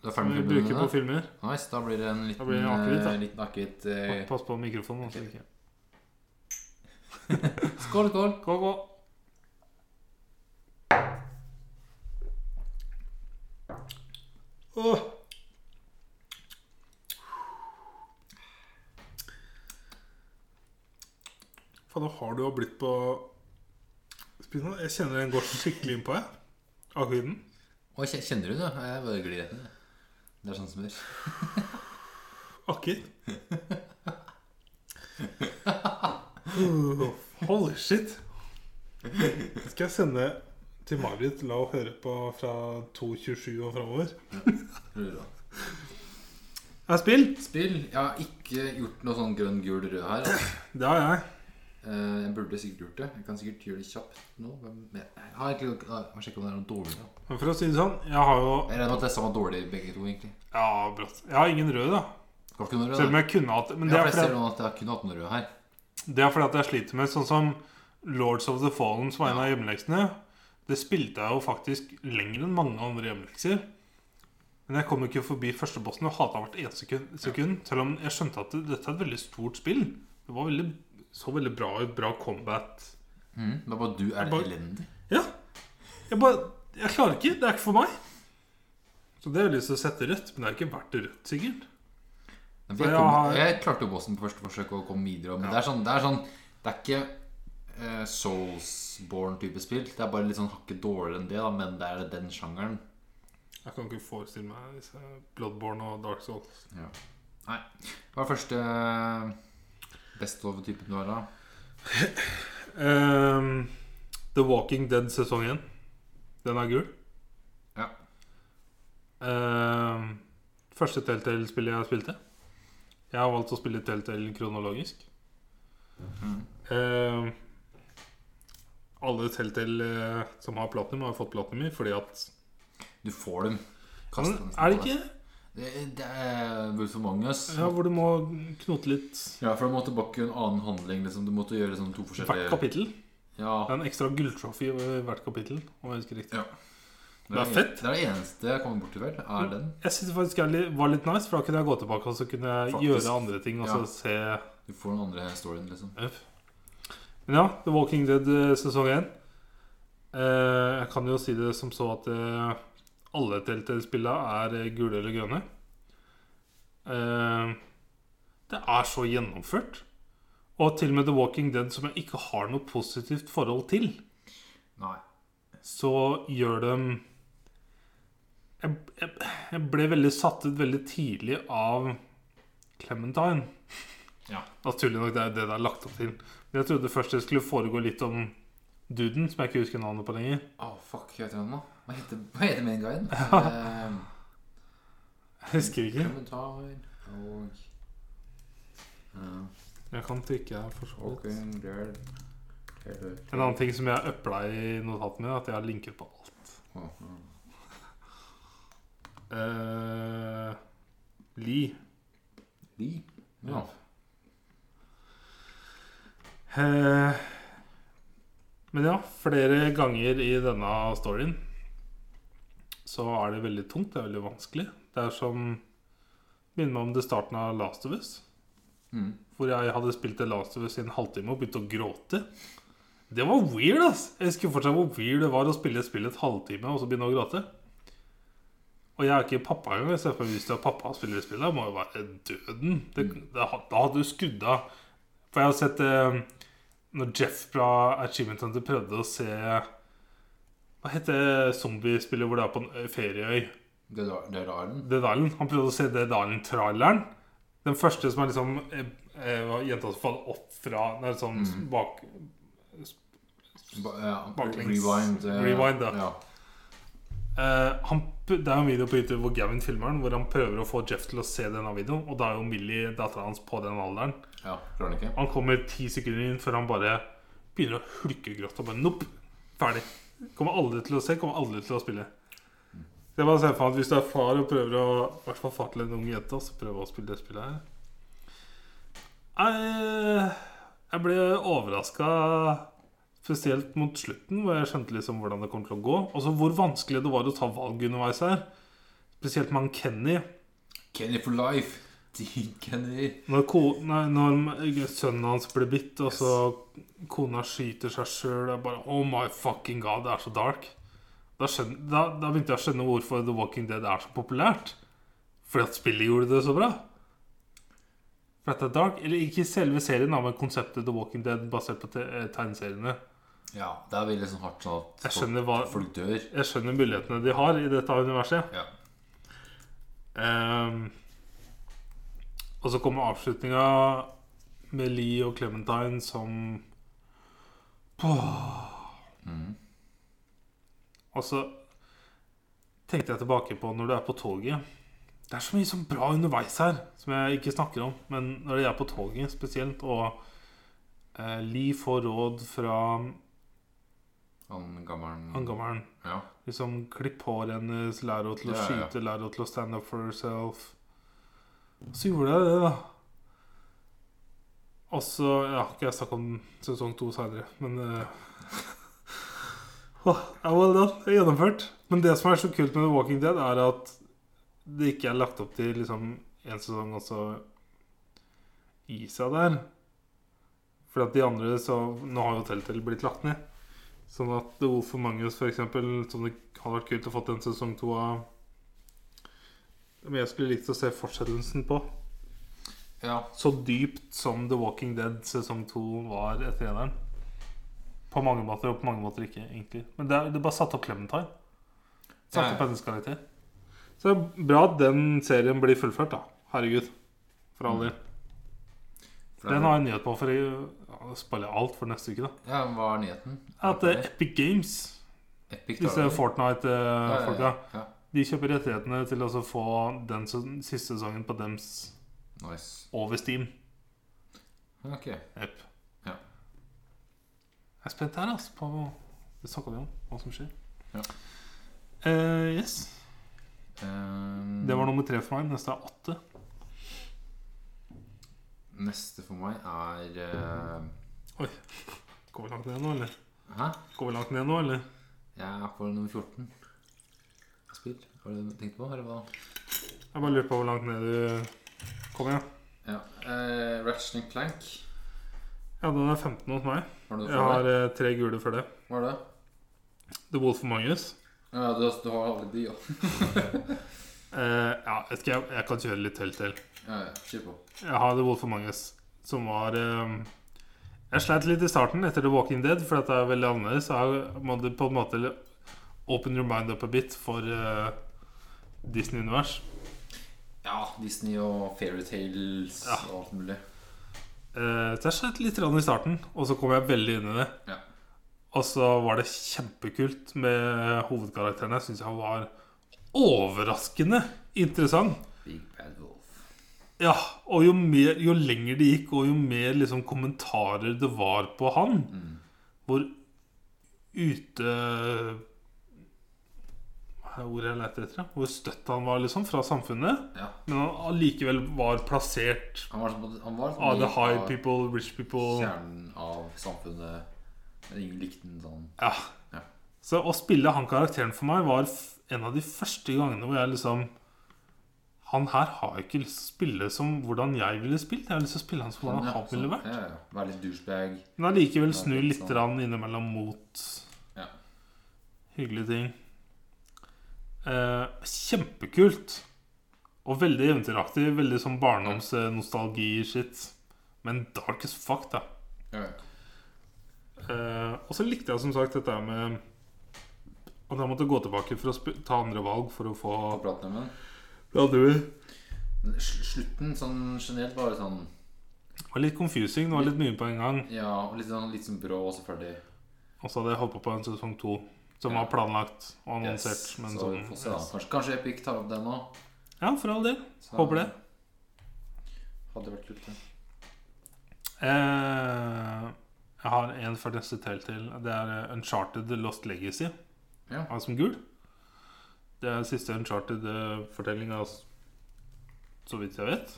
Du er Som ferdig vi med bruker klubbene på dine? filmer. Nice, da blir det en liten blir det akevitt, da. eh, liten akevitt. Pa- eh. Pass på mikrofonen. så ikke- Skål, skål! Gå, gå. Åh. Faen, nå har du jo blitt på Spis nå. Jeg kjenner den går så skikkelig innpå, jeg. Akevitten. Oi, kje- kjenner du det? Jeg bare glir rett ned. Det er sånn smør. Akker. Uh, holy shit. Skal jeg sende til Marit La henne høre på fra 2.27 og framover? Røra. Er spill? Spill. Jeg har ikke gjort noe sånn grønn, gul, rød her. Altså. Det har jeg. Eh, Jeg burde sikkert gjort det. Jeg kan sikkert gjøre det kjapt nå. men Jeg har egentlig ikke Jeg må sjekke om det er noe dårlig. da. Men for å si det sånn, jeg har jo Jeg regner med at disse var dårlige begge to, egentlig. Ja, brått. Jeg har ingen røde, da. Skal ikke noe rød, Selv om da? jeg kunne hatt det. Men det Ja, er for jeg fordi ser nå at jeg har kun hatt noe rød her. Det er fordi at jeg sliter med sånn som Lords of the Fallen, som var en av hjemmeleksene. Det spilte jeg jo faktisk lenger enn mange andre hjemmelekser. Men jeg kom jo ikke forbi første bossen og hata hvert eneste sekund, sekund. Selv om jeg skjønte at det, dette er et veldig stort spill. Det var veldig, så veldig bra ut. Bra combat. Mm. Det er bare du er Jeg bare- elendig. Ja. Jeg bare Jeg klarer ikke. Det er ikke for meg. Så det har jeg lyst til å sette rødt, men det er ikke verdt rødt, sikkert. Jeg, For jeg kom, har- jeg klarte jo bossen på første forsøk og kom videre. Men det, er sånn, det er sånn Det er ikke eh, Soulsborne-type spill. Det er bare litt sånn hakket dårligere enn det, da, men det er den sjangeren. Jeg kan ikke forestille meg disse Bloodborne og Dark Souls. Ja. Nei. Hva er første eh, best of-typen du har, da? Ehm, The Walking Dead sesong 1. Den er gul. Ja. Ehm, første Telltale-spillet jeg spilte. Jeg har valgt å spille Telltale kronologisk. Mm. Ehm, alle Telltale eh, som har platinum, har fått platinum i fordi at Du får dem. Kast Men dem nesten Er det på ikke deg. Det, det er Wolf Among Us. ja, hvor du må knote litt Ja, for du må tilbake i en annen handling. Liksom. Du måtte gjøre sånn to hvert forskjellige kapittel? Ja, Det er en ekstra gulltrophy i hvert kapittel. Om jeg husker riktig det det er fett. Det er det eneste jeg kommer borti, vel. Er den. Jeg synes det faktisk er litt, var litt nice, for da kunne jeg gå tilbake og så kunne jeg Faktisk. gjøre andre ting. Og så Ja. se Du får den andre storyen, liksom. Øff. Men ja, The Walking Dead eh, sesong 1. Eh, jeg kan jo si det som så at eh, alle Telltale-spillene er eh, gule eller grønne. Eh, det er så gjennomført. Og til og med The Walking Dead, som jeg ikke har noe positivt forhold til, Nei. så gjør dem jeg, jeg, jeg ble veldig satt ut veldig tidlig av Clementine. Ja. Naturlig nok, det er det det er lagt opp til. Men jeg trodde først det skulle foregå litt om duden, som jeg ikke husker navnet på lenger. Å, fuck, hva heter han nå? Hva heter, hva heter main guiden? Eh, Jeg husker ikke. Kommentar og eh, Jeg kan trykke her for så vidt. Walking Dead Taylor. En annen ting som jeg øpla i notatene mine, er at jeg har linker på alt. Å, ja. Eh, Lee. De? Ja. Eh, Men ja, flere ganger i denne storyen så er det veldig tungt. Det er veldig vanskelig. Det er som Minner meg om det starten av Last of Us. Mm. Hvor jeg hadde spilt The Last of Us i en halvtime og begynte å gråte. Det var weird, ass! Jeg husker fortsatt hvor weird det var å spille et spill et halvtime og så begynne å gråte. Og jeg er ikke pappa engang. Så jeg får hvis det er pappa som spiller spillet, må jo være døden. Det, det, da hadde du skrudd av. For jeg har sett eh, når Jeff fra Achievement Hunter prøvde å se Hva heter zombiespillet hvor det er på en ø, ferieøy? Det er det er raren. Dead Island. Han prøvde å se Dead Island-traileren. Den første som er liksom eh, eh, var jenta som faller opp fra Nei, sånn bak Ba- ja, Baklengs. Rewind. eh, Rewind, da. Ja. Eh, han, det er jo en video på YouTube hvor Gavin filmer den, hvor han prøver å få Jeff til å se denne videoen. Og da er jo Millie, dattera hans, på den alderen. ja. Klarer han ikke? Han kommer ti sekunder inn før han bare begynner å hulkegråte og bare Nopp! Ferdig. Kommer aldri til å se, kommer aldri til å spille. Så jeg bare ser for meg at Hvis du er far og prøver å i hvert fall far til en ung jente så prøver å spille det spillet her Jeg, jeg ble overraska spesielt mot Altså, slutten, hvor jeg skjønte liksom hvordan det kom til å gå. Og så hvor vanskelig det var å ta valg underveis her. Spesielt med han Kenny. Kenny for life. Dean Kenny. Når, ko, nei, når sønnen hans blir bitt, og så kona skyter seg sjøl Det er bare Oh my fucking god, det er så dark. Da, skjøn- da, da begynte jeg å skjønne hvorfor The Walking Dead er så populært. Fordi at spillet gjorde det så bra. For at det er dark. Eller ikke selve serien, da, men konseptet The Walking Dead basert på te eh, tegneseriene. Ja, det er veldig sånn hardt sånn at Jeg skjønner hva- folk dør. Jeg skjønner mulighetene de har i dette universet. Ja. Ehm, og så kommer avslutninga med Lee og Clementine som Åh. Og så tenkte jeg tilbake på når du er på toget Det er så mye sånn bra underveis her som jeg ikke snakker om. Men når jeg er på toget spesielt, og eh, Lee får råd fra Han gammelen angammelen Ja. Liksom klipp håret hennes, lær henne til Ja, å ja. skyte, lær henne til å stand up for herself. Så gjorde jeg det, da. Og så Ja, ikke jeg snakke om sesong to seinere, men eh, Åh, ja, well done. Det er gjennomført. Men det som er så kult med The Walking Dead, er at det ikke er lagt opp til liksom én sesong og så gi seg der. For at de andre så Nå har jo Telltale blitt lagt ned. Sånn at The Wolf of Mangus, for eksempel, som det hadde vært kult å fått en sesong to av Men jeg skulle likt å se fortsettelsen på. ja. Så dypt som The Walking Dead sesong to var etter eneren. På mange måter og på mange måter ikke, egentlig. Men det, er- det bare satte opp Clementine. Satte Ja, ja. opp hennes karakter. Så det er bra at den serien blir fullført, da. Herregud. For all del. Mm. For det er- Den har jeg nyhet på, for jeg ja, spiller alt for neste uke, da. Ja, hva er nyheten? At eh, Epic Games, Epic tar disse over. Ja, eh, ja, Fortnite-folka ja, ja. De kjøper rettighetene til å få den se- siste sesongen på dems Nice. over Steam. Ok. Yep. Ja. Jeg er spent her, altså, på Det snakka vi om, hva som skjer. Ja. Eh, yes. Ehm, Det var nummer tre for meg. Neste er åtte. Neste for meg er eh, Går vi langt ned nå, eller? Hæ? Går vi langt ned nå, eller? Jeg er på nummer 14. Spill. Var det det du tenkte på, eller hva? Jeg bare lurer på hvor langt ned du Kom igjen. Ja. Eh, Ratchet and Clank. Ja, den er 15 hos meg. Var det det Jeg for har deg? eh, tre gule før det. Var det? The Wolf of Mangus. Ja, du, du har alle de, ja. Eh, ja, jeg, skal, jeg kan kjøre litt helt til. Ja, ja. Kjør på. Jeg har The Wolf of Mangus, som var eh, Jeg sleit litt i starten etter The Walking Dead, for at det er veldig annerledes. Så jeg må du på en måte open your mind up a bit for eh, Disney-univers. Ja, Disney og fairytales Ja. og alt mulig. Eh, så jeg sleit litt grann i starten, og så kom jeg veldig inn i det. Ja. Og så var det kjempekult med hovedkarakterene. Jeg syns han var overraskende interessant. Big Bad Wolf. Ja, og jo, mer, jo lenger det gikk, og jo mer liksom, kommentarer det var på han, Mm. hvor ute Hva er ordet jeg leter etter? da? Hvor støtt han var liksom fra samfunnet. Ja. Men han allikevel var plassert Han var sånn Han var av the litt high av people, rich people Kjernen av samfunnet. Men ingen likte den sånn. Ja. Ja. Så å spille han karakteren for meg var f- en av de første gangene hvor jeg liksom Han her har ikke lyst til å spille som hvordan jeg ville spilt. Jeg har lyst til å spille han som hvordan han ville vært. Ja, ja. Være litt douchebag. Men allikevel Det er snu litt litt sånn. rann innimellom mot Ja. hyggelige ting. Eh, kjempekult. Og veldig eventyraktig. Veldig sånn barndomsnostalgi-shit. Men dark as fuck, da. Ja, ja. Eh, og så likte jeg som sagt dette her med at jeg måtte gå tilbake for å sp ta andre valg for å få Og praten med den. Det Men sl- Slutten sånn generelt var litt sånn var litt confusing. Det var litt mye på en gang. Ja, og litt sånn, litt sånn brå og så ferdig. Og så hadde jeg håpa på en sesong to som Ja. var planlagt og annonsert. Yes. Men så sånn, vi får se, da. Kanskje, kanskje Epic tar opp den nå. Ja, for all del. Så- Håper det. Hadde vært kult. det. Eh, jeg har en for neste tell til. Det er eh, Uncharted Lost Legacy. Ja. Har jeg som gul. Det er siste Uncharted-fortellinga, så vidt jeg vet.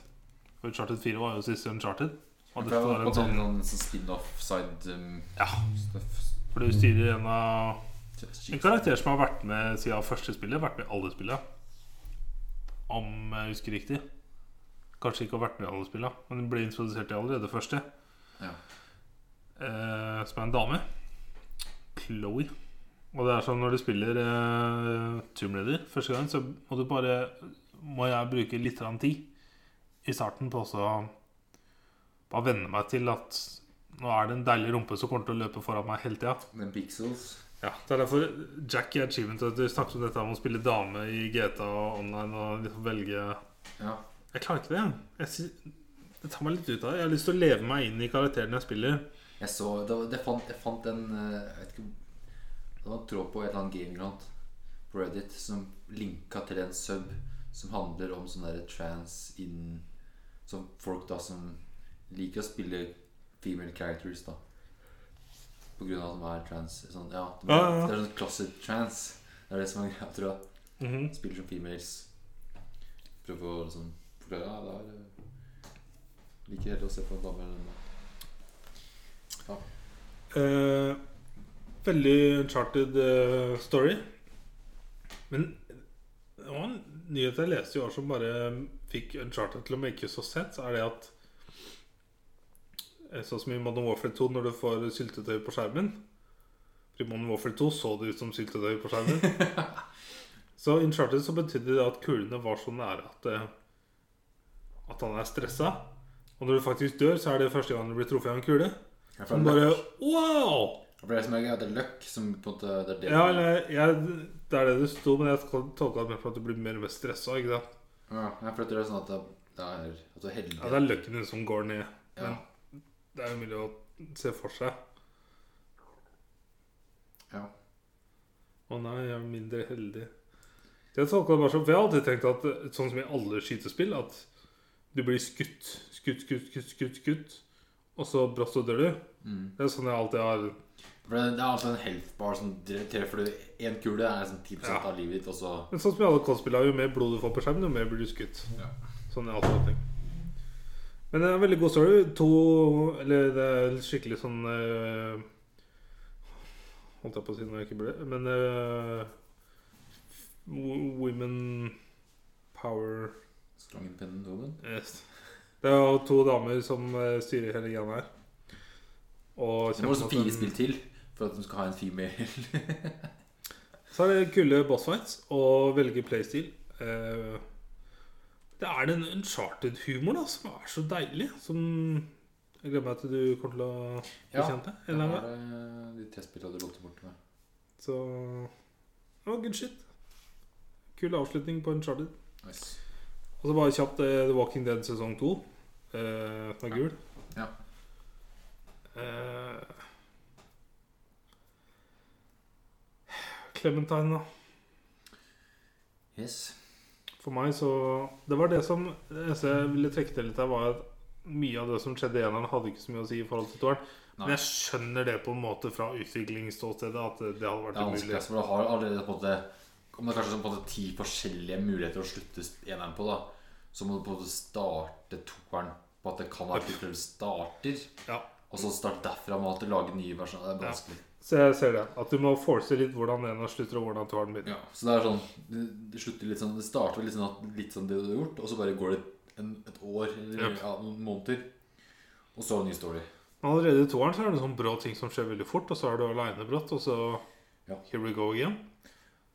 For Uncharted 4 var jo siste Uncharted. Og For dette jeg var var på en sånn, sånn sånn, sånn spin-off side um, Ja, stuff. for du styrer en av Shit. En karakter som har vært med siden første spillet, vært med i alle spillene. om jeg husker riktig. Kanskje ikke har vært med i alle spilla, men den ble introdusert i allerede første. Ja. Eh, som er en dame. Chloé. Og det er sånn når du spiller eh, Tomb Raider første gang, så må du bare Må jeg bruke litt grann tid i starten på også å bare venne meg til at nå er det en deilig rumpe som kommer til å løpe foran meg hele tida. Men pixels Ja, det er derfor Jack i Achievement at du snakket om dette om å spille dame i GTA online og liksom velge Ja. Jeg klarer ikke det. Jeg sy- det tar meg litt ut av det. Jeg har lyst til å leve meg inn i karakteren jeg spiller. Jeg så det, var- det fant, Jeg fant en eh, Jeg vet ikke Det var en tråd på et eller annet gameground på Reddit som linka til en sub som handler om sånn derre trans in Som folk da som liker å spille female characters, da. På grunn av at de er trans. Sånn, ja, det, Ja, ja, ja. det er sånn closet trans. Det er det som er greia, tror jeg. Mhm. spiller som females. Prøver å liksom forklare Ja, det er eh, like gøy å se på en dame eller en mann. Eh, veldig uncharted eh, story. Men det var en nyhet jeg leste i år som bare fikk uncharted til å make så sett, så er det at eh, Sånn som i Modern Warfare 2, når du får syltetøy på skjermen For i Modern Warfare 2 så det ut som syltetøy på skjermen. så i uncharted så betydde det at kulene var så nære at eh, At han er stressa. Og når du faktisk dør, så er det første gang du blir truffet av en kule. Ja, for Han det er bare løkk. Wow! For det er som er greia, det er løkk som på en måte Det er det Ja, eller jeg, Det er det det sto, men jeg tolka det mer på at du blir mer og mer stressa. ikke sant? Ja, jeg føler det er sånn at det det er At du er heldig. Ja, det er løkken din som går ned. Ja. Det er jo mulig å se for seg. Ja. Å nei, jeg er mindre heldig. Jeg tolka det bare sånn, for jeg har alltid tenkt at eh, sånn som i alle skytespill, at du blir skutt, skutt, skutt, skutt, skutt, skutt og så brått så dør du. Mm. Det er sånn jeg alltid har For det, det er altså en health bar som dre- treffer du én kule, det er liksom 10 Ja. av livet ditt, og så Men sånn som i alle koldspill, jo mer blod du får på skjermen, jo mer blir du skutt. Ja. Sånn er alt sånne ting. Men det er en veldig god story. To Eller det er skikkelig sånn eh, Holdt jeg på å si når jeg ikke burde Men eh, wo- Women power Strong independent woman. yes. Det er jo to damer som eh, styrer hele greia her. Og Det må kjemper også mot fire en- spill til for at du skal ha en female. Så er det kule bossfights og velge playstyle. Eh, Det er den uncharted-humoren da, som er så deilig, som jeg gleder meg til du kommer til å bli Ja, kjent med. en Det eller annen var gang. eh, de tre spillene du lot bort med. Så det var good shit. Kul avslutning på uncharted. Nice. Og så bare kjapt eh, The Walking Dead sesong 2, eh, som er gul. Ja. Eh, Clementine, da. Yes. For meg så Det var det som det eneste jeg ville trekke til litt her, var at mye av det som skjedde i eneren, hadde ikke så mye å si i forhold til toeren. Men Nei. jeg skjønner det på en måte fra utviklingsståstedet at det hadde Det er vært vanskelig, umulig. altså, for du har allerede på en måte Om det er kanskje sånn på en måte ti forskjellige muligheter å slutte eneren på, da så må du på en måte starte toeren på at det kan være at du starter, Ja. og så starte derfra med at du lager nye versjoner. Det er Ja. vanskelig. Så jeg ser det. At du må force litt hvordan eneren slutter, og hvordan toeren begynner. Ja. Så det er sånn Det det slutter litt sånn Det starter litt sånn, at- litt sånn det du har gjort, og så bare går det en, et år eller Yep. ja, noen måneder, og så er det en ny story. Men allerede i toeren så er det sånn brå ting som skjer veldig fort, og så er du aleine brått, og så Ja. Here we go again.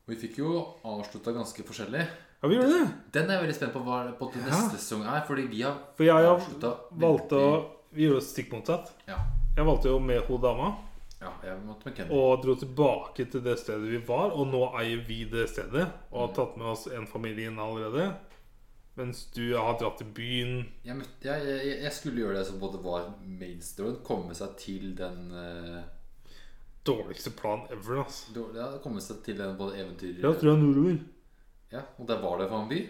Og vi fikk jo avslutta ganske forskjellig. Ja, vi gjorde det! Den er jeg veldig spent på hva på til Ja. neste sesong er, fordi vi har For jeg har avsluttet valgt å veldig- Vi gjorde det stikk motsatt. Ja. Jeg valgte jo med hun dama. Ja, jeg måtte med Kenny. Og dro tilbake til det stedet vi var, og nå eier vi det stedet. Og har tatt med oss en familie inn allerede. Mens du har dratt til byen. Jeg, møtte, jeg, jeg, jeg skulle gjøre det som både var mainstream, komme seg til den eh, Dårligste plan ever, ass. dår- ja, Komme seg til den både eventyr Jeg tror jeg er nordover. Ja, Og der var det for en by.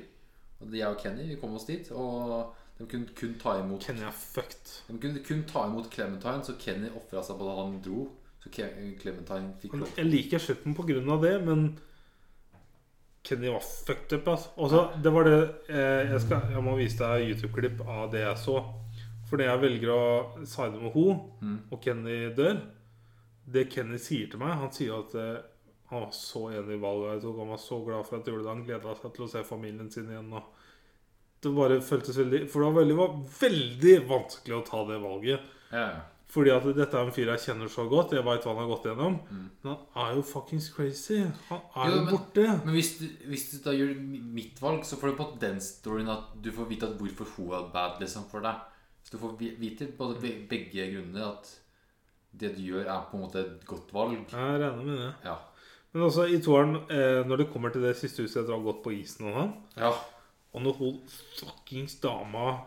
Og jeg og Kenny vi kom oss dit. Og de kunne kun ta imot Kenya er fucked. De kunne kun ta imot Clementine, så Kenny ofra seg på da han dro. Så Ke- Clementine fikk lov. Jeg liker slutten på grunn av det, men Kenny var fucked up, ass. Og så, det var det eh, jeg, skal, jeg må vise deg YouTube-klipp av det jeg så. For det jeg velger å side med ho, Mm. og Kenny dør Det Kenny sier til meg Han sier at eh, Han var så enig i valget jeg tok. Han var så glad for at jeg gjorde det. Han gleda seg til å se familien sin igjen. Og det bare føltes veldig For det var veldig, var veldig vanskelig å ta det valget. Ja, ja. Fordi at dette er en fyr jeg kjenner så godt. Jeg veit hva han har gått gjennom. Mm. Men han er jo fuckings crazy. Han er Jo, jo, men- borte. Men hvis du, hvis du da gjør mi- mitt valg, så får du på den storyen at du får vite at hvorfor hun er bad liksom, for deg. Så du får vi- vite på de- be- begge grunnene at det du gjør, er på en måte et godt valg. Jeg regner med det. Ja. Men også i toeren, eh, når det kommer til det siste huset etter å ha gått på isen og sånn ja. Og når hun fuckings dama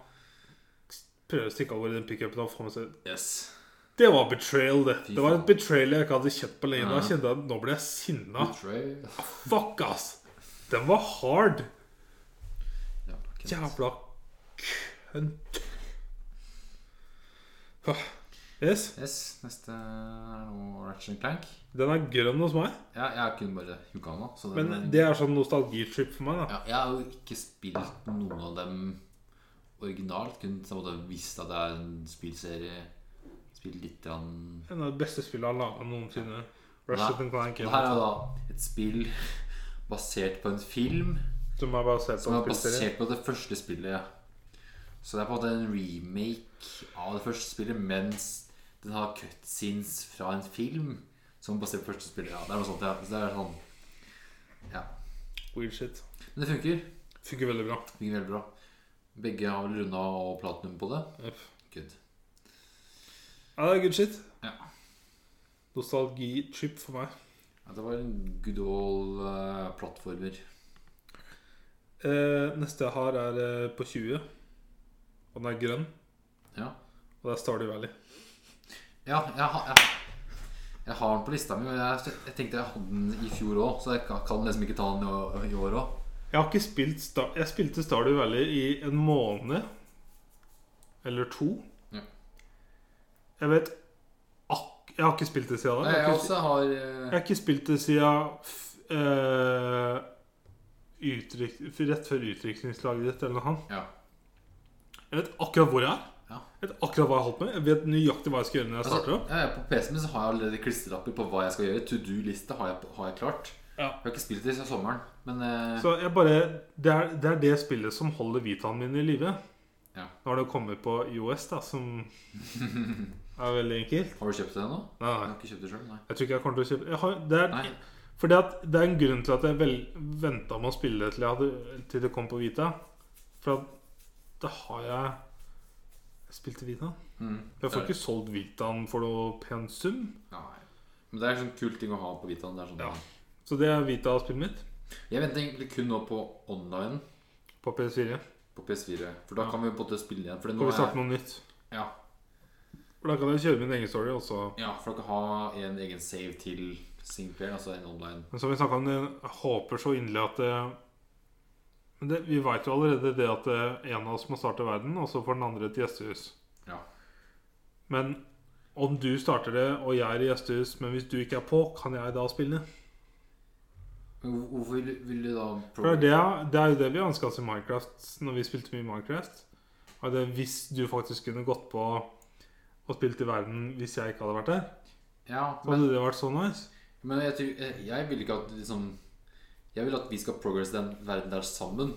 prøver å stikke av gårde i den pickupen og få med seg Yes. Det var betrayal, det. Fy Det var faen. et betrayal jeg ikke hadde kjent på lenge. Da Ja. kjente jeg at nå ble jeg sinna. Betray. Fuck, ass! Den var hard. Ja, ok. Jævla kønt. Åh. Yes. Yes, neste er noe Ratchet Clank. Den er grønn hos meg, Ja, jeg kunne bare Hugana. Så den, men det er sånn nostalgitrip for meg. da ja, Jeg har jo ikke spilt noen av dem originalt. Kun så måtte jeg visst at det er en spillserie. Spilt litt grann En av de beste spillene han laga noensinne. Nei. Ratchet and Clank. Det her er jo da et spill basert på en film Som er basert på som en er spillserie. basert på det første spillet. ja. Så det er på en måte en remake av det første spillet, mens den har cutscenes fra en film som er basert på første spillet. Ja, det er noe sånt, ja. Så det er sånn Ja. Weird shit. Men det funker. Funker veldig bra. Funker veldig bra. Begge har vel runda og platinum på det. Uff. Good. Ja, det er good shit. Ja. Nostalgitrip for meg. Ja, det var en good old eh, plattformer. Eh, neste jeg har, er eh, på 20. Og den er grønn. Ja. Og det er Stardew Valley. Ja, jeg, har- jeg, jeg har den på lista mi. og Jeg, jeg tenkte jeg hadde den i fjor òg, så jeg kan- kan liksom ikke ta den i å- i år òg. Jeg har ikke spilt Star Jeg spilte Stardew Valley i en måned eller to. Ja. Jeg vet ak... Jeg har ikke spilt det siden da. Jeg ikke, også har jeg eh, har ikke spilt det siden f- eh, utryk, rett før utdrikningslaget ditt eller noe annet. ja. Jeg vet akkurat hvor jeg er. Ja. Jeg vet akkurat hva jeg har holdt med. Jeg vet nøyaktig hva jeg skal gjøre når jeg Altså, starter opp. ja, ja, på PC-en min så har jeg allerede klistrelapper på hva jeg skal gjøre. To do-liste har, jeg- har jeg klart. Ja. Jeg har ikke spilt det siden sommeren, men eh, Så jeg bare det er, det er det spillet som holder Vitaen min i live. Ja. Nå har det kommet på IOS, da, som er veldig enkelt. Har du kjøpt det ennå? Nei, Jeg nei. har ikke kjøpt det sjøl, nei. Jeg tror ikke jeg kommer til å kjøpe jeg har, det, nei. er, fordi at det er en grunn til at jeg vel, venta med å spille det til, jeg hadde, til det kom på Vita. For at da har jeg Jeg spilte Vita. Mm. Jeg får ikke solgt Vitaen for noe pen sum. Nei. Men det er en sånn kul ting å ha på Vitaen. Det er sånn, Ja. Så det er Vita-spillet mitt Jeg venter egentlig kun nå på online på PS4. på PS4, for da Ja. kan vi både spille igjen. For Skal nå vi starte er, noe nytt? ja, For da kan jeg kjøre min egen story også. ja, for dere har en egen save til singleplayer, altså en online. Men som vi snakket om, jeg håper så inderlig at det, men det, Vi veit jo allerede det at det, en av oss må starte verden, og så får den andre et gjestehus. Ja. Men om du starter det, og jeg er i gjestehus, men hvis du ikke er på, kan jeg da spille? Men hvor- hvorfor vil, du- vil du da For det er, det, det er jo det vi ønska oss i Minecraft når vi spilte mye Minecraft. Og det, hvis du faktisk kunne gått på og spilt i verden hvis jeg ikke hadde vært der, Ja, så men, hadde det vært så nice. men jeg, tror, jeg- jeg vil ikke at liksom Jeg vil at vi skal progresse den verden der sammen.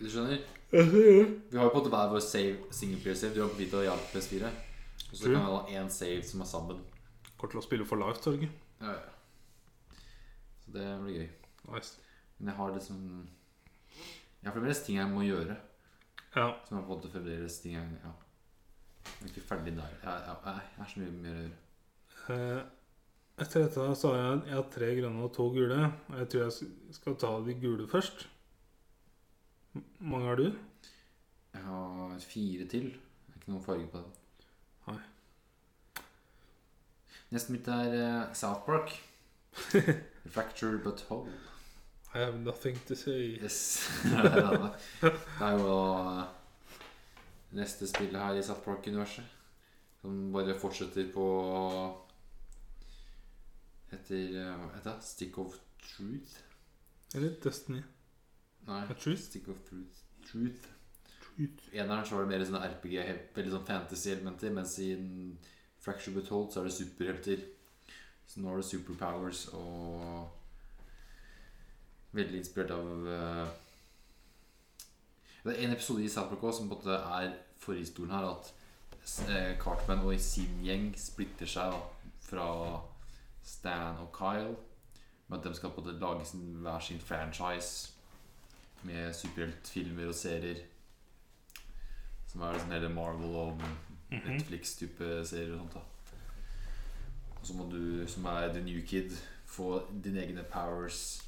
Du skjønner? Vi har jo på en måte hver vår save, singleplayer save. Du har på Vita og jeg har på PS4. Og så True. kan vi ha én save som er sammen. Kort til å spille for life, Torge. Ja, ja. Så det blir gøy. Nice. Men jeg har liksom Jeg har fremdeles ting jeg må gjøre. Ja. Som jeg på en måte fremdeles ting jeg Ja. Jeg er ikke ferdig der. Jeg, jeg, jeg, jeg har så mye mer å gjøre. Eh, etter dette her så har jeg, jeg har tre grønne og to gule. Og jeg tror jeg s- skal ta de gule først. M- mange har du? Jeg har fire til. Det er ikke noen farge på den. Nei. Neste mitt er eh, South Park. Fracture but whole. I have nothing to say. Yes. det er jo da neste spill her i South Park-universet. Som bare fortsetter på Etter eh, Hva heter det? Stick of Truth? Eller Destiny. Nei. A truth? Stick of Truth. Truth. Truth. Eneren så var det mer sånn RPG, helt- veldig sånn fantasy-elementer, mens i en Fracture But Hold så er det superhelter. Så nå er det Superpowers og Veldig inspirert av eh, Det er en episode i South Park også som på en måte er forhistorien her, at s- eh, Cartman og sin gjeng splitter seg fra Stan og Kyle. Med at de skal på en måte lage sin, hver sin franchise med superheltfilmer og serier. Som er sånn hele Marvel og Mhm. Netflix-type serier og sånt. da og så må du, som er the new kid, få dine egne powers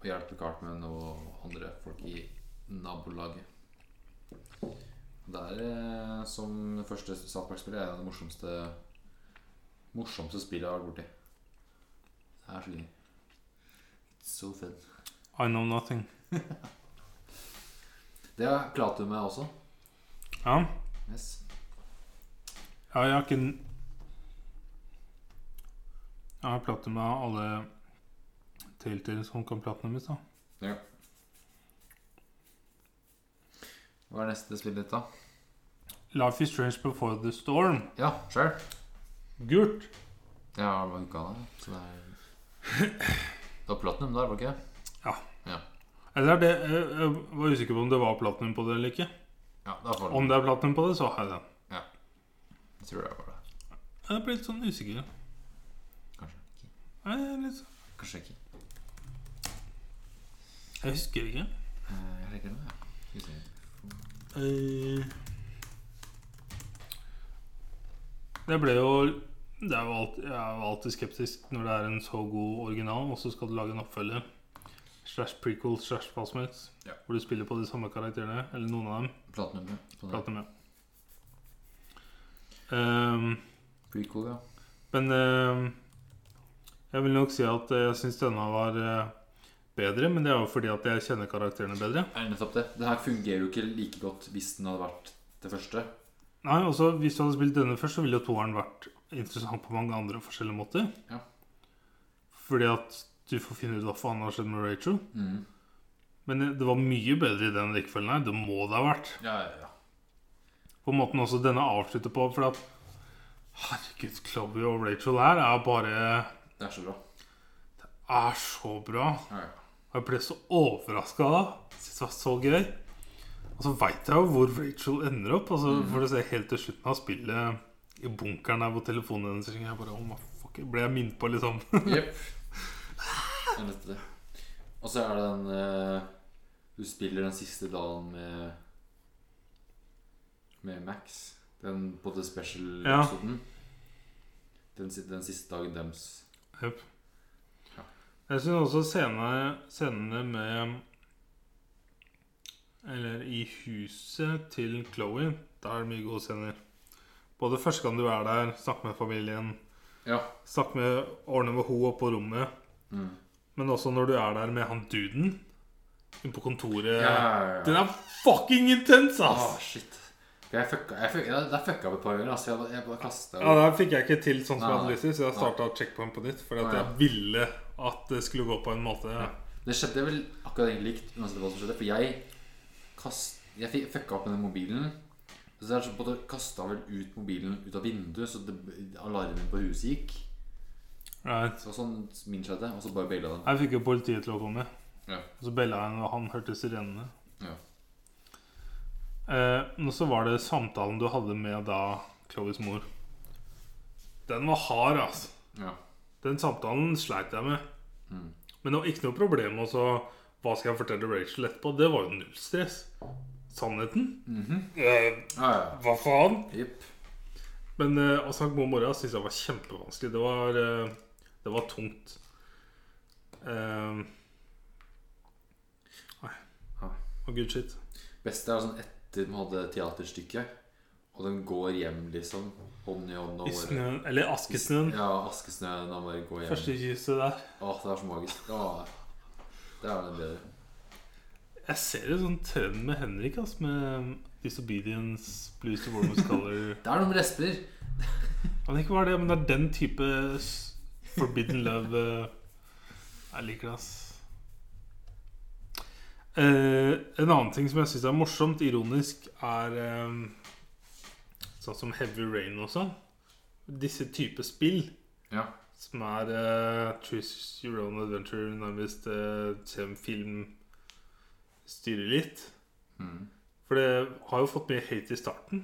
og hjelpe Cartman og andre folk i nabolaget. Det er eh, som første South Park-spillet er det morsomste morsomste spillet jeg har vært borti. Det er så gøy. It's so fun. I know nothing. Det har Platum med også. Ja. Yes. Ja, jeg har ikke n- Jeg har platinum av alle Telltale som kan platinumes, da. Hva er neste spill ditt, da? Life is Strange Before the Storm. Ja, sure. Gult. Jeg har bare uka da. Så det er Det var Platinum der, var det ikke? Eller er det Jeg jeg var usikker på om det var platinum på det eller ikke. Ja, det var Om det er platinum på det, så har jeg den. Jeg tror det var det. Jeg ble litt sånn usikker. Kanskje ikke. Nei, jeg er litt sånn- Kanskje ikke. Jeg husker ikke. Eh, Jeg legger den, ja. Skal vi se. Eh, Det ble jo det er jo alltid, Jeg er jo alltid skeptisk når det er en så god original, og så skal du lage en oppfølger slash prequel slash hva som helst, Ja. hvor du spiller på de samme karakterene, eller noen av dem. Platinum, ja. Sånn Prater med. Ehm, der. Prequel, ja. men ehm, jeg vil nok si at eh, jeg syns denne var eh, bedre, men det er jo fordi at jeg kjenner karakterene bedre. Er det nettopp det? Det her fungerer jo ikke like godt hvis den hadde vært det første. Nei, også Hvis du hadde spilt denne først, så ville jo toeren vært interessant på mange andre forskjellige måter. Ja. Fordi at du får finne ut hva faen har skjedd med Rachel. Mm. Men det var mye bedre i den rekkefølgen her. Det må det ha vært. Ja, ja, ja. På måten også denne avslutter på. For at Herregud, Chloé og Rachel her er bare Det er så bra. Er så bra. Ja, ja. Og Jeg ble så overraska da. Jeg synes det var så gøy. Og så veit jeg jo hvor Rachel ender opp. Altså, For du ser helt til slutten av spillet i bunkeren der hvor telefonen hennes ringer. Jeg bare, oh, my fuck, ble jeg minnet på, liksom. Jepp. Det er nettopp det. Og så er det den eh, Du spiller den siste dagen med Med Max. Den på The Ja. Special-episoden. Den, si- den siste dagen dems. Jep. Ja. Jeg syns også scenene, scenene med Eller i huset til Chloé, der er det mye gode scener. Både første gang du er der, snakke med familien, Ja. snakke med ordne med ho oppe på rommet. Mm. Men også når du er der med han duden inne på kontoret. Ja, ja, ja. Den er fucking intens, Ah, ass! shit. For jeg fucka, jeg fucka, jeg, der fucka vi et par ganger. Altså, jeg, bare- jeg bare kasta Ja, Der fikk jeg ikke til sånn som jeg hadde Nei, lyst til, så jeg nei. starta checkpoint på nytt. Fordi Nei, at ja. jeg ville at det skulle gå på en måte. Det skjedde vel akkurat egentlig likt uansett hva som skjedde. For jeg kast, Jeg fikk- fucka opp med den mobilen. Så jeg sånn, kasta vel ut mobilen ut av vinduet, så det, alarmen på huset gikk. Right. Så det var sånn min skjedde, og så bare baila den. Jeg fikk jo politiet til å komme. Ja. Og så bella jeg, og han hørte sirenene. Ja. Eh, men så var det samtalen du hadde med da Chloes mor. Den var hard, altså. Ja. Den samtalen sleit jeg med. Mm. Men det var ikke noe problem også hva skal jeg fortelle Rachel etterpå. Det var jo null stress. Sannheten. Mhm. Eh, ja, ja. hva faen? Jepp. Men eh, å snakke med mora syns jeg var kjempevanskelig. Det var, eh, det var tungt. Eh, nei. Ja. Og good shit. Beste er sånn etter de hadde teaterstykket, og de går hjem, liksom, hånd i hånd. Og I snøen, eller askesnøen. Ja, askesnøen. Og bare går hjem. Første kysset der. Åh, det er så magisk. Åh, det er det bedre. Jeg ser en sånn trend med Henrik, ass, med disobedience, blues to warmest color Det er noe med lesber. Men ikke bare det, men det er den type s- forbidden love eh, jeg liker det, ass. Eh, en annen ting som jeg syns er morsomt, ironisk, er eh, sånn som Heavy Rain også. Disse type spill Ja. Som er eh, Choose Your Own Adventure, nærmest uh, sem film styrer litt. Mm. For det har jo fått mye hate i starten.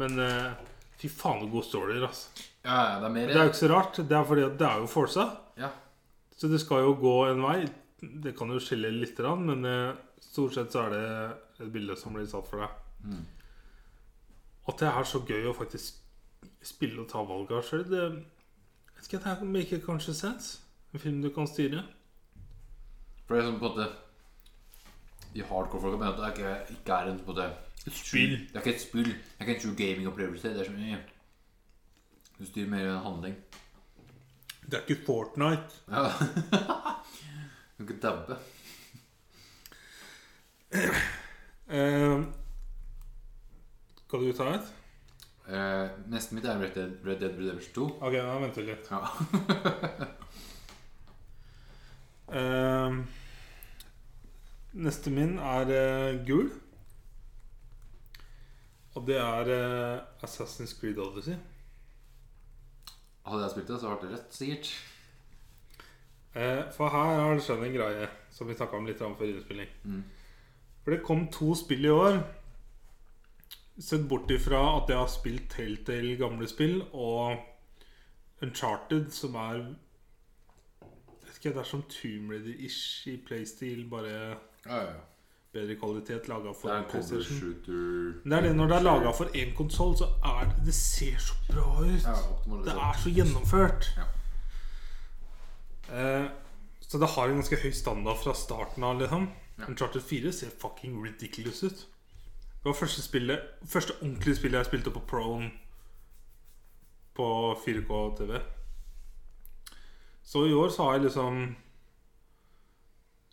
Men eh, fy faen, så gode storyer, altså. Ja, ja, det er Men mer Det er jo ikke så rart. Det er fordi at det er jo Forsa. Ja. Så det skal jo gå en vei. Det kan jo skille litt, men eh, stort sett så er det et bilde som blir satt for deg. Mm. At det er så gøy å faktisk spille og ta valg av sjøl, det jeg vet ikke, det her make kanskje sense. En film du kan styre. For det er sånn på en måte De hardcore-folka mener at det ikke, ikke er en på en måte Et spill. Det er ikke et spill. Det er ikke en true gaming-opplevelse. Det er sånn eh, Du styrer mer en handling. Det er ikke Fortnite. Ja. du kan ikke dabbe. Eh, skal du ta et? Eh, neste mitt er Red Dead, Red Dead Redemption 2. Ok, da venter vi litt. Ja. Eh, neste min er eh, gul. Og det er eh, Assassin's Creed Odyssey. Hadde jeg spilt det, så hadde det vært rett, sikkert. Eh, for her har det skjedd en greie som vi snakka om litt om før innspilling. Mm. For det kom to spill i år. Sett bort ifra at jeg har spilt Telltale gamle spill og Uncharted, som er jeg vet ikke, Det er som Tomb Raider-ish i playstyle, bare Ja, ja, ja. bedre kvalitet laga Det for er en cover PlayStation. shooter Men Det er det når det er laga for én konsoll, så er det Det ser så bra ut. ja, Det optimalisert. er så gjennomført. Ja. Eh, så det har en ganske høy standard fra starten av. liksom Ja. Uncharted 4 ser fucking ridiculous ut. Det var første, spillet, første ordentlige spillet jeg spilte på Prone på 4K-TV. Så i år så har jeg liksom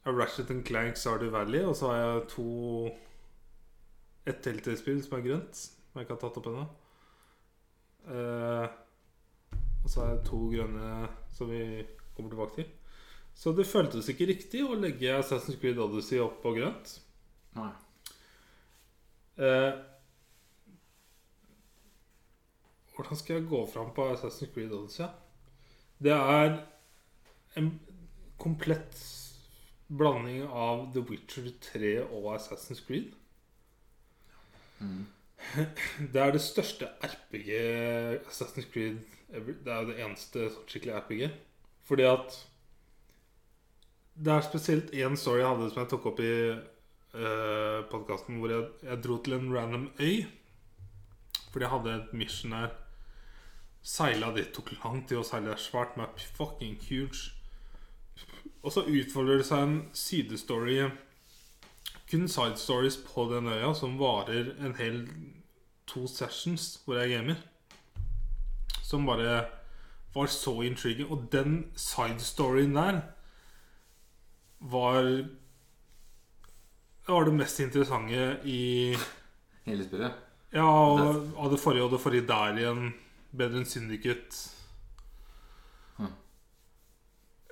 jeg har Ratchet and Clank Sardy Valley, og så har jeg to Et Telltale-spill som er grønt, som jeg ikke har tatt opp ennå. Eh, og så er det to grønne som vi kommer tilbake til. Så det føltes ikke riktig å legge Assassin's Creed Odyssey opp på grønt. Nei. Eh, hvordan skal jeg gå fram på Assassin's Creed Odyssey? Det er en komplett blanding av The Witcher 3 og Assassin's Creed. Mm. Det er det største RPG Assassin's Creed ever. Det er jo det eneste sånn skikkelig RPG. Fordi at Det er spesielt én story jeg hadde som jeg tok opp i eh, podkasten, hvor jeg, jeg dro til en random øy. Fordi jeg hadde et mission her. Seila dit tok lang tid å seile. Det er svært map. Fucking huge. Og så utfolder det seg en sidestory kun side stories på den øya som varer en hel to sessions hvor jeg gamer. Som bare var så intriguing. Og den side storyen der var var det mest interessante i Hele spillet. Ja, og av det forrige og det forrige der igjen. Bedre enn Syndicate. Hm.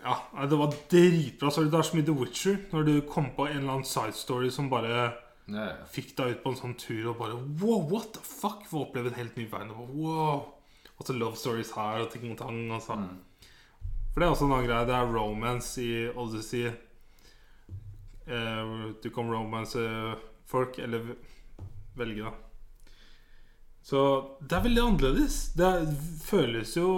Ja, nei, det var dritbra. Så det er så mye The Witcher når du kom på en eller annen side story som bare Ja, ja. fikk deg ut på en sånn tur og bare Wow, what the fuck? Få oppleve en helt ny verden. Og, bare, wow. og så love stories her og ting og tang. Og så. Mm. For det er også en annen greie. Det er romance i Odyssey. Eh, du kan romance eh, folk, eller v- velge, da. Så det er veldig annerledes. Det er, føles jo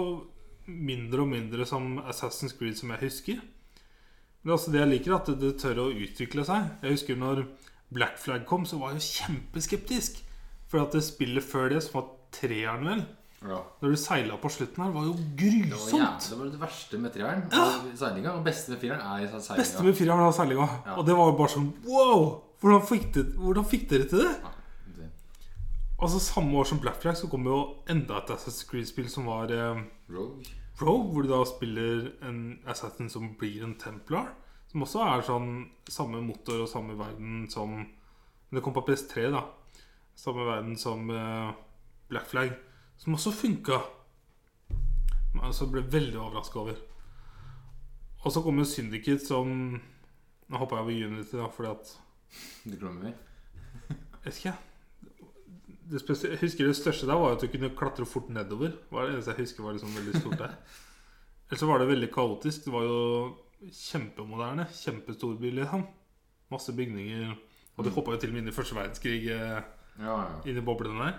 mindre og mindre som Assassin's Creed som jeg husker. Men det er også det jeg liker, at det tør å utvikle seg. Jeg husker når Black Flag kom, så var jeg jo kjempeskeptisk. For at det spillet før det, som var treeren, vel, ja. når du seila på slutten her, var jo Det var, grusomt. jævlig, det var det verste med treeren. og Seilinga. Og beste med fireren er sånn Det beste seilinga. med fireren var seilinga. Ja. Og det var jo bare sånn wow! Hvordan fikk, det, hvordan fikk dere til det? Ja. Altså Samme år som Black Flag så kom jo enda et Assassin's Creed-spill som var eh, Rogue. Rogue, hvor du da spiller en assassin som blir en templar. Som også er sånn samme motor og samme verden som Men det kom på PS3, da. Samme verden som eh, Black Flag. Som også funka. Men altså ble veldig overraska over. Og så kom jo Syndicate som Nå hoppa jeg over Unity, da, fordi at Det glemmer vi. Jeg vet ikke. det spesi- jeg husker det største der var jo at du kunne klatre fort nedover. Det var det eneste jeg husker var liksom veldig stort der. Ellers så var det veldig kaotisk. Det var jo kjempemoderne. Kjempestor by, liksom. Masse bygninger. Og de Mm. hoppa jo til og med inn i første verdenskrig eh, Ja, ja. inn i boblene der.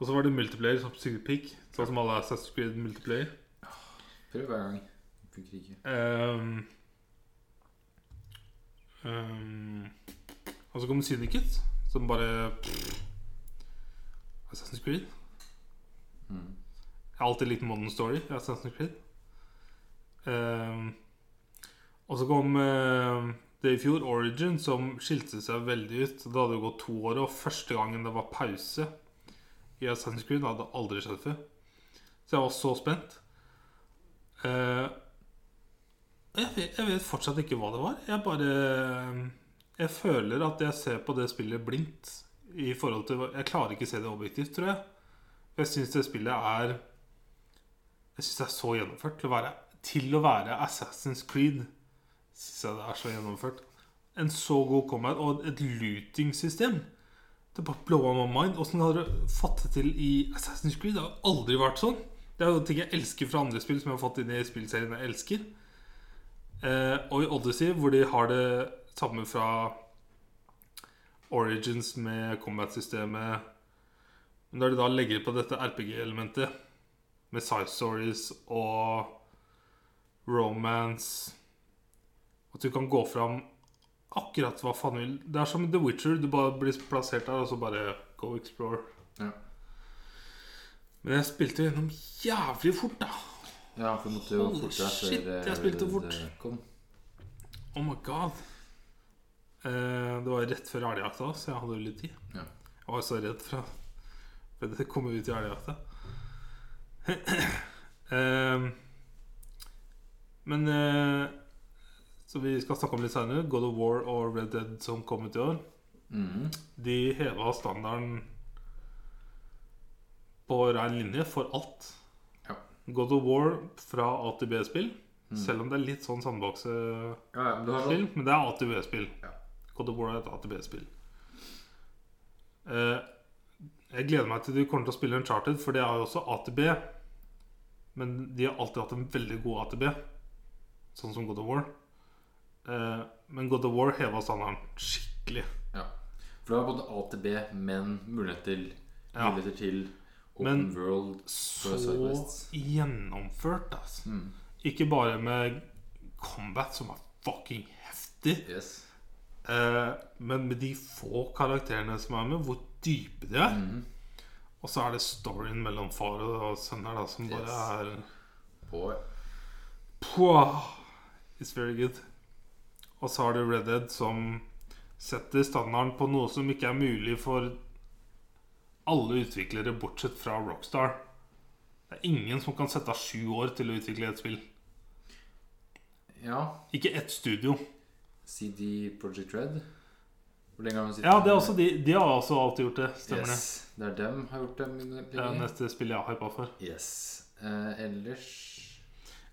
Og så var det multiplayer som Superpick, sånn som alle Assassin's Creed multiplayer. Prøv hver gang. Funker ikke. Ehm, ehm, og så kom Syndicate, som bare Assassin's Creed. Mm. Jeg har alltid likt Modern Story i Assassin's Creed. Ehm, og så kom ehm, det i fjor, Origin, som skilte seg veldig ut. Det hadde jo gått to år, og første gangen det var pause i Assassin's Creed, det hadde aldri skjedd før. Så jeg var så spent. Eh, jeg, vet, jeg vet fortsatt ikke hva det var. Jeg bare Jeg føler at jeg ser på det spillet blindt. I forhold til hva- Jeg klarer ikke å se det objektivt, tror jeg. Jeg syns det spillet er Jeg synes det er så gjennomført. Til å være, til å være Assassin's Creed syns jeg det er så gjennomført. En så god combat og et looting-system. Det bare blowa my mind. Åssen har du fått det til i Assassin's Creed? Det har aldri vært sånn. Det er jo ting jeg elsker fra andre spill som jeg har fått inn i spillserien jeg elsker. Eh, og i Odyssey, hvor de har det samme fra Origins med combat-systemet men når de da legger på dette RPG-elementet med side stories og romance At du kan gå fram akkurat hva faen du vil. Det er som The Witcher. Du bare blir plassert der, og så bare go explore. Ja. Men jeg spilte jo gjennom jævlig fort, da. Ja, for du måtte jo Holy forte deg før shit, jeg eh, spilte det fort. kom. Oh my god. Eh, det var jo rett før elgjakta, så jeg hadde jo litt tid. Ja. Jeg var så redd for at- for at det kom ut i elgjakta. Eh, men eh, Så vi skal snakke om litt senere. God of War og Red Dead som kom ut i år. Mhm. De heva standarden på rein linje for alt. Ja. God of War fra A til B-spill. Mm. Selv om det er litt sånn sandbokse Ja, ja, men du har sånn spill, men det er ATB-spill. Ja. God of War er et ATB-spill. Eh, jeg gleder meg til du kommer til å spille Uncharted, for det er jo også ATB. Men de har alltid hatt en veldig god ATB, sånn som God of War. Eh, men God of War heva standarden skikkelig. Ja. For du har både A til B, men mulighet til Ja. Muligheter til open Men- world. Så Side quests. gjennomført, altså. Mm. Ikke bare med combat, som er fucking heftig. Yes. Eh, men med de få karakterene som er med, hvor dype de er. Mhm. Og så er det storyen mellom far og sønn her, da, som bare Yes. er På Pwah! It's very good. Og så har du Red Dead, som setter standarden på noe som ikke er mulig for alle utviklere, bortsett fra Rockstar. Det er ingen som kan sette av sju år til å utvikle et spill. Ja. Ikke ett studio. CD Project Red. Hvor lenge har man sittet Ja, det er også de, de har også alltid gjort det. Stemmer yes. Mm. det. er dem har gjort dem det. Det er lenge. neste spill jeg har hypa for. Yes. Eh, ellers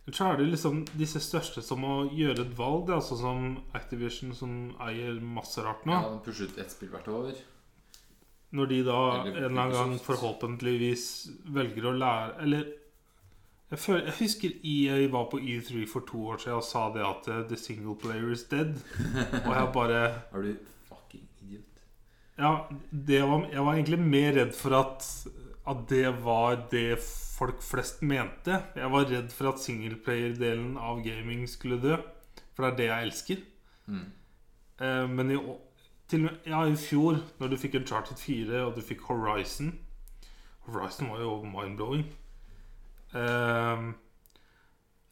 Ellers så er det liksom disse største som må gjøre et valg. Det er altså som Activision, som eier masse rart nå. Ja, de pusher ut ett spill hvert år. Når de da en Eller eller annen gang Microsoft. forhåpentligvis velger å lære Eller jeg, føler, jeg husker EA var på E3 for to år siden og sa det at eh, The single player is dead. Og jeg bare Er du fucking idiot? Ja, det var, jeg var egentlig mer redd for at, at det var det folk flest mente. Jeg var redd for at singleplayer-delen av gaming skulle dø. For det er det jeg elsker. Mm. Eh, men i, å- til, og med- ja, i fjor, når du fikk Uncharted 4 og du fikk Horizon Horizon var jo mind-blowing. Eh,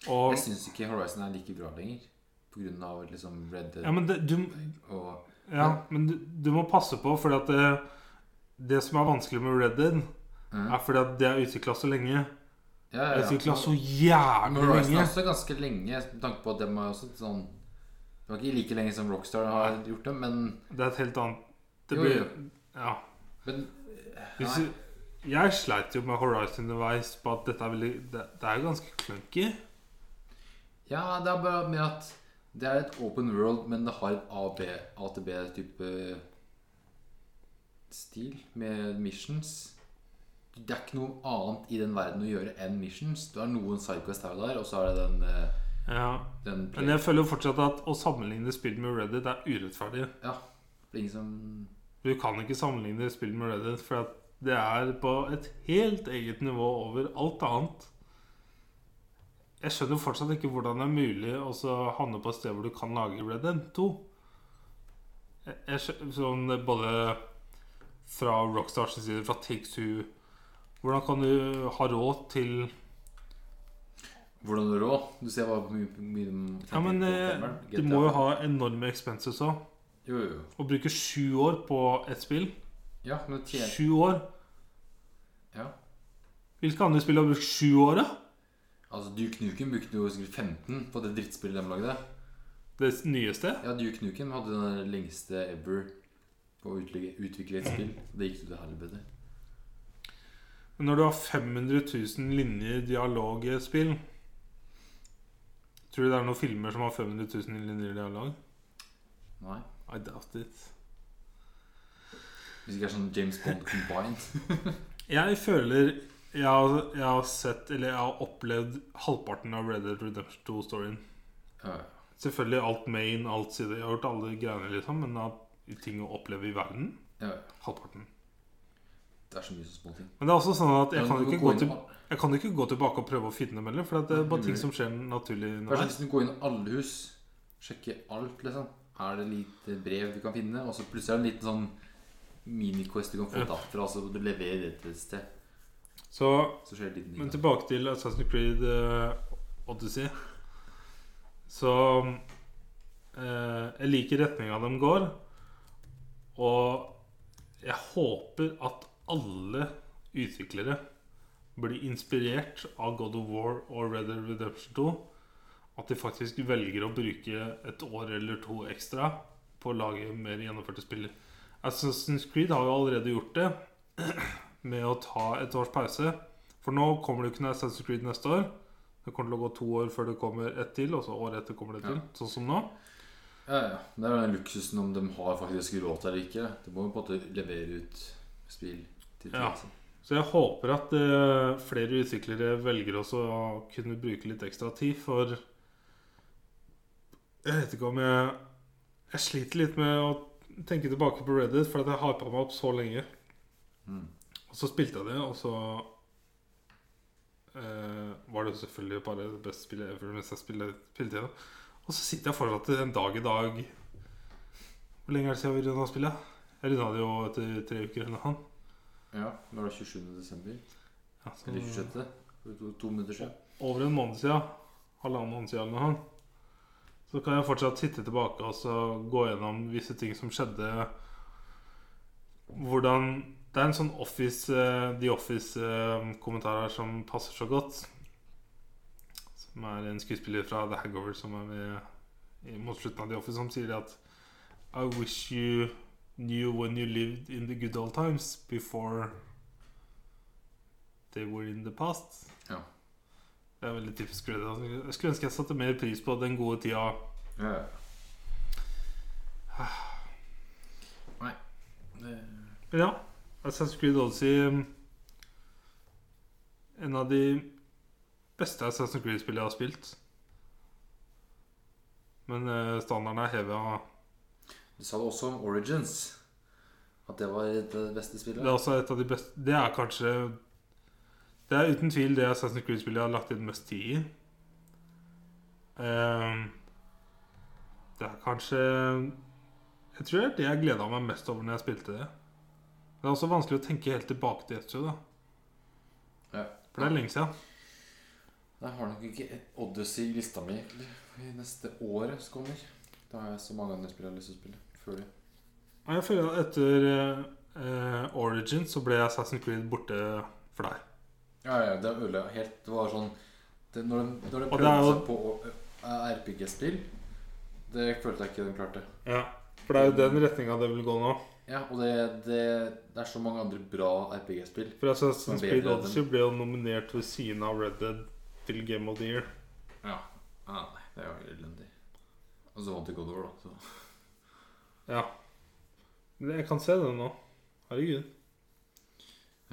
og Jeg syns ikke Horizon er like bra lenger. På grunn av liksom Red Dead Ja, men det, du, og Ja, men du, du må passe på, for at det, det som er vanskelig med Red Dead, Mhm. er fordi at det er utvikla så lenge. Ja, Det ja, er ja. utvikla så Men jævlig Horizon er lenge. også ganske lenge, med tanke på at dem er også sånn Det var ikke like lenge som Rockstar har gjort det, men, Det er et helt annet Det Jo, blir jo. Ja. men eh, Hvis du, jeg sleit jo med Horizon underveis på at dette er veldig Det, det er jo ganske clunky. Ja, det er bare med at det er et open world, men det har et A-B, A til B-type stil med missions. Det er ikke noe annet i den verden å gjøre enn missions. Du har noen sidequests her og der, og så er det den, eh, Ja. den Men jeg føler jo fortsatt at å sammenligne spill med Reddit er urettferdig. Ja. Det er ingen som Du kan ikke sammenligne spill med Reddit, for at det er på et helt eget nivå over alt annet. Jeg skjønner fortsatt ikke hvordan det er mulig å så havne på et sted hvor du kan lage Red Dead 2. Jeg, jeg skjønner, sånn både fra Rockstars side, fra Take-Two Hvordan kan du ha råd til Hvordan du er rå. Du ser hva mye, mye de Ja, men eh, tjener på du femmeren. må jo GTA. ha enorme expenses òg. Jo, jo, jo. Å bruke sju år på et spill Ja, men det tjener Sju år? Ja. Hvilke andre spill har brukt sju år, da? Altså, Duke Nukem brukte jo sikkert 15 på det drittspillet de lagde. Det nyeste? Ja, Duke Nukem hadde den der lengste ever på å utlegge- utvikle et spill. Det gikk jo til helvete. Men når du har 500 000 linjer dialog i et spill Tror du det er noen filmer som har 500 000 linjer dialog? Nei. I doubt it. Hvis det ikke er sånn James Bond combined. Jeg føler jeg har, jeg har sett, eller jeg har opplevd halvparten av Red Dead Redemption 2-storyen. Ja, ja. Selvfølgelig alt main, alt side. Jeg har hørt alle greiene, liksom, men at ting å oppleve i verden ja, ja. halvparten. Det er så mye som små ting. Men det er også sånn at jeg Men kan du ikke kan gå inn til på- Jeg kan ikke gå tilbake og prøve å finne dem heller, for at det er bare ting som skjer naturlig. Kanskje underveis. hvis du går inn i alle hus, sjekke alt, liksom. Er det lite brev du kan finne? Og så plutselig er det en liten sånn miniquest du kan få tatt fra. Altså, du leverer det til et sted. Så, Så skjer det litt men ting. tilbake til Assassin's Creed eh, Odyssey. Så eh, Jeg liker retninga de går, og jeg håper at alle utviklere blir inspirert av God of War og Red Dead Redemption 2. At de faktisk velger å bruke et år eller to ekstra på å lage mer gjennomførte spiller. Assassin's Creed har jo allerede gjort det med å ta et års pause. For nå kommer det jo ikke noe Assassin's Creed neste år. Det kommer til å gå to år før det kommer ett til, og så året etter kommer det til. Ja. Sånn som nå. Ja, ja. Det er jo den luksusen om de har faktisk råd til det eller ikke. Du må jo på en måte levere ut spill til Ja. folk, altså. Så jeg håper at eh, flere utviklere velger også å kunne bruke litt ekstra tid, for Jeg vet ikke om jeg Jeg sliter litt med å tenke tilbake på Reddit, for at jeg hypa meg opp så lenge. Mm. Og så spilte jeg det, og så eh, var det jo selvfølgelig bare det beste spillet ever mens jeg spilte, spilte det. Og så sitter jeg fortsatt en dag i dag Hvor lenge er det siden vi runda spillet? Jeg runda det jo etter tre uker eller noe. Ja, nå er det 27. desember. Ja, så- Eller 26. For to, to minutter siden. over en måned siden, halvannen måned siden eller noe, så kan jeg fortsatt sitte tilbake og så gå gjennom visse ting som skjedde. Hvordan Det er en sånn Office eh, The Office-kommentar her som passer så godt. Som er en skuespiller fra The Hangover som er med i- mot slutten av The Office, som sier det at I wish you knew when you lived in the good old times before they were in the past. Det er veldig typisk Red Dead. Jeg skulle ønske jeg satte mer pris på den gode tida. Ja, ja. Nei. Det... Men ja, Assassin's Creed Odyssey um, En av de beste Assassin's Creed-spillene jeg har spilt. Men eh, standarden er heva. Du sa det også om Origins. At det var det beste Det spillet. er også et av de beste Det er kanskje Det er uten tvil det Assassin's Creed-spillet jeg har lagt inn mest tid i. Ehm, det er kanskje Jeg tror det er det jeg gleda meg mest over når jeg spilte det. Det er også vanskelig å tenke helt tilbake til Etsu, da. Ja. For det er lenge siden. Jeg har nok ikke et Odyssey i lista mi egentlig, i neste året som kommer. Da har jeg så mange andre spill jeg har lyst til å spille før det. Og jeg føler at etter eh, eh, Origin så ble Assassin's Creed borte for deg. Ja, ja, det ødela helt. Det var sånn det, Når de, når de Og det prøvde er jo- seg på å- eh, RPG-spill, det følte jeg ikke de klarte. Ja. For det er jo den retninga det vil gå nå. Ja, og det, det, det er så mange andre bra RPG-spill. For altså, Assassin's Som Creed bedre enn Odyssey ble jo nominert ved siden av Red Dead til Game of the Year. Ja. Ah, nei, det er jo elendig. Og så vant de God of War, da. Så. Ja. Men Jeg kan se det nå. Herregud.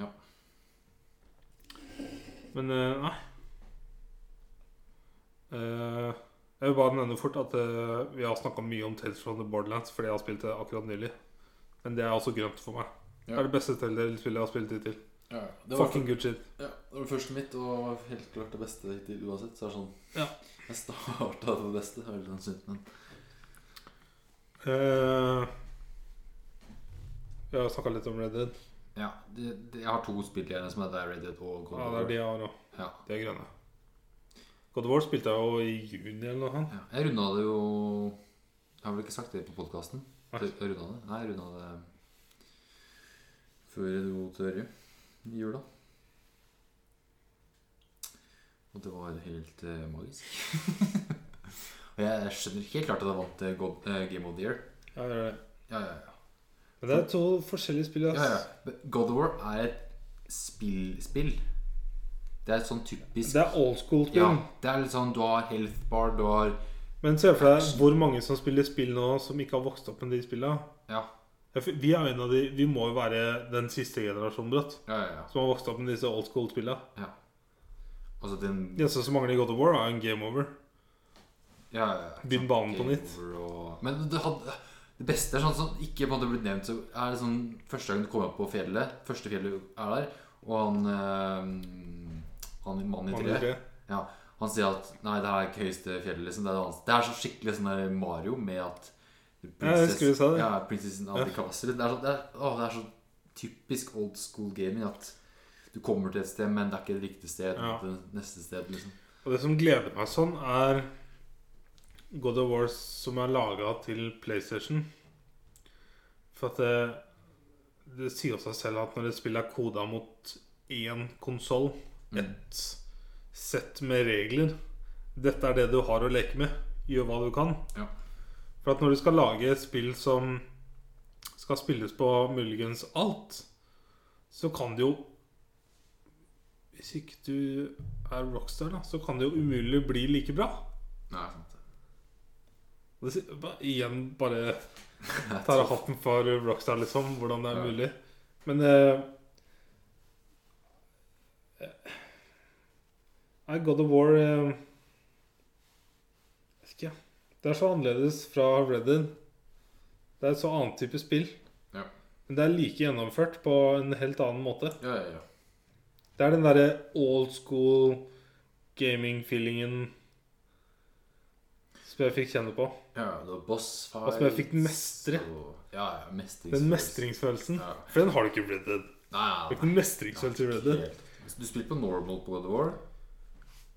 Ja. Men eh, nei. Eh, jeg vil bare nevne fort at eh, vi har snakka mye om Tales from the Borderlands fordi jeg har spilt det akkurat nylig. Men det er også grønt for meg. Det Ja. er det beste Telltale-spillet jeg har spilt hittil. Ja, ja. det, var, Fucking good shit. ja, det var første mitt, og var helt klart det beste hittil uansett. Så er det sånn Ja. Jeg starta på det beste. det er Veldig sannsynlig, men Eh, vi har snakka litt om Red Dead. ja, det, det, Jeg har to spill igjen, som er der Red Dead og God Ja, of det er War. de jeg har òg. Ja. De er grønne. God of War spilte jeg jo i juni eller noe sånt. Ja, jeg runda det jo Jeg har vel ikke sagt det på podkasten? Nei. Jeg runda det. Nei, jeg runda det før du dro til Ørje i jula. Og det var helt eh, magisk. Og jeg, jeg skjønner helt klart at jeg vant eh, God, eh, Game of the Year. Ja, det er det. Ja, ja, ja. Men det er to forskjellige spill. ass. ja, ja. Men God of War er et spillspill. Det er et sånn typisk Det er old school-spill. Ja, det er litt sånn Du har health bar, du har Men se for deg hvor mange som spiller spill nå som ikke har vokst opp med de spillene. Ja, Jeg f- Vi er jo en av de, vi må jo være den siste generasjonen bratt, ja, ja. ja. som har vokst opp med disse old school-spillene. ja. Altså den Det eneste som mangler i God of War, er en game over. Ja, ja, ja. Begynn banen på Game nytt. over Og... Men det, hadde, det beste er sånn som ikke på en måte blitt nevnt. Så er det sånn Første gang du kommer opp på fjellet, første fjellet er der, og han eh, Han mannen i Mangler treet tre. ja, Han sier at Nei, det her er ikke høyeste fjellet, liksom. Det er, det andre. det er så skikkelig sånn der Mario med at jeg husker vi sa det. Ja, prinsessen av Ja. de Castle. Det, er så, det, er, å, det er så typisk old school gaming at du kommer til et sted, men det er ikke det riktige sted. Ja. Det neste sted, liksom. Og det som gleder meg sånn, er God of War som er laga til PlayStation. For at det, det sier seg selv at når et spill er koda mot én konsoll, Mm. et sett med regler Dette er det du har å leke med. Gjør hva du kan. Ja. For at når du skal lage et spill som skal spilles på muligens alt, så kan det jo Hvis ikke du er rockstar, da, så kan det jo umulig bli like bra. Nei, sant. Og det, si- ba- igjen bare tar av hatten for rockstar, liksom. Hvordan det er Ja. mulig. Men eh, eh, Nei, God of War eh, Vet ikke. Det er så annerledes fra Red Dead. Det er et så annet type spill. Ja. Men det er like gjennomført på en helt annen måte. Ja, ja, ja. Det er den derre old school gaming-feelingen som jeg fikk kjenne på. Ja, det var boss fights Altså, jeg fikk den mestre. og- Ja, ja, mestringsfølelse. Den mestringsfølelsen. Ja. For den har du ikke i Red Dead. Du Nei, har nei, ikke den mestringsfølelsen i Red nei. Dead. helt. Du spilte på normal på God of War.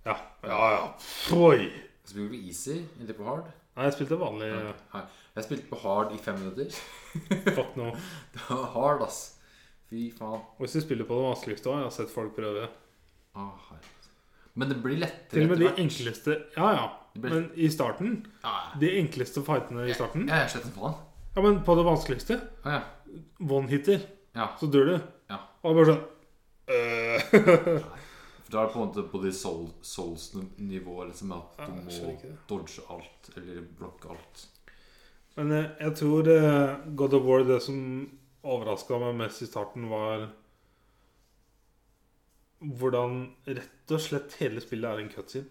Ja, ja, ja. Oi. Jeg spilte på easy eller på hard. Nei, jeg spilte vanlig Her. Jeg spilte på hard i fem minutter. fuck nå. Det var hard, ass. Fy faen. Og hvis du spiller på det vanskeligste òg, jeg har sett folk prøve. Å, Ah, herregud. Men det blir lettere Til og med de etter hvert. enkleste Ja, ja. Men i starten Ja, ja. De enkleste fightene i starten Ja, jeg sletter faen. Ja, men på det vanskeligste Å, Ah, ja. one-hitter, Ja. så dør du. Ja. Og bare sånn øh. For da er det på en måte på de soul, souls-nivået liksom at Ja, du Ah, jeg skjønner må ikke det. dodge alt eller blokke alt. Men eh, jeg tror eh, God of War Det som overraska meg mest i starten, var hvordan rett og slett hele spillet er en cutscene.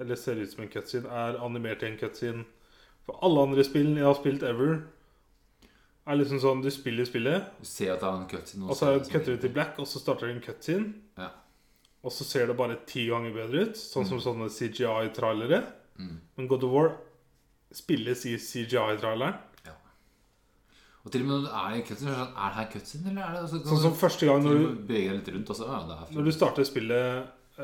Eller ser ut som en cutscene. Er animert i en cutscene. For alle andre spill jeg har spilt ever, er liksom sånn Du spiller spillet, Du ser at det er en cutscene. og så cutter du til black, og så starter det en cutscene. Ja. Og så ser det bare ti ganger bedre ut, sånn som sånne CGI-trailere. Mm. Men God of War spilles i CGI-traileren. Og til og med når du er i cutscene, så er det sånn, er det her cutscene, eller er det altså, Sånn som første gang Når når du du beveger deg litt rundt, altså. Ja, det er Når du starter spillet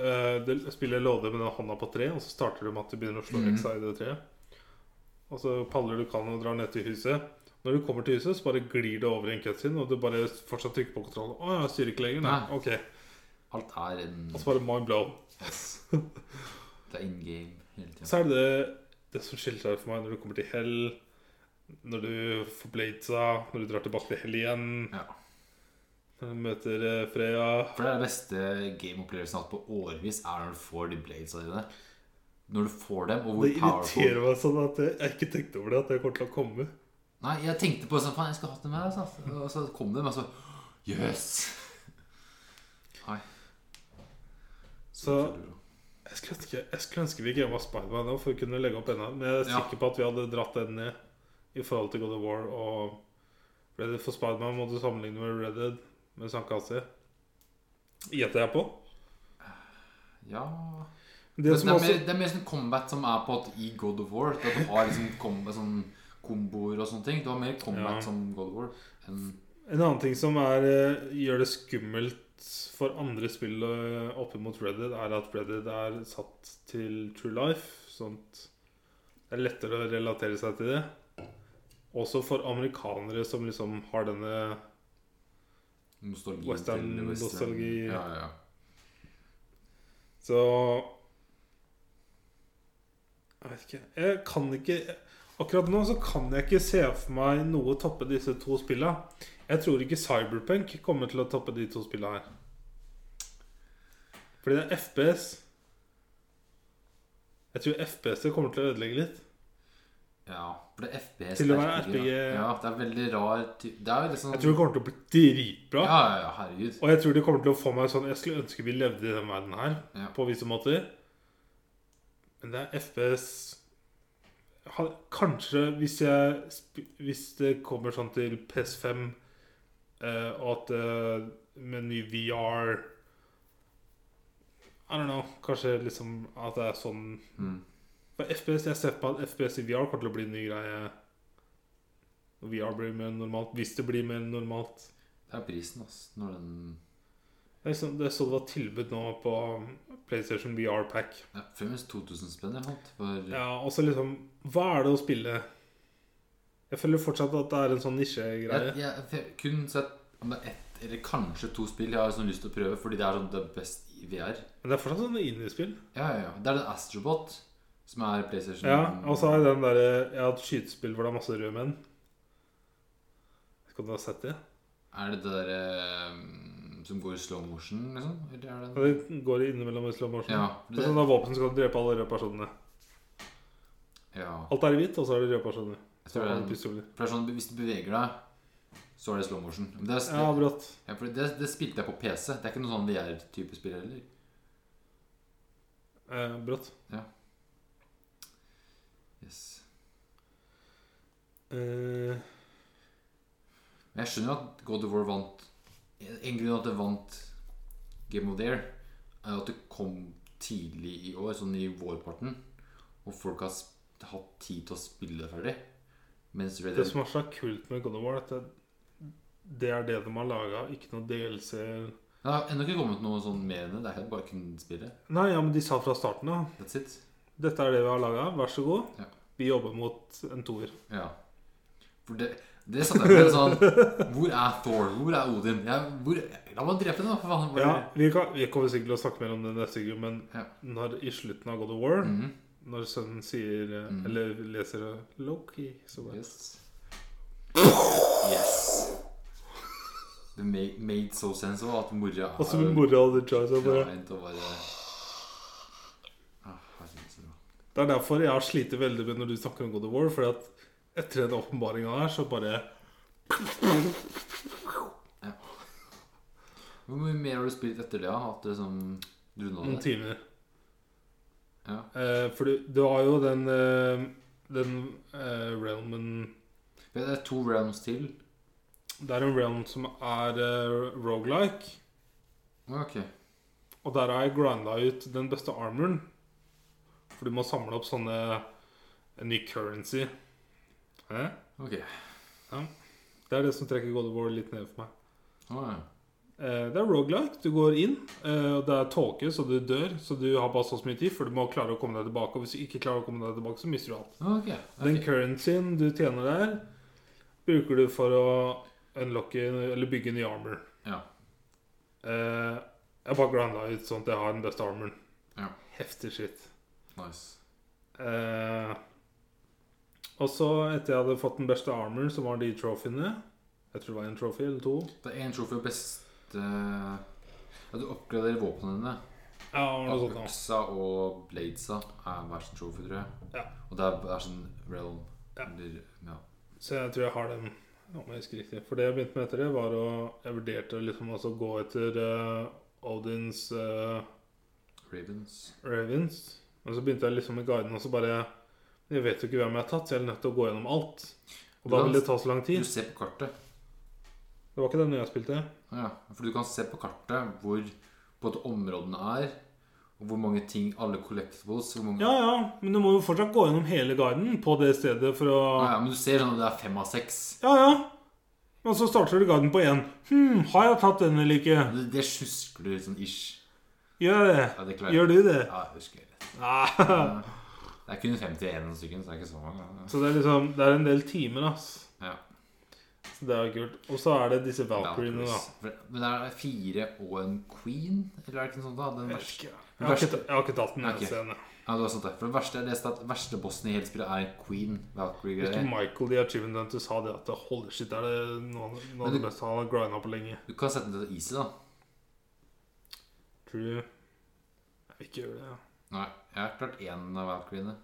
eh, det- Spillet låder med den hånda på tre Og så starter du med at du begynner å slå Mhm. heksa i det treet Og så paller du kan og drar ned til huset Når du kommer til huset så bare glir det over i en cutscene Og du bare fortsatt trykker på kontrollen Åja, jeg styrer ikke lenger, nei, Nei. ok Alt er en Og så bare mind blow yes. Det er in game hele tiden. Så er det det som skiller seg for meg når du kommer til hell Når du får Blaza Når du drar tilbake til hell igjen Ja. Når du møter eh, Freya For det er det beste gameopplevelsen jeg har hatt på årevis, er når du får de bladesa dine. Når du får dem, og Det hvor powerful irriterer meg sånn at jeg, jeg ikke tenkte over det, at det kommer til å komme. Nei, jeg tenkte på sånn Faen, jeg skal ha hatt det med. Altså. Og så kom det, men så Jøss! Nei. Så jeg skulle, ønske, jeg skulle ønske vi ikke var Spiderman nå for å kunne legge opp enda. Men jeg er Ja. sikker på at vi hadde dratt den ned i forhold til God of War og Red Dead. For Spiderman må du sammenligne med Red Dead med sandkasse. Gjetter jeg på. Ja Det det, som er også, mer, det er mer sånn combat som er på at i God of War. At du har liksom combat, sånn komboer og sånne ting. Du har mer combat Ja. som God of War enn en annen ting som er, eh, gjør det skummelt for andre spill eh, opp mot Red Dead, er at Red Dead er satt til true life. Sånt. Det er lettere å relatere seg til det. Også for amerikanere som liksom har denne nostalgi. Western til nostalgi. Ja, ja, ja. Så Jeg vet ikke. Jeg kan ikke Akkurat nå så kan jeg ikke se for meg noe toppe disse to spillene. Jeg tror ikke Cyberpunk kommer til å toppe de to spillene her. Fordi det er FPS. Jeg tror FPS-et kommer til å ødelegge litt. Ja, for det er FPS Til og det er med RPG, RPG. Ja, det er veldig rar ty Det er jo liksom Jeg tror det kommer til å bli dritbra. Ja, ja, ja, herregud. Og jeg tror det kommer til å få meg sånn Jeg skulle ønske vi levde i den verden her Ja. På visse måter Men det er FPS Ha- Kanskje hvis jeg sp- Hvis det kommer sånn til PS5 eh, Og at eh, Med ny VR I don't know Kanskje liksom at det er sånn Mm. For FPS, jeg ser på at FPS i VR Kommer til å bli en ny greie Når VR blir mer normalt Hvis det blir mer normalt Det er prisen, altså. Når den det er sånn- det er så det var tilbud nå på PlayStation VR Pack. ja, Før minst 2000 spenn eller noe. For ja. Ja, og så liksom Hva er det å spille? Jeg føler fortsatt at det er en sånn jeg, nisjegreie. jeg, jeg kun sett om det er ett eller kanskje to spill jeg har sånn lyst til å prøve, fordi det er sånn det er best i VR. Men det er fortsatt sånne indiespill. Ja, ja, ja. Det er den Astrobot som er PlayStation. Ja, og så er den derre Jeg har et skytespill hvor det er masse røde menn. Vet ikke om du har sett det? Er det det derre eh, som går i slow motion, liksom? Eller er det Og Det går innimellom i slow motion. Ja. Det er sånn at våpen skal drepe alle røde personene. ja. Alt er i hvitt, og så er det røde personer. Jeg Så tror det har er du den. pistoler. For det er sånn, hvis du beveger deg, så er det slow motion. Men det, er, Ja, akkurat. Ja, for det, det spilte jeg på PC. Det er ikke noe sånn VR-type spill heller. Eh, brått. Yes. Eh, Men jeg skjønner jo at God of War vant En grunn til at det vant Game of the Year, er jo at det kom tidlig i år, sånn i vårparten. Og folk har sp- hatt tid til å spille det ferdig. Mens Red Det Dead som er så kult med God of War, er at det, det er det de har laga, ikke noe DLC Det har ennå ikke kommet noe sånn mer enn det. Det er helt bare kun spillet. Nei, ja, men de sa fra starten av That's it. dette er det vi har laga, vær så god. Ja. Vi jobber mot en toer. Ja. For det, det satt jeg med sånn Hvor er Thor? Hvor er Odin? Ja, hvor, la meg drepe dem, da, for faen. Hvor, Ja, vi, kan, vi kommer sikkert til å snakke mer om det neste uke, men Ja. når, i slutten av God of War, Mhm. når sønnen sier eh, Mhm. Eller leser eh, Loki, så bare Yes. Yes. Det made, made so sense også, at mora Og så blir mora hadde joy, så bare kleint og bare ah, herregud, så bra. Det er derfor jeg har slitt veldig med når du snakker om God of War, fordi at etter den åpenbaringa her, så bare Hvor mye mer har du spilt etter det? da? At det liksom du noen runda det? timer. Ja. Eh, for du, du har jo den eh, Den eh, realmen Det er to rounds til. Det er en realm som er eh, roguelike Ok. Og der har jeg grinda ut den beste armoren. For du må samle opp sånne En ny currency. Eh? ok Det er det som trekker God of War litt ned for meg. Å, ja. Eh, det er roguelike, Du går inn, eh, og det er tåke, så du dør. Så du har bare så mye tid, for du må klare å komme deg tilbake. Og hvis du ikke klarer å komme deg tilbake, så mister du alt. Ok. Den ok. currencyen du tjener der, bruker du for å unlocke eller bygge ny armor. Ja. Eh, jeg bare grinda ut sånn at jeg har den beste armoren. Ja. Heftig shit. Nice. Eh, og så, etter jeg hadde fått den beste armoren, så var det de trophyene. Jeg tror det var en trophy eller to. Det er én trofé beste eh, Ja, du oppgraderer våpnene dine. Ja, det var noe sånt da. Øksa og bladesa er hver sin trophy, tror jeg. Ja. Og det er, det er sånn realm. Ja. Eller, ja. Så jeg tror jeg har dem. Om jeg husker riktig. For det jeg begynte med etter det, var å Jeg vurderte liksom også å gå etter eh, Odins eh, Ravens. Ravens. Men så begynte jeg liksom i guiden, og så bare Jeg vet jo ikke hvem jeg har tatt, så jeg er nødt til å gå gjennom alt. Og da Du kan- vil det ta så lang Du tid. ser på kartet. Det var ikke den jeg spilte. Ah, Ja, for du kan se på kartet hvor på at områdene er, og hvor mange ting alle collectibles hvor mange... Ja, ja, men du må jo fortsatt gå gjennom hele guiden på det stedet for å Ah, ja, Men du ser sånn at det er fem av seks. Ja, ja. Og så starter du guiden på én. Hm, har jeg tatt den eller ikke? Det, det sjusker du sånn ish. Gjør jeg det? Ja, det klarer jeg. Gjør du det? Ja, jeg husker det. Ah. Det er kun 51 stykker, så det er ikke så mange. ja. Så det er liksom Det er en del timer, ass. Ja, Så det er jo kult. Og så er det disse Valkyriene, da. Valkyries. For- Men det er fire og en queen, eller er det ikke noe sånt? da? Den Jeg vet verste. ikke. Jeg har ikke, ta- jeg har ikke tatt den altså. Ok. okay. scenen. Ja, det var sånt der. For det verste, jeg leste at verste bossen i hele spillet er en queen. Husker Valkyrie-greier. Michael de Achievement Hunter sa det at holy shit, er det noe av noe av Men det beste han har grinda på lenge. Du kan sette den til easy, da. True. Jeg vil ikke gjøre det. Ja. Nei, jeg har klart én av Valkyriene.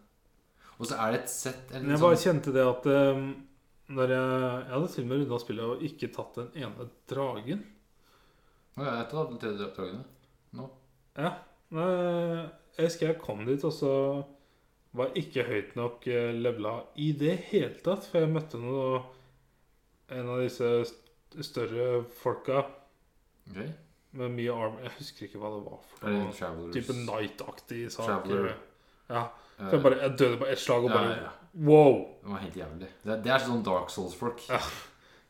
Og så er det et sett eller Men jeg noe bare sånt. kjente det at ehm, når jeg, jeg hadde til og med runda spillet og ikke tatt den ene dragen Å, ja, jeg tar den tredje dragene. Nå. Ja. Nei, eh, jeg husker jeg kom dit, og så var jeg ikke høyt nok eh, levela i det hele tatt. For jeg møtte noe, en av disse st- større folka Ok. Er med mye arm Jeg husker ikke hva det var. for det noe. Travelers? Type Night-aktig sak. Traveler. Ja. Eh, Så jeg, bare, jeg døde på ett slag, og ja, bare ja, ja. wow! Det var helt jævlig. Det, det er sånn Dark Souls-folk. Ja.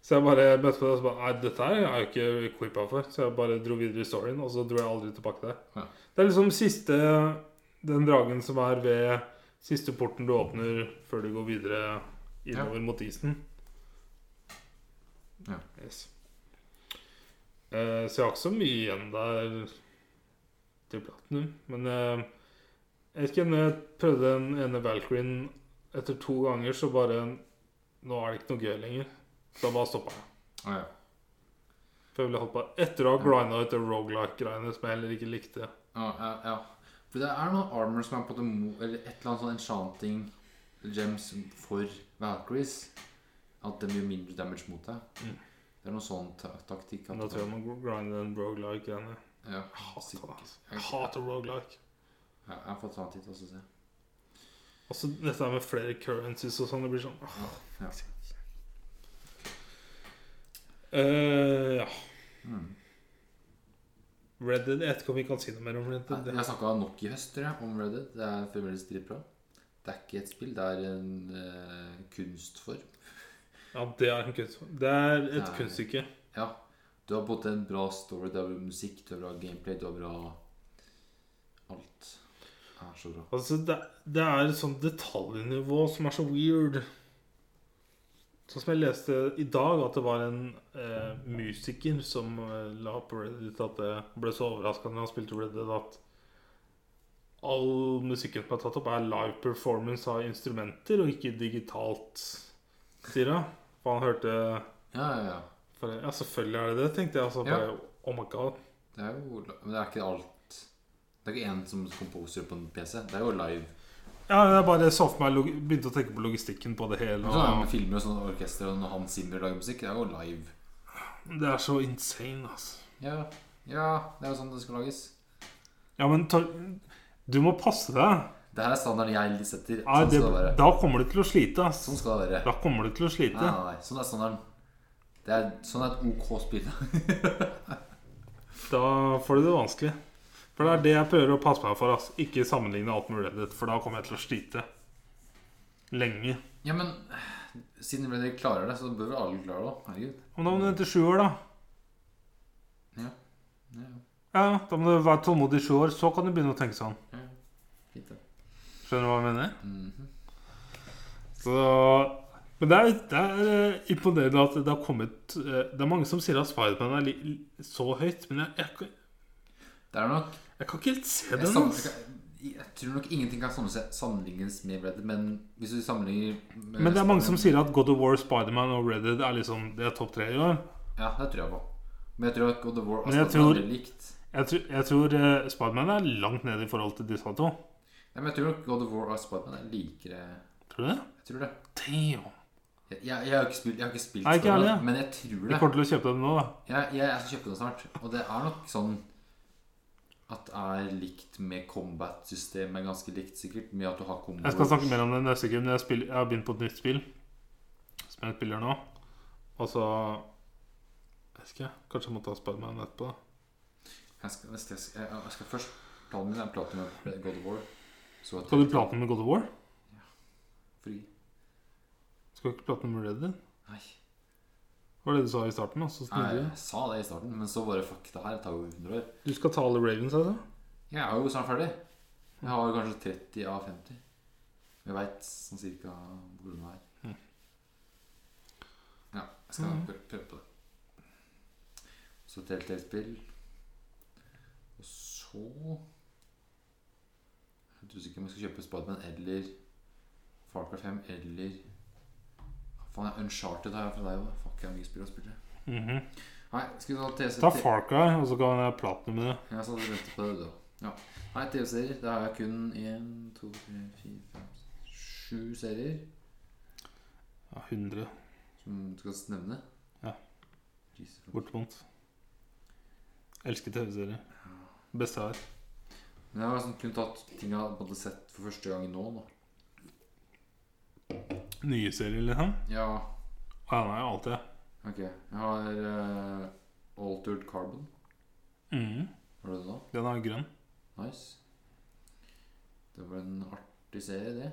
Så jeg bare møtte på det og så bare Nei, dette her er jeg jo ikke equipa for. Så jeg bare dro videre i storyen, og så dro jeg aldri tilbake der. Ja. Det er liksom siste Den dragen som er ved siste porten du åpner før du går videre innover mot isen. Ja. Yes. Eh, så jeg har ikke så mye igjen der til platinum. Men eh, jeg vet ikke, når jeg prøvde den ene Valkyrien etter to ganger, så bare Nå er det ikke noe gøy lenger. Da bare stoppa jeg. Å, ja. For jeg ville holdt på etter å ha grinda ut det roguelike-greiene som jeg heller ikke likte. Ja, ja, ja. For det er noen armor som er på en måte mo- Eller et eller annet sånn enchanting gems for Valkyries. At den gjør mindre damage mot deg. Mm. Det er noe sånn ta taktikk. at- Men da tror jeg man grinder den roguelike-greiene. ja, Jeg hater det. sikkert. altså. Jeg hater roguelike. Ja, jeg har fått ta en titt og så se. Og så dette her med flere currencies og sånn. Det blir sånn åh. Ja. Eh, Ja. Mm. Red Dead. Jeg vet ikke om vi kan si noe mer om Red Nei, Dead. Jeg snakka nok i høst tror jeg, om Red Dead. Det er fremdeles dritbra. Det er ikke et spill, det er en eh, kunstform. Ja, det er en kunst. Det er et Nei. kunststykke. Ja. Du har både en bra story, du har bra musikk, du har bra gameplay, du har bra Alt er så bra. Altså, det, det er et sånt detaljnivå som er så weird. Sånn som jeg leste i dag, at det var en eh, musiker som eh, la på Reddit at det ble så overraska når han spilte Red Dead, at all musikken som er tatt opp, er live performance av instrumenter, og ikke digitalt, sier han. For han hørte Ja, ja, ja. for, Ja, selvfølgelig er det det, tenkte jeg. Altså, Ja. bare, oh my god. Det er jo Men det er ikke alt Det er ikke én som composer på en PC. Det er jo live. Ja, jeg bare så for meg, log- begynte å tenke på logistikken på det hele. Sånn er det og- med filmer og sånne orkester, og når Hans Zimmer lager musikk, det er jo live. Det er så insane, altså. Ja, ja det er jo sånn det skal lages. Ja, men ta, du må passe deg. Det her er standarden jeg setter. Ja, Sånn det, skal det være. da kommer du til å slite, ass. Sånn skal det være. Da kommer du til å Nei, slite. nei, nei. Sånn er standarden. Det er, sånn er et OK spill. Da får du det vanskelig. For det er det jeg prøver å passe meg for, ass. Ikke sammenligne alt med Reddit, for da kommer jeg til å slite. Lenge. Ja, men siden dere klarer det, så bør vel alle klare det òg. Herregud. Men da må du vente sju år, da. Ja. Ja, Ja, Da må du være tålmodig i sju år, så kan du begynne å tenke sånn. ja. Fint, det. Skjønner du hva jeg mener? Mhm. Så Men det er, det er eh, imponerende at det har kommet eh, Det er mange som sier at Spiderman er li, li, så høyt, men jeg, jeg, Det er nok jeg kan ikke helt se Jeg, den. sam- ass. jeg, jeg tror nok ingenting kan sammense- sammenlignes med Red Dead, men hvis du sammenligner med Men det er mange som Spider-Man- sier at God of War, Spiderman og Red Dead er liksom Det er topp tre i år. Ja, det tror jeg på. Men jeg tror at God of War og Men jeg Spider-Man er tror- veldig likt. Jeg, tror- jeg tror eh, Spiderman er langt nede i forhold til disse to. Nei, men jeg tror nok God of War og Spiderman er likere Tror du det? Jeg tror det. Damn. Jeg, jeg, har ikke spilt, jeg har ikke spilt Nei, ikke Skyrim, heller, jeg. men jeg tror Vi det. kommer til å kjøpe den nå, da. Jeg, jeg skal kjøpe den snart. Og det er nok sånn at det er likt med combat-systemet. Ganske likt, sikkert. Med at du har combo. Jeg skal snakke mer om det neste uke, men jeg, spiller, jeg har begynt på et nytt spill. Som jeg spiller nå. Og så Jeg vet ikke, kanskje jeg må ta Spiderman etterpå. da. Jeg skal, jeg skal, jeg, jeg skal først Planen min er platinum med God of War. Så at Skal du plate med God of War? Fri. Skal du ikke plate med Red Dead? Nei. Det var det du sa i starten. da, så Nei, snudde jeg sa det i starten, men så bare fuck det her. Det tar jo 100 år. du. Du skal ta alle Ravens, altså? Jeg er jo snart ferdig. Jeg har kanskje 30 av 50. Jeg veit sånn cirka hvor den er. Ja, jeg skal Mhm. prø- prøve på det. Så Telltale-spill. Og så Jeg er usikker på om jeg skal kjøpe Spiderman eller Farcar 5 eller Faen, jeg- Uncharted har jeg fra deg òg. Fuck, jeg har mye spill å spille. Mhm. Nei, skal vi ta TC? Ta Far Cry, og så kan jeg plate med det. Ja, så hadde du ventet på det, du da. Ja. Nei, TV-serier. Da har jeg kun én, to, tre, fire, fem, seks, sju serier Ja, 100 som du skal nevne. Ja. Jesus. bortimot. Elsker TV-serier. Beste jeg har. Men jeg har liksom kun tatt ting jeg hadde sett for første gang nå. Da. Nye serier, liksom. Ja, Å, ja, nei, alt det. ok. Jeg har eh, Altered Carbon. Mhm. Har du det nå? Den er grønn. Nice. Det var en artig serie, det.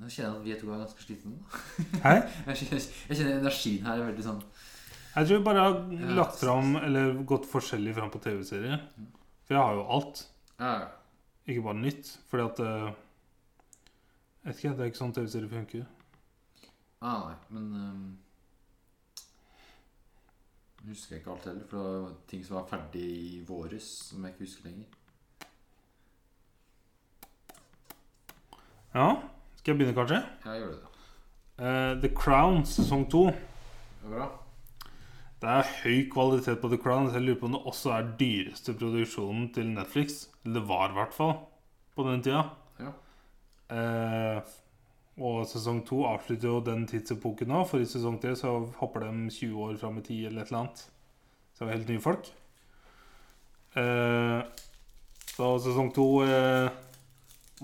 Nå kjenner jeg at vi to er ganske slitne. da. Hei? Jeg kjenner, jeg kjenner energien her er veldig sånn Jeg tror jeg bare har Ja. lagt fram, eller gått forskjellig fram på TV-serier. For jeg har jo alt, ja, ja. ikke bare nytt. Fordi at eh, Jeg vet ikke, det er ikke sånn TV-serier funker. Ah, nei, men ehm, Jeg husker ikke alt heller, for det var ting som var ferdig i våres, som jeg ikke husker lenger. Ja, skal jeg begynne, kanskje? Jeg gjør det, da. Eh, The Crown sesong to. Det er bra. Det er høy kvalitet på The Crown. Så jeg lurer på om det også er dyreste produksjonen til Netflix. Eller det var i hvert fall på den tida. Ja. Eh, og sesong to avslutter jo den tidsepoken nå, for i sesong tre så hopper de 20 år fram i tid eller et eller annet. Så det er helt nye folk. Eh, så sesong to eh,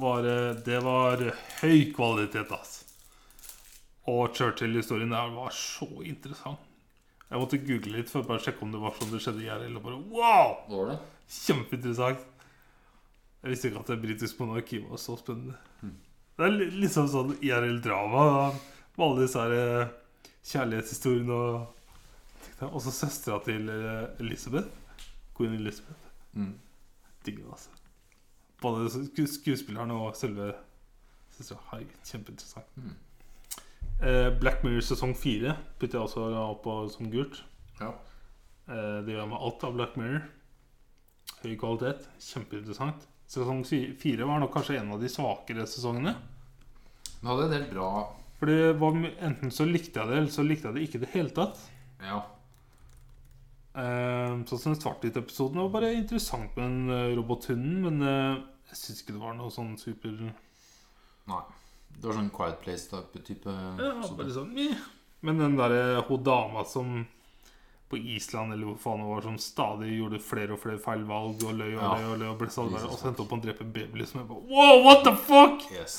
var eh, Det var høy kvalitet, ass. Og Churchill-historien der var så interessant. Jeg måtte google litt for å bare sjekke om det var sånn det skjedde i IRL. Og bare wow! Da var det. Kjempeinteressant. Jeg visste ikke at det britiske monarkiet var så spennende. Det er li- liksom sånn IRL-drama med alle disse her eh, kjærlighetshistoriene og Og så søstera til eh, Elizabeth. Queen Elizabeth. Mm. Digger det, altså. Både sku- skuespilleren og selve søstera. Herregud, kjempeinteressant. Mm. Eh, Black Mirror sesong fire putter jeg også opp på som gult. Ja. Eh, Det gjør jeg med alt av Black Mirror. Høy kvalitet. Kjempeinteressant. Sesong fi- fire var nok kanskje en av de svakere sesongene. Men hadde en del bra For det var my- enten så likte jeg det, eller så likte jeg det ikke i det hele tatt. Ja. Eh, Sånn som den svart-hvitt-episoden var bare interessant med den eh, robothunden, men eh, jeg syns ikke det var noe sånn super Nei. Det var sånn Quiet Place-type type, ja, sånn. bare sånn, meh. Men den derre hun dama som på Island eller hvor faen det var, som stadig gjorde flere og flere feil valg og løy og Ja. løy og løy og ble stadig verre, Jesus og så endte opp med å drepe en baby, liksom. Jeg bare, wow, what the fuck? Yes.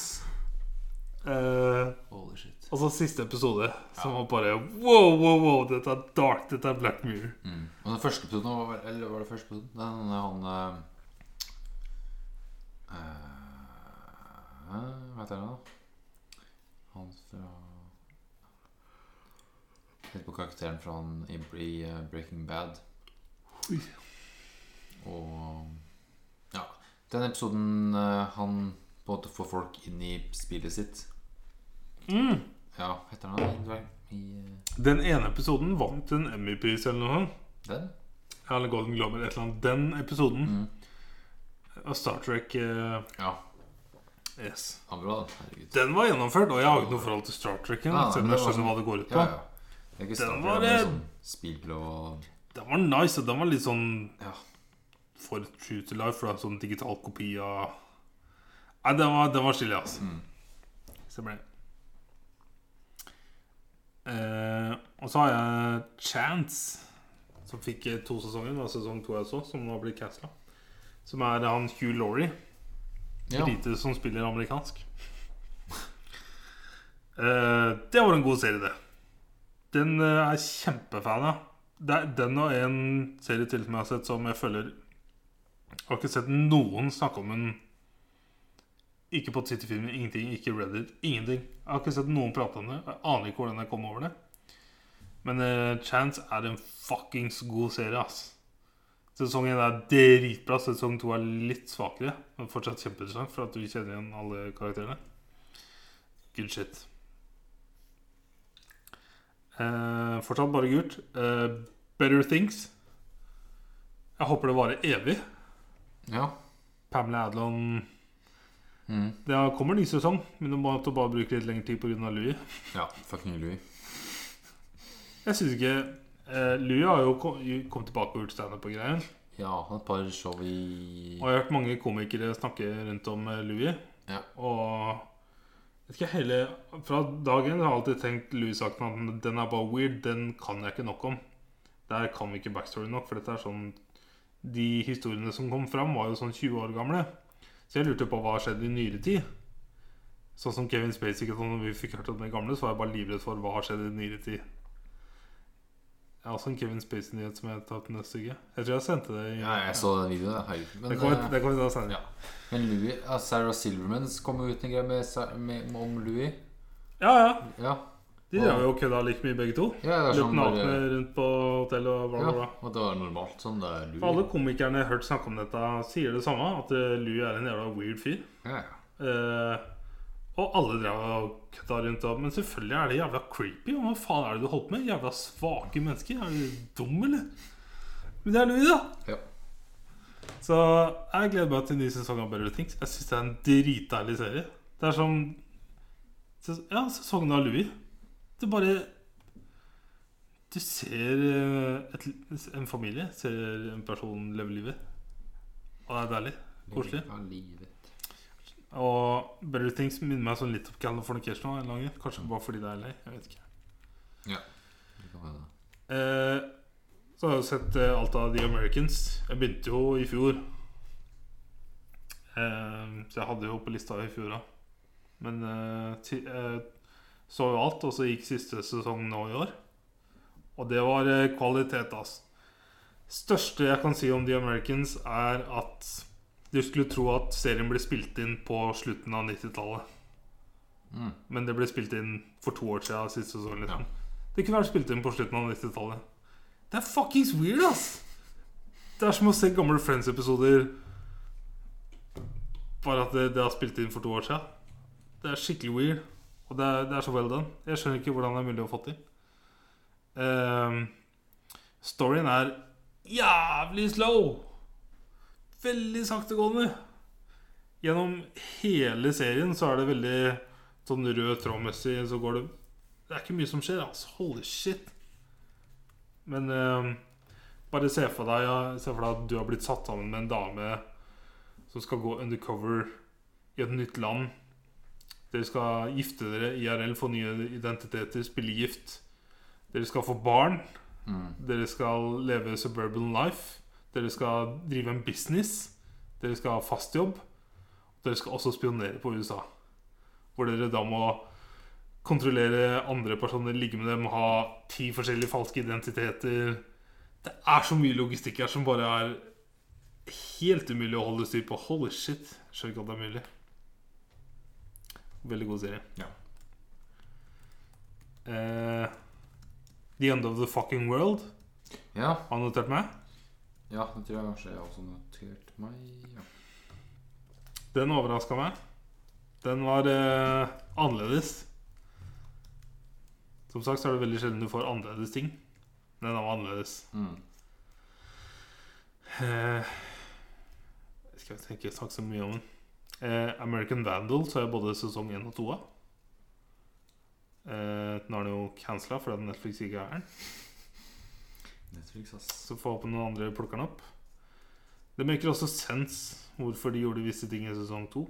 Eh, Holy shit. og så siste episode, som var bare wow, wow, wow, dette er dark, dette er Black Mirror. Mm. Og den første episoden var vel- Eller var det første episoden? Den han eh, eh, Hva heter han da? Han fra Jeg tenker på karakteren fra han i, i eh, Breaking Bad. Oi. Og Ja. Den episoden eh, han på en måte får folk inn i spillet sitt. Mm. Ja, hva heter han da? I, eh, Den ene episoden vant en Emmy-pris eller noe sånt. den? Eller Golden Globe eller et eller annet. Den episoden Mm. av Star Trek eh, Ja, yes. han var bra, den. Herregud. Den var gjennomført, og jeg har ikke noe forhold til Star Trek. igjen, Nei, nei, selv om men jeg det var skjønner hva det går ut Ja, på. ja. Det er ikke Den Star var Trek, det er det- sånn spill og Den var nice, og den var litt sånn Ja. for true to life, for det er en sånn digital kopi av Nei, den var, den var chili, altså. Mm. Stemmer det. Eh, og så har jeg Chance, som fikk eh, to sesonger. Det var sesong to jeg så, som nå har blitt casta. Som er han Hugh Laurie, Ja. brite som spiller amerikansk. Eh, det var en god serie, det. Den eh, er jeg kjempefan av. Det er den og en serie til som jeg har sett som jeg føler Jeg har ikke sett noen snakke om den ikke på Twitter-filmen, ingenting, ikke Reddit, ingenting. Jeg har ikke sett noen prate om det. Jeg aner ikke hvordan jeg kom over det. Men eh, Chance er en fuckings god serie, ass. Sesong 1 er dritbra, sesong 2 er litt svakere. Men fortsatt kjempeinteressant, for at du kjenner igjen alle karakterene. Good shit. Eh, fortsatt bare gult. Eh, Better Things. Jeg håper det varer evig. ja. Pamela Adlon Mm. Det kommer ny sesong, men du måtte bare bruke litt lengre tid pga. Louis. Ja, fucking Louis. Jeg syns ikke eh, Louis har jo kom, jo kommet tilbake og gjort standup på greier. Ja, han har et par show i Og jeg har hørt mange komikere snakke rundt om eh, Louis. Ja. Og jeg vet ikke hele Fra dagen har jeg alltid tenkt Louis-saken at den er bare weird. Den kan jeg ikke nok om. Der kan vi ikke backstory nok, for dette er sånn De historiene som kom fram, var jo sånn 20 år gamle. Så jeg lurte på hva har skjedd i nyere tid. Sånn som Kevin Spacey, ikke sånn når vi fikk hørt om den gamle, så var jeg bare livredd for hva har skjedd i nyere tid. Jeg har også en Kevin Spacey-nyhet som jeg tar til neste uke. Jeg tror jeg sendte det i Ja, jeg så den videoen. det er herregud. Men, Det kommer, eh, det kommer til å sende. ja. men Louis, ja, Sarah Silverman kom jo ut en greie med, Sa- med, om Louis. Ja, ja. Ja, De har jo kødda like mye, begge to. ja det er Løp sånn nakne bare, rundt på hotellet og bla, ja, bla, bla. Og det var normalt sånn. Det er For alle Louis. komikerne jeg har hørt snakke om dette, sier det samme. At eh, Louis er en jævla weird fyr. Ja, ja. Eh, og alle drev og kødda rundt. Og, men selvfølgelig er det jævla creepy. og Hva faen er det du holdt på med? Jævla svake mennesker. Er du dum, eller? Men det er Louis, da. Ja. Så jeg gleder meg til ny sesong av Better Things. Jeg syns det er en dritdeilig serie. Det er som ses- Ja, sesongen av Louis. Det bare Du ser eh, et, en familie, ser en person leve livet. Og det er deilig. Koselig. Ja, livet. Og Better Things minner meg sånn litt om Californication. av en eller annen grunn. Kanskje bare fordi det er LA. Jeg vet ikke. Det kan være det. Eh, så har jeg jo sett eh, alt av The Americans. Jeg begynte jo i fjor. Eh, så jeg hadde jo på lista i fjor da Men eh, ti, eh, så jo alt, og så gikk siste sesong nå i år. Og det var eh, kvalitet, ass. Største jeg kan si om The Americans, er at du skulle tro at serien ble spilt inn på slutten av 90-tallet. Mm. Men det ble spilt inn for to år siden. Siste sesong, Ja. liksom. Det kunne vært spilt inn på slutten av 90-tallet. Det er fuckings weird, ass! Det er som å se gamle Friends-episoder Bare at det, det har spilt inn for to år siden. Det er skikkelig weird. Og det er, det er så well done. Jeg skjønner ikke hvordan det er mulig å få til. Ehm, storyen er jævlig slow! Veldig saktegående. Gjennom hele serien så er det veldig sånn rød tråd-messig, så går det Det er ikke mye som skjer, altså. Holy shit. Men eh, bare se for, deg, ja, se for deg at du har blitt satt sammen med en dame som skal gå undercover i et nytt land. Dere skal gifte dere IRL, få nye identiteter, spille gift. Dere skal få barn. Mm. Dere skal leve suburban life. Dere skal drive en business. Dere skal ha fast jobb. Dere skal også spionere på USA. Hvor dere da må kontrollere andre personer, ligge med dem, ha ti forskjellige falske identiteter. Det er så mye logistikk her som bare er helt umulig å holde styr på. Holy shit. Skjønner ikke at det er mulig. Veldig god serie. Ja. Eh, The End of the Fucking World. ja. Har du notert meg? Ja, det tror jeg kanskje jeg også noterte meg. Ja. Den overraska meg. Den var eh, annerledes. Som sagt så er det veldig sjelden du får annerledes ting. Den var annerledes. Mm. Eh, jeg skal tenke snakke så mye om den. Eh, American Vandal så er både sesong 1 og 2 av. Eh, nå er den jo cancela fordi Netflix ikke er her. Netflix, ass. Så får håpe noen andre plukker den opp. Det maker også sens hvorfor de gjorde visse ting i sesong to.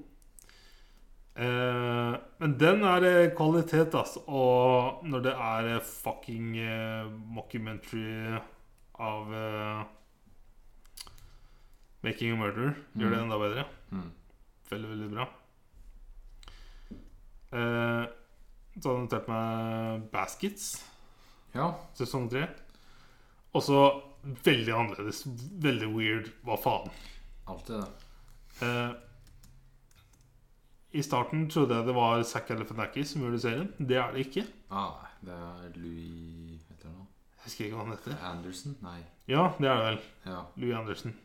Eh, men den er eh, kvalitet, altså. Og når det er eh, fucking eh, mockumentary av eh, Making a Murderer, gjør det enda bedre. Mm. Veldig, veldig bra. Eh, så har jeg notert meg Baskets, Ja. sesong tre. Også veldig annerledes. Veldig weird. Hva faen? Alltid det. Eh, I starten trodde jeg det var Zack Elefantakis som gjorde serien. Det er det ikke. Ah, nei, det er Louis Hva heter han nå? Jeg husker ikke hva han heter. Anderson? Nei. Ja, det er det vel. Ja. Louis Andersen.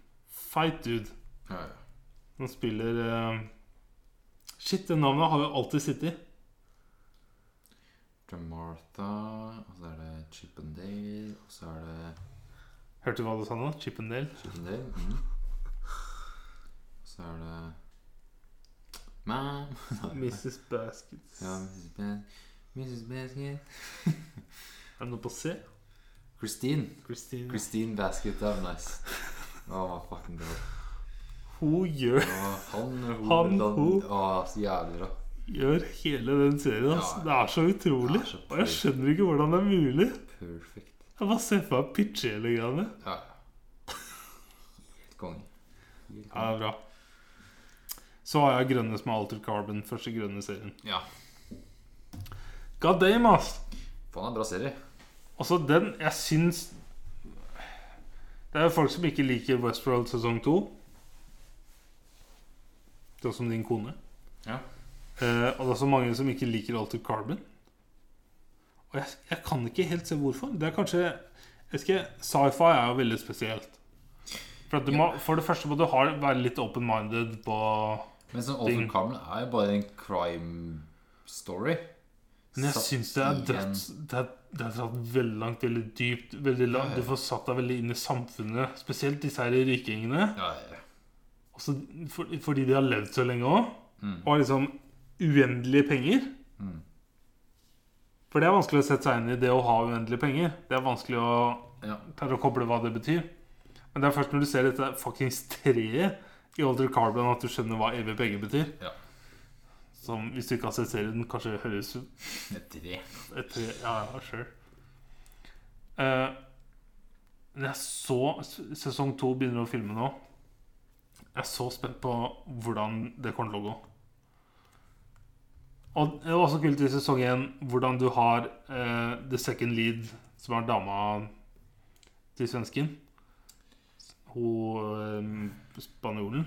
Fight dude. ja, ja. Han spiller eh, Shit, det navnet har jo alltid sittet. i. Det er Martha, og så er det Chippendale, og så er det Hørte du hva du sa nå? Chippendale. Chippendale. Mm. Og så er det Ma'am. Mrs. Baskets. Ja, Mrs. Bas- Mrs. Basket. Er det noe på C? Christine. Christine. Christine Basket. Det var nice. Oh, fucking bra. Hun gjør, Åh, han, hun, Han, hun. Åh, så jævlig bra. gjør hele den serien. ass. Ja. Det er så utrolig. Det er så og jeg skjønner ikke hvordan det er mulig. Perfect. Jeg bare ser for meg pitche hele greiene. Ja, ja. Helt konge. Helt Ja, det konge. er bra. Så har jeg Grønne som er Altered Carbon. Første grønne serien. Ja. God damn, ass! Faen, det er en bra serie. Altså, den Jeg syns Det er jo folk som ikke liker Westworld sesong to. Sånn som din kone. Ja. Eh, og det er så mange som ikke liker Altered Carbon. Og jeg, jeg kan ikke helt se hvorfor. Det er kanskje jeg vet ikke, Sci-fi er jo veldig spesielt. For, at du må, for det første må du ha, være litt open-minded på Men sånn Ding. Alton Carmel er jo bare en crime story. Men jeg Satt syns det er i en- dratt, det er, det er dratt veldig langt, veldig dypt. Veldig langt. Ja, ja. Du får satt deg veldig inn i samfunnet. Spesielt disse her rykingene. Ja, ja, ja. Også for, fordi de har levd så lenge òg. Mm. Og har liksom uendelige penger. Mm. For det er vanskelig å sette seg inn i det å ha uendelige penger. Det er vanskelig å ja. klare å koble hva det betyr. Men det er først når du ser dette fuckings treet i Older Carbon, at du skjønner hva evige penger betyr. Ja. Som hvis du ikke har sett serien, kanskje høres ut Det er tre. et tre. Ja, ja, sure. Eh, Men jeg så s- Sesong to begynner å filme nå. Jeg er så spent på hvordan det kommer til å gå. Og det var også kult i sesong én hvordan du har eh, the second lead, som er dama til svensken. Hun eh, spanjolen.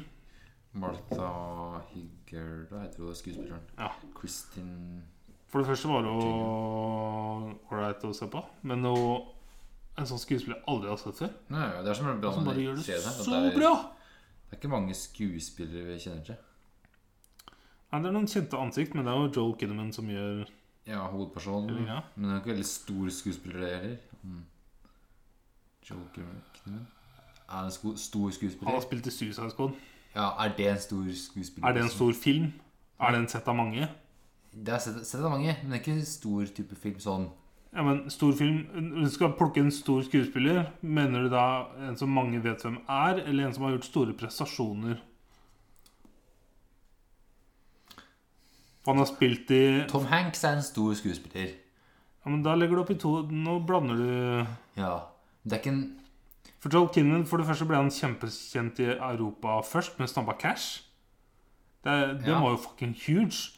Martha Higgerda heter hun skuespilleren. Ja. Kristin For det første var hun ålreit å se på, men hun en sånn skuespiller jeg aldri har sett før. Nei, det er som en bra Som Altså, bare med gjør det serien her, at så det er- bra! Det er ikke mange skuespillere vi kjenner til. Nei, det er noen kjente ansikt, men det er jo Joel Kinnaman som gjør Mm. Ja, hovedpersonen. Eller, ja. Men hun er ikke veldig stor skuespiller, det heller. Mm. Joel Kinnaman. Er han en sko stor Han har skuespiller? spilt i Suicide Squad. Ja, er det en stor skuespiller? Er det en stor film? Er det en sett av mange? Det er sett sett av mange, men det er ikke en stor type film sånn Ja, men stor film Du skal plukke en stor skuespiller. Mener du da en som mange vet hvem er, eller en som har gjort store prestasjoner? For Han har spilt i ja, Tom Hanks er en stor skuespiller. men Da legger du opp i to Nå blander du Ja. Men det er ikke en For Joel Kinnaman, for det første ble han kjempekjent i Europa først, men stampa cash. Det, det Ja. var jo fucking huge.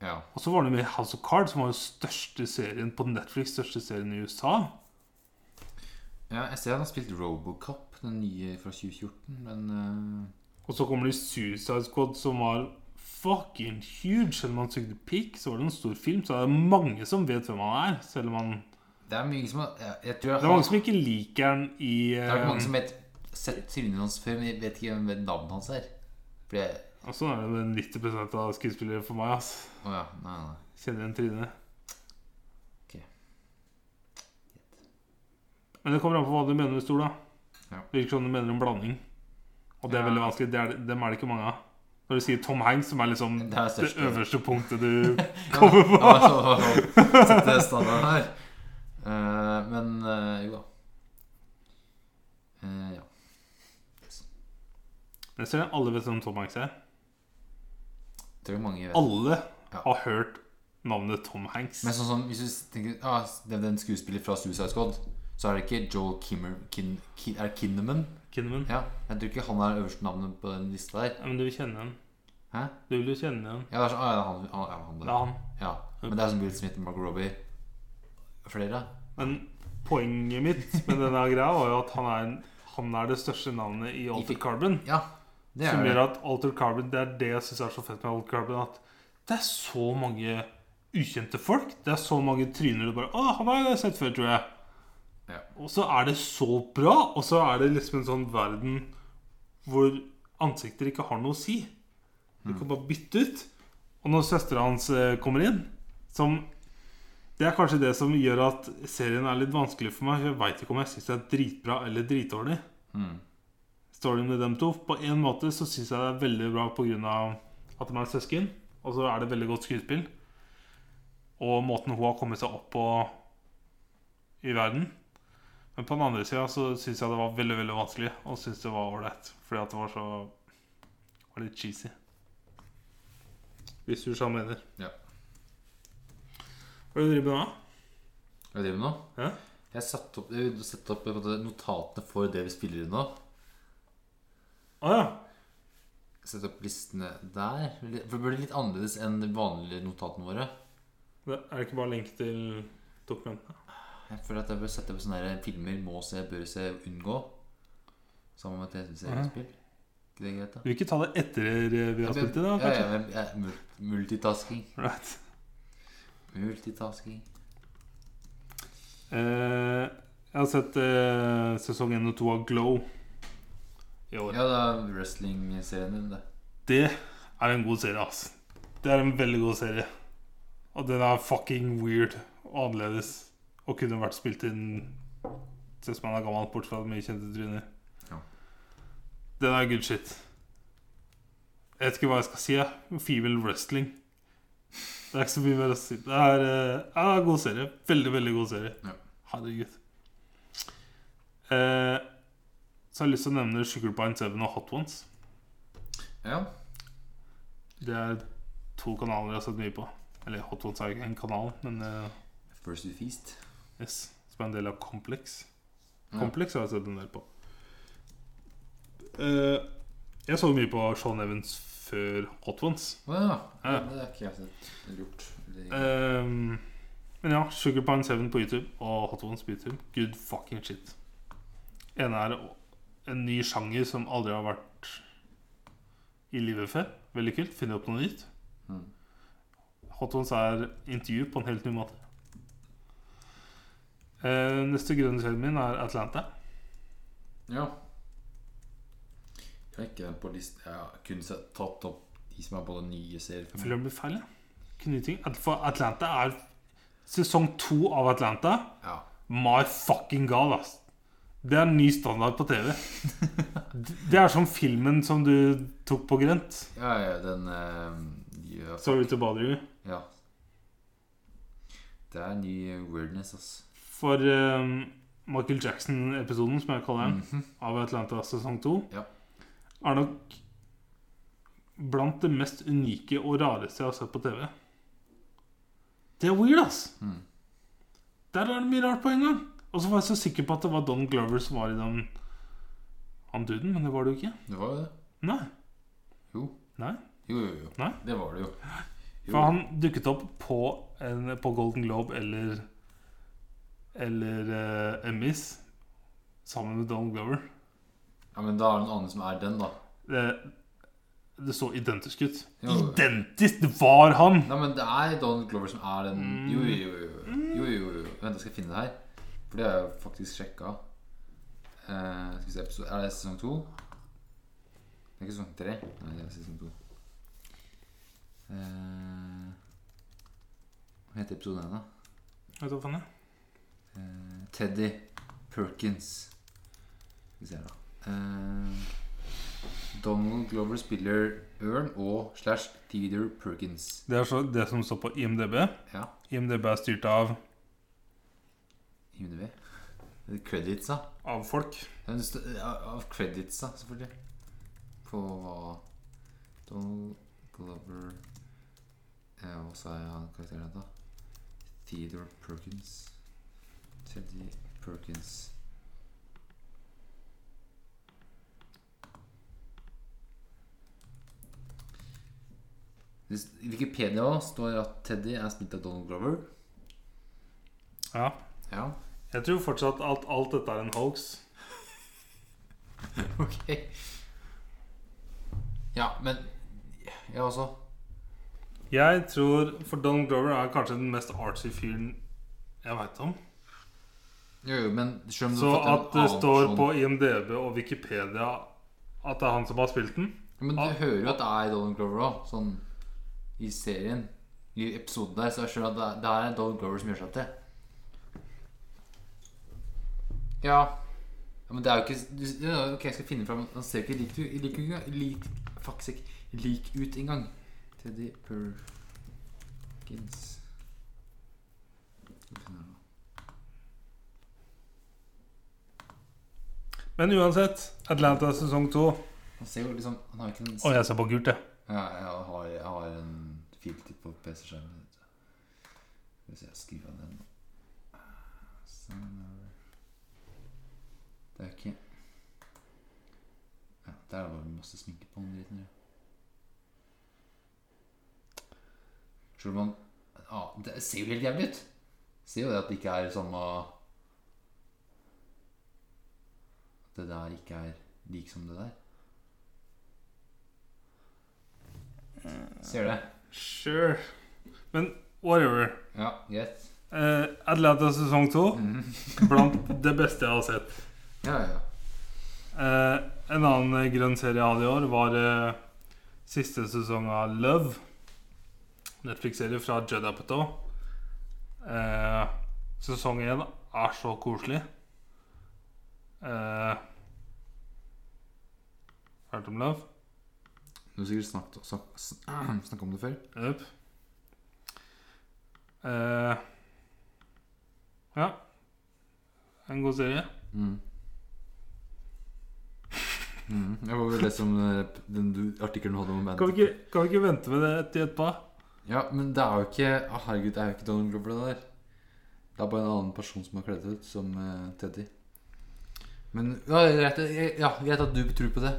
Ja. Og så var han jo med i House of Cards, som var jo største serien på Netflix, største serien i USA. ja jeg ser han har spilt Robocop, den nye fra 2014, men eh, Og så kommer det Suicide Squad, som var fucking huge. Selv om han sugde pikk, så var det en stor film, så det er mange som vet hvem han er. Selv om han Det er mye som har jeg, jeg tror jeg, Det er mange som ikke liker han i Det er eh, ikke mange som vet sett trynet hans før, men jeg vet ikke hvem hvem navnet hans er. For jeg Og Sånn er det med 90 av skuespillere for meg, ass. Å ja. Nei, nei. Kjenner igjen trynet. Ok. Men det kommer an på hva du mener med stor, da. Ja. Det virker som du mener en blanding. Og det er Ja. veldig vanskelig. Det er, dem er det ikke mange av. Når du sier Tom Hanks, som er liksom Det det, er største. øverste punktet du Kommer på! Ja, så, så, sette standarden her. Eh, men eh, jo da. Eh, ja. Jeg ser det. Alle vet hvem Tom Hanks er. Tror jeg mange vet. Alle Ja. har hørt navnet Tom Hanks. Men sånn som, hvis du tenker ah, det er en skuespiller fra Suicide Squad, så er det ikke Joel Kimmer, Kin, Kin, Er det Kinnaman? Kinnaman. Ja, jeg tror ikke han er øverste navnet på den lista der. Ja, men du vil kjenne ham. Hæ? Du vil jo kjenne ham. Ja, det er sånn, ah, ja, han, han, ja, han Det der. er han. Ja. Men det er som Will Smith og Mark Robbie. Flere? Men poenget mitt med denne greia var jo at han er, han er det største navnet i Alter Carbon. Ja, det Som er gjør det. at Alter Carbon Det er det jeg syns er så fett med Alter Carbon. At det er så mange ukjente folk. Det er så mange tryner du bare Å, han har jeg sett før, tror jeg. Ja. Og så er det så bra. Og så er det liksom en sånn verden hvor ansikter ikke har noe å si. Mm. Du kan bare bytte ut. Og når søstera hans eh, kommer inn som Det er kanskje det som gjør at serien er litt vanskelig for meg. for Jeg veit ikke om jeg syns det er dritbra eller dritdårlig Mm. storyen med dem to. På en måte så syns jeg det er veldig bra pga. at de er søsken. Og så er det veldig godt skuespill. Og måten hun har kommet seg opp på i verden. Men på den andre sida så syns jeg det var veldig veldig vanskelig, og syns det var ålreit. Fordi at det var så var litt cheesy. Hvis du så mener. Ja. Hva er det du driver med nå? Hva driver du med nå? Hæ? Jeg satte opp, jeg satte opp på en måte notatene for det vi spiller inn nå. Å ja. Sette opp listene der. For det blir litt annerledes enn de vanlige notatene våre. Det er det ikke bare lenke til dokumentene? Jeg føler at jeg bør sette opp sånne her filmer må se, bør se, unngå. Sammen med TV-seriespill. Ikke det greit, da? Du vil ikke ta det etter vi har spilt i det? Ja, kanskje? ja, men, ja, mul- multitasking. Right. Multitasking. Eh, jeg har sett eh, sesong 1 og 2 av Glow i år. Ja, det er wrestling-serien din, det. Det er en god serie, ass. Det er en veldig god serie. Og den er fucking weird og annerledes. Og kunne vært spilt inn Ser ut som han er gammel, bortsett fra mye kjente tryner. Ja. Den er good shit. Jeg vet ikke hva jeg skal si. jeg. Female wrestling. Det er ikke så mye mer å si. Det er eh, ja, det er en god serie. Veldig, veldig god serie. Ja. Herregud. Eh, så har jeg lyst til å nevne Sugar Pine Seven og Hot Ones. Ja. Det er to kanaler jeg har sett mye på. Eller Hot Ones er jo ikke en kanal, men eh, First You Feast. yes, som er en del av Complex. Ja. Complex har jeg sett en del på. Eh, jeg så mye på Sean Evans før Hot Ones. Å ja. Ja. Det har ikke jeg sett eller gjort. Eller- Eh, men ja, Sugar Pine 7 på YouTube og Hot Ones på YouTube. Good fucking shit. En er en ny sjanger som aldri har vært i livet før. Veldig kult. Finne opp noe nytt. Mm. Hot Ones er intervju på en helt ny måte. Eh, neste grønne serien min er Atlanta. Ja. Jeg har ikke den på listen. Jeg har kun sett, tatt opp de som er på den nye serien. Jeg føler det blir feil, ja. Kunne ting. At- For Atlanta er sesong to av Atlanta. Ja. My fucking god, ass. Det er en ny standard på TV. Det er som filmen som du tok på grønt. ja, ja, den eh, ja, Sorry to bother you. ja. Det er en ny weirdness, ass. For eh, Michael Jackson-episoden, som jeg kaller den, Mhm. av Atlanta sesong 2, Mm. Ja. er nok blant det mest unike og rareste jeg har sett på TV. Det er weird, ass. Mhm. Der er det mye rart på en gang. Og så var jeg så sikker på at det var Don Glover som var i den han duden, men det var det jo ikke. Det var jo det. Nei. Jo. Nei. Jo, jo, jo. Nei? Det var det jo. For han dukket opp på, en, på Golden Globe eller Eller eh, Emmys sammen med Don Glover. Ja, men da er det en annen som er den, da. Det, det så identisk ut. Jo. Identisk! Det var han! Nei, men det er Don Glover som er den Jo, jo, jo. jo. jo, jo, jo. Vent, jeg skal finne det her. For det har jeg faktisk sjekka. Eh, skal vi se episode, Er det sesong to? Det er ikke sesong tre? Nei, det er sesong to. Eh, hva heter episoden igjen, da? Vet du hva faen det er? Eh, Teddy Perkins. Skal vi se her, da. Eh, Donald Glover spiller Ørn og slash Theodore Perkins. Det er så, det som står på IMDb. Ja. IMDb er styrt av, IMDb. Det er Credits, da. av folk. Ja, det står- ja, Av credits, da, selvfølgelig. På hva Donald Glover eh, Hva sa jeg han karakteren het, da? Theodore Perkins. Teddy Perkins. Hvis- I Wikipedia står at Teddy er spilt av Donald Glover. Ja. Ja, Jeg tror fortsatt at alt dette er en hoax. ok. Ja, men Jeg også. Jeg tror For Donald Glover er kanskje den mest artsy fyren jeg veit om. Jo, jo, men selv om du Så har fått en at det annen står person- på IMDb og Wikipedia at det er han som har spilt den Ja, Men Ah. du hører jo at det er Donald Glover òg, sånn i serien. I episoden der, så jeg skjønner at det er, det er Donald Glover som gjør seg til. Ja. ja Men det er jo ikke du, ja, Ok, jeg skal finne fram Han ser jo ikke lik ut lik, ut engang- lik, Faktisk ikke lik ut engang. Teddy Perkins Skal vi finne her nå. Men uansett, Atlanta sesong to. Han ser jo liksom Han har jo ikke en Og jeg ser på gult, jeg. Ja, jeg har, jeg har en filtid på PC-skjermen. Hvis jeg skriver av den nå. Sånn er det Det er ikke Ja, der var det masse sminke på den driten. ja. Tror du man ja, Det ser jo helt jævlig ut. Ser jo det at det ikke er samme At det der ikke er lik som det der. Ser det? Sure. Men whatever. Ja, greit. Mhm. Eh, Atlanta sesong to. Blant det beste jeg har sett. Ja, ja, ja. Eh, en annen eh, grønn serie jeg hadde i år, var eh, siste sesong av Love. Netflix-serie fra Judd Apatow. Eh, sesong én er så koselig. Eh, hørt om Love? Du har sikkert snakket, snak, sn- snakket om det før. Jepp. Eh, ja. En god serie. Mm. Mm. Jeg var vel lese om den, den du, artikkelen du hadde om Kan bandet. vi ikke, kan vi ikke vente med det til etterpå? Ja, men det er jo ikke ah, Herregud, det er jo ikke Donald Glover, det der. Det er bare en annen person som har kledd seg ut som eh, Teddy. Men ja, det er greit, jeg- ja, greit at du tror på det.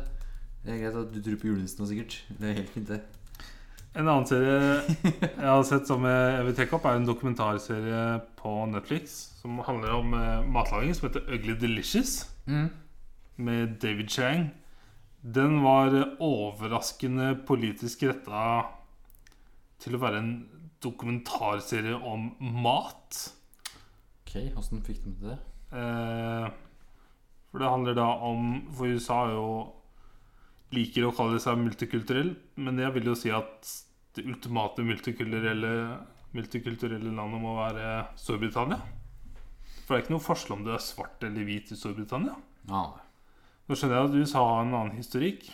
Det er greit at du tror på julenissen nå, sikkert. Det er helt fint, det. En annen serie jeg har sett som jeg jeg vil trekke opp, er en dokumentarserie på Netflix som handler om eh, matlaging, som heter Ugly Delicious, Mm. med David Chang. Den var eh, overraskende politisk retta til å være en dokumentarserie om mat. Ok, åssen fikk de til det? Eh, For det handler da om For USA er jo liker å kalle seg multikulturell, men jeg vil jo si at det ultimate multikulturelle, multikulturelle landet må være Storbritannia. For det er ikke noe forskjell om du er svart eller hvit i Storbritannia. Ja. Nå skjønner jeg at USA har en annen historikk,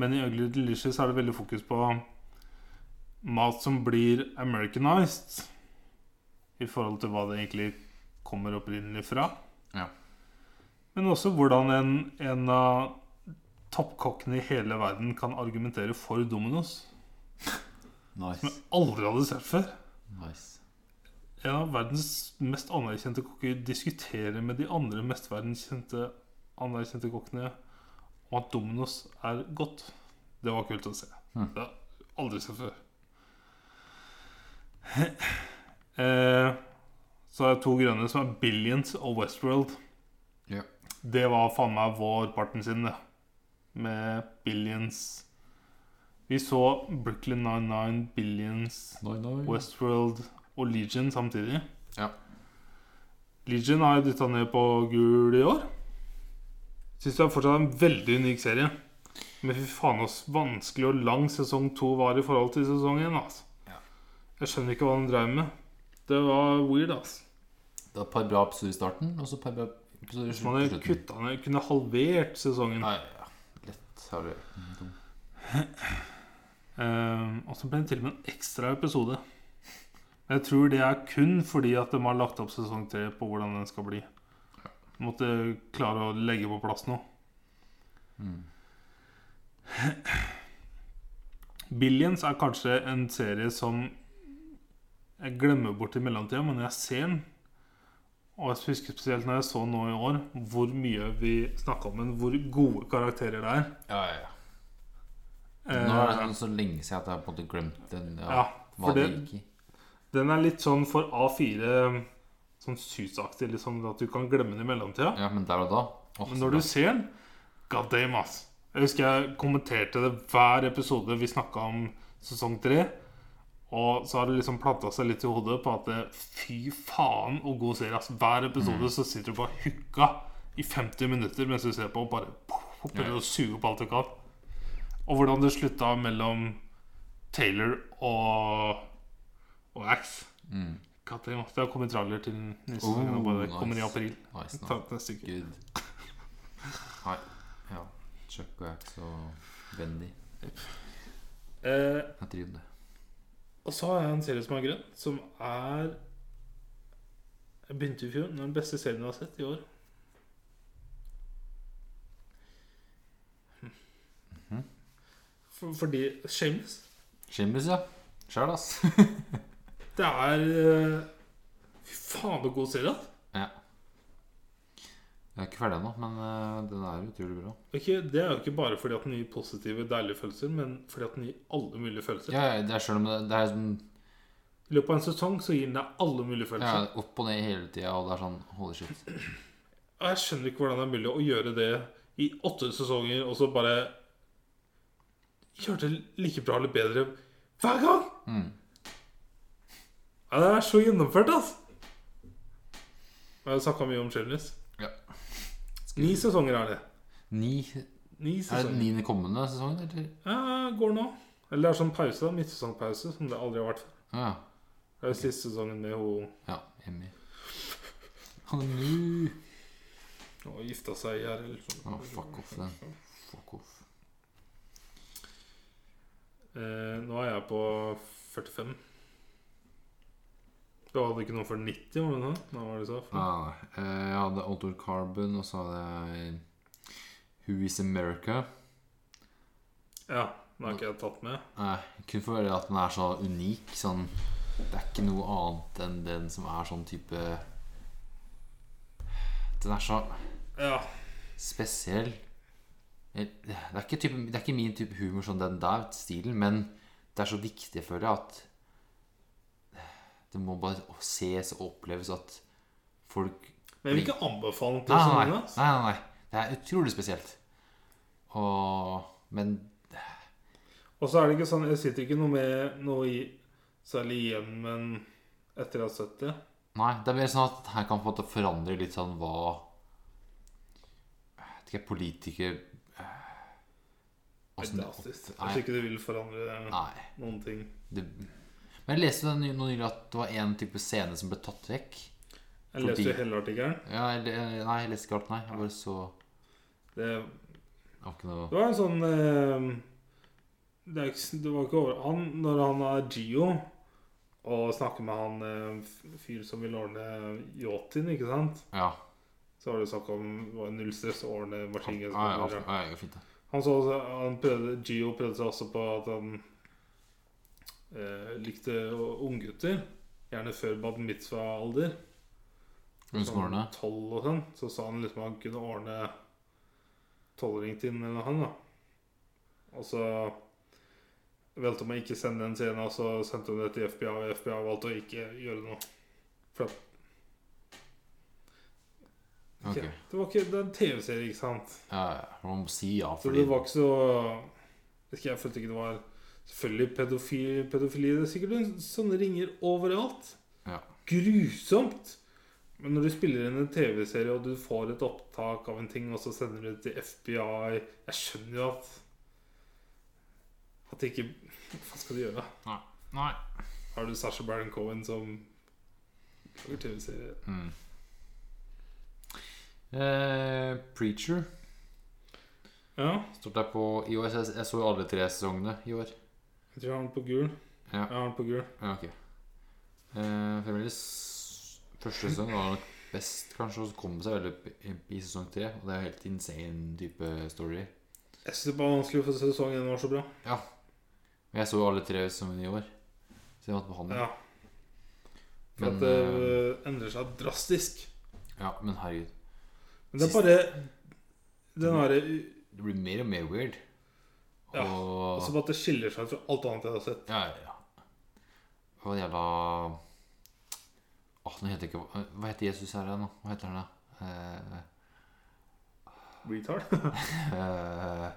men i Ugly Delicious er det veldig fokus på mat som blir americanized i forhold til hva det egentlig kommer opprinnelig fra. Ja. Men også hvordan en, en av toppkokkene i hele verden kan argumentere for Domino's, som Nice. jeg aldri hadde sett før. nice. En av verdens mest anerkjente kokker diskuterer med de andre mest verdenskjente anerkjente kokkene om at Domino's er godt. Det var kult å se. Mm. Det har jeg aldri sett før. eh, så har jeg to grønne som er Billions og Westworld. Ja. Det var faen meg vårparten sin, det. Med Billions Vi så Brooklyn 99, Billions Noi, noi. Westworld og Legion samtidig. Ja. Legion har jeg dytta ned på gul i år. Syns det er fortsatt en veldig unik serie. Men fy faen så vanskelig og lang sesong to var i forhold til sesong én. Altså. Ja. Jeg skjønner ikke hva den drev med. Det var weird, altså. Det var et par bra episoder i starten, og så et par bra episoder i Hvis man hadde slutten. kutta ned, kunne halvert sesongen. Nei, ja. Lett har du Mm, Eh, og så ble det til og med en ekstra episode. Men jeg tror det er kun fordi at de har lagt opp sesong tre på hvordan den skal bli. De måtte klare å legge på plass noe. Billions er kanskje en serie som jeg glemmer bort i mellomtida, men når jeg ser den Og jeg husker spesielt når jeg så nå i år, hvor mye vi snakka om den, hvor gode karakterer det er. Ja, ja, ja. Eh, Nå er det sånn så lenge siden at jeg har på en måte glemt den, ja, ja, hva for det det, gikk i. den er litt sånn for A4 sånn susaktig, liksom, at du kan glemme den i mellomtida. Ja, men der og da Åh, Men så når bra. du ser den God damn, ass. Jeg husker jeg kommenterte det hver episode vi snakka om sesong tre. Og så har det liksom planta seg litt i hodet på at det- fy faen og god serie. ass Hver episode Mm. så sitter du bare hooka i 50 minutter mens du ser på, og bare poff, og prøver å suge opp alt du kan. Og hvordan det slutta mellom Taylor og, og Axe. Mm. God damn, ass. Det har kommet trailer til neste Oh, sesong. og bare nice. Kommer i april. Nice, nice. Ta et neste uke. Gud. Nei. Ja. Chuck og Axe og Bendy. Eh, Jeg driver det. Og så har jeg en serie som er grønn, som er Jeg begynte i fjor. Den er den beste serien jeg har sett i år. Mhm. For, fordi Shameless Shameless, ja. Sjæl, ass. Det er eh, Fy faen, så god serie. ass. ja. Jeg er ikke ferdig ennå, men eh, den er utrolig bra. Ikke, det er jo ikke bare fordi at den gir positive, deilige følelser, men fordi at den gir alle mulige følelser. Ja, ja, det er selv om det, det er sånn I løpet av en sesong så gir den deg alle mulige ja, følelser. opp og ned hele tida, og det er sånn holy shit. Og jeg skjønner ikke hvordan det er mulig å gjøre det i åtte sesonger, og så bare gjøre det like bra eller bedre hver gang! Mm. Ja, det er så gjennomført, altså. Jeg har snakka mye om Shameless. Ja. Ni sesonger er det. Ni Ni Er det sesonger. niende kommende sesongen, eller? Ja, går nå. Eller det er sånn pause, da. Midtsesongpause, som det aldri har vært før. Ah, Ja. Det er jo siste sesongen med hun ja Emmy. Han er nu. hun gifta seg i her, eller sånn. Å, fuck off, den. Fuck off. Eh, nå er jeg på 45. Du hadde ikke noe for 90, var det det? Nå var det så. Ja, eh, jeg hadde Outdoor Carbon, og så hadde jeg Who Is America. Ja, den har ikke jeg tatt med. Nei, kun for at den er så unik. Sånn, det er ikke noe annet enn den som er sånn type Den er så Ja, spesiell. Eh, Det er ikke, type, det er ikke min type humor som den der stilen, men det er så viktig, føler jeg, at det må bare ses og oppleves at folk Men jeg vil ikke anbefale den til Nei, sånne. nei, sånn ass. nei, nei, nei. Det er utrolig spesielt. Og, men Og så er det ikke sånn Jeg sitter ikke noe med noe i særlig igjen, men etter jeg har sett det nei, det er mer sånn at her kan på en måte forandre litt sånn hva Jeg vet ikke, politiker eh, Jeg Åssen det tror Altså, Nei. ikke det vil forandre Nei. noen ting. Det, men jeg leste den ny- nå nylig at det var en type scene som ble tatt vekk. Jeg leste jo Fordi- hele artikkelen. Ja, jeg, le- nei, jeg leste ikke alt, nei. Jeg bare så Det, Det var ikke noe det var en sånn eh, det, er ikke, s- det var ikke over Han, når han er Gio og snakker med han eh, f- fyr som vil ordne yachten, ikke sant Ja. Så var det snakk om det var null stress å Ja, ordne ah, ja, maskingenskontroller. ja, ja, ja, fint, det. Han så også, han prøvde, Gio prøvde seg også på at han eh, likte å- unggutter. Gjerne før bad mitzvah-alder. Sånn Ønskehårene. tolv og sånn. Så sa han liksom han kunne ordne tolvring til den eller han, da. Og så valgte man ikke sende den scenen, og så sendte hun det til FBI, og FBI valgte å ikke gjøre noe. For at Ok. ikke- Det var ikke det er en TV-serie, ikke sant? Ja, ja. Man må si ja, Så fordi det var ikke så Vet ikke, Jeg følte ikke det var Selvfølgelig pedofili, pedofili Det er sikkert en- sånne ringer overalt. Ja. Grusomt! Men når du spiller inn en TV-serie og du får et opptak av en ting, og så sender du det til FBI Jeg skjønner jo at At det ikke Hva skal du gjøre? Nei. Har du Sasha Baron Cohen som lager TV-serie? Mm. Eh, Preacher Ja. står der på i år. så Jeg, jeg så jo alle tre sesongene i år. Jeg tror jeg har den på gul. Ja. Jeg har den på gul. Ja, ok. Eh, fremdeles første sesong var nok best, kanskje, og så kom det seg veldig opp i, i sesong tre. Og det er jo helt insane type story. Jeg syns det var vanskelig for sesong én var så bra. Men jeg så jo alle tre som i år. Så jeg måtte behandle. Ja. For Men, eh, at det øh, endrer seg drastisk. Ja, men herregud. Men det er bare den derre Det blir mer og mer weird. Og Ja, Altså bare at det skiller seg fra alt annet jeg har sett. Ja, ja, ja. Hva var det jævla Åh, nå heter det ikke Hva heter Jesus her igjen, nå? Hva heter han, da? Eh, Retard. eh,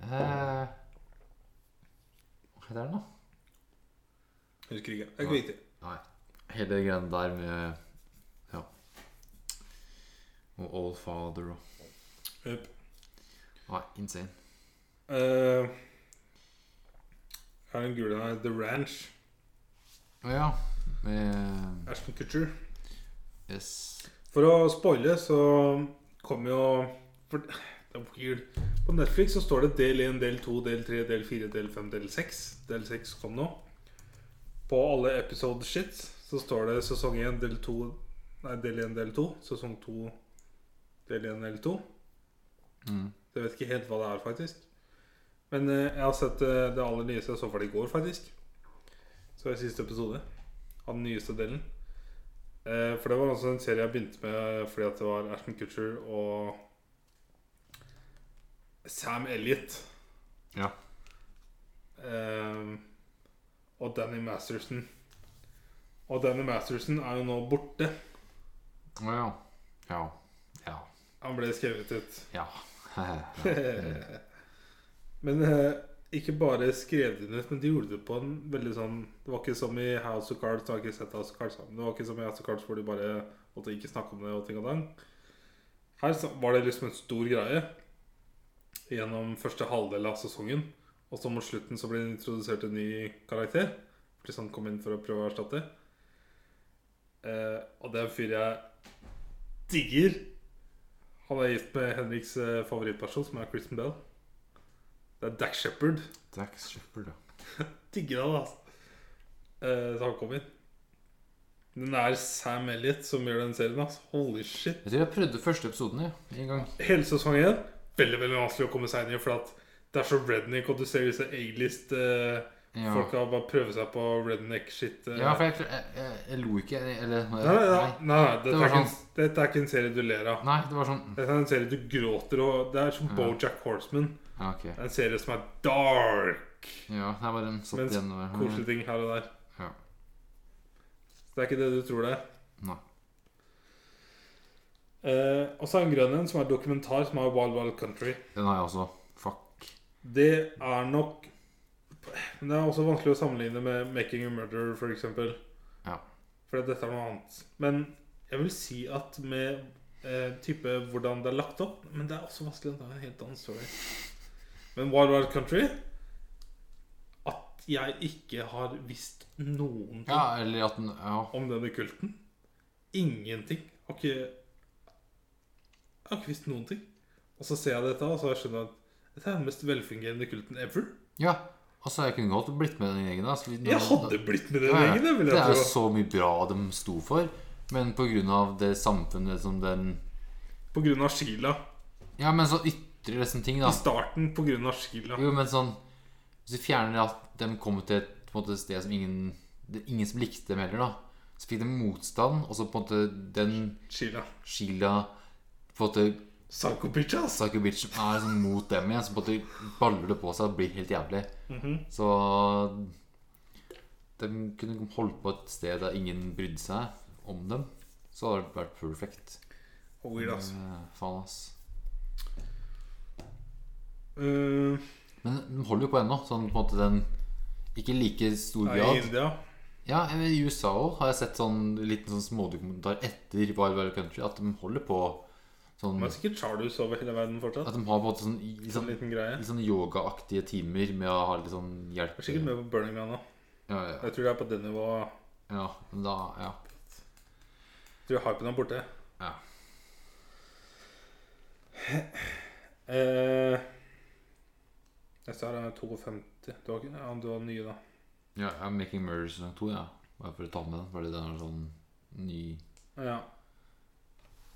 eh, Hva heter han, da? Husker ikke. Det er ikke viktig. Nei. Hele greia der med Ja. Og Old Father og Yep. Nei, insane. Eh, her er den gule her. The Ranch. Å ja. Med Ashton Kutcher. Yes. For å spoile, så kommer jo for, Det er weird. På Netflix så står det del 1, del 2, del 3, del 4, del 5, del 6. Del 6 kom nå. På alle episode shit så står det sesong 1, del 2 Nei, del 1, del 2. Sesong 2, del 1, del 2. Mm. Jeg vet ikke helt hva det er, faktisk. Men eh, jeg har sett eh, det aller nyeste jeg så for det i går, faktisk. Så er det siste episode av den nyeste delen. Eh, for det var altså en serie jeg begynte med eh, fordi at det var Ashton Kutcher og Sam Elliot. Ja. Eh, og Danny Masterson. Og Danny Masterson er jo nå borte. Å ja. Ja. Ja. Han ble skrevet ut. Ja. Men eh, ikke bare skrev de det, men de gjorde det på en veldig sånn Det var ikke som i House of Cards, jeg har ikke sett House of Cards sammen. Det var ikke som i House of Cards hvor de bare måtte ikke snakke om det og ting og tang. Her så var det liksom en stor greie gjennom første halvdel av sesongen. Og så mot slutten så ble det introdusert en ny karakter. Fordi han kom inn for å prøve å erstatte. Eh, og det er en fyr jeg digger. Han er gift med Henriks eh, favorittperson, som er Kristen Bell. Det er Dax Shepherd. Dax Shepherd, ja. Digger han, altså. Eh, så han kom inn. Den er Sam Elliot som gjør den serien. Altså. Holy shit. Jeg tror jeg prøvde første episoden ja, en gang. Hele sesongen veldig veldig vanskelig å komme seg inn i. For at det er så redneck, og du ser disse A-list eh, Ja. Folka bare prøver seg på redneck-shit. eh. Ja, for jeg, jeg, jeg, jeg lo ikke. Eller Nei, nei, nei, nei. nei, nei dette, var sånn- er ikke en, dette er ikke en serie du ler av. Nei, det var sånn Dette er en serie du gråter og Det er som Bojack Horseman. Ja, ok. Det er En serie som er dark. Ja, jeg bare satt Mens igjen over Koselige ting her og der. Ja. Så det er ikke det du tror det er. Nei. Eh, og så er det en grønn en som er dokumentar, som er Wild Wild Country. Den har jeg også. Fuck. Det er nok Men det er også vanskelig å sammenligne med Making a Murder, for eksempel. Ja. For dette er noe annet. Men jeg vil si at med eh, type hvordan det er lagt opp Men det er også vanskelig. Det er en helt annen story. Men Wild Wild Country At jeg ikke har visst noen ting Ja, eller at den Ja. om denne kulten. Ingenting. Jeg Har ikke Jeg har ikke visst noen ting. Og så ser jeg dette, og så skjønner jeg at dette er den mest velfungerende kulten ever. ja. Altså, jeg kunne godt blitt med den gjengen. da, så vi- Jeg hadde blitt med den Ja, ja. gjengen, det vil Det er jeg jo tro. så mye bra de sto for, men på grunn av det samfunnet som den På grunn av Sheila. Ja, men så ytrer disse ting, da. I starten på grunn av Sheila. Jo, men sånn Hvis du fjerner at de kom til et på en måte, sted som ingen det, Ingen som likte dem heller, da. Så fikk de motstand, og så på en måte den Sheila. Sheila På en måte Psycho bitch, ass. Sakubic som er liksom mot dem igjen, så på en måte baller det på seg og blir helt jævlig. Mhm. Så de kunne holdt på et sted der ingen brydde seg om dem. Så hadde det vært perfect. Og Oh, Weird, ass. Eh, faen, ass. Mm. Uh, Men de holder jo på ennå, sånn på en måte den Ikke like stor er i grad. India. Ja, men I USA også har jeg sett sånn liten sånn smådokumentar etter Wild Wild Country at de holder på sånn Men det er sikkert Charlus over hele verden fortsatt. At de har på en måte sånn, i- litt En sånn, liten greie. litt sånn yogaaktige timer med å ha litt sånn hjelp. Jeg er sikkert med på Burning Man nå. Ja, ja, Jeg tror det er på det nivået. ja. men Da, ja. Jeg tror hypen er borte. ja. Eh, neste her er 52. Du har, ikke, ja, du har nye, da. Ja, ja, Making Murder sesong to, ja. Bare for å ta med den, fordi den er sånn ny Ja.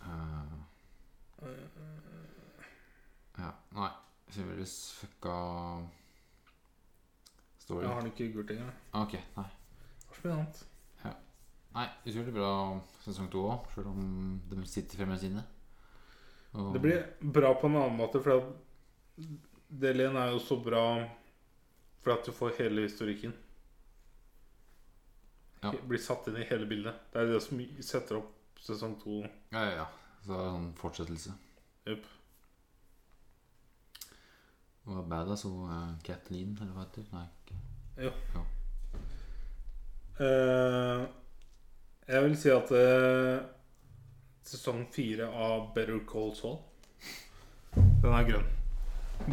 eh, Ja, nei. Sivilius fucka Står Jeg det. har den ikke i gult lenger. Ah, Ok, nei. Hva spiller annet? Nei, utrolig bra sesong to òg, sjøl om de sitter fremme sine. Og- Det blir bra på en annen måte, for at Delen er jo så bra for at du får hele historikken. Ja. Blir satt inn i hele bildet. Det er det som setter opp sesong to. Ja, ja, ja. Så det er en sånn fortsettelse. Jupp. Det var badass hun eh, Kathleen, eller hva heter hun? Nei, ikke- Eh, jeg vil si at eh, sesong fire av Better Call Saul Den er grønn.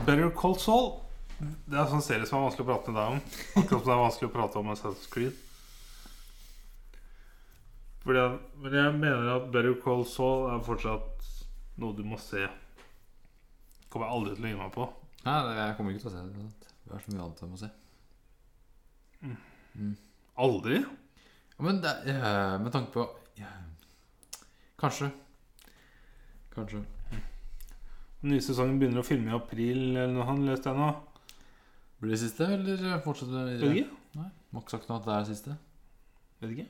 Better Call Saul Det er en sånn serie som er vanskelig å prate med deg om. Akkurat som det er vanskelig å prate om Assassin's Creed. Fordi jeg, men jeg mener at Better Call Saul er fortsatt noe du må se. Kommer jeg aldri til å gi meg på. Nei, det- jeg kommer ikke til å se det. Det er så mye annet jeg må se. Aldri? Ja, Men det, eh, med tanke på ja, Kanskje. Kanskje. Den nye sesongen begynner å filme i april, eller noe han leste jeg nå. Blir det siste, eller fortsetter Vet ikke. Nei, Må ikke sagt noe at det er det siste. Vet ikke.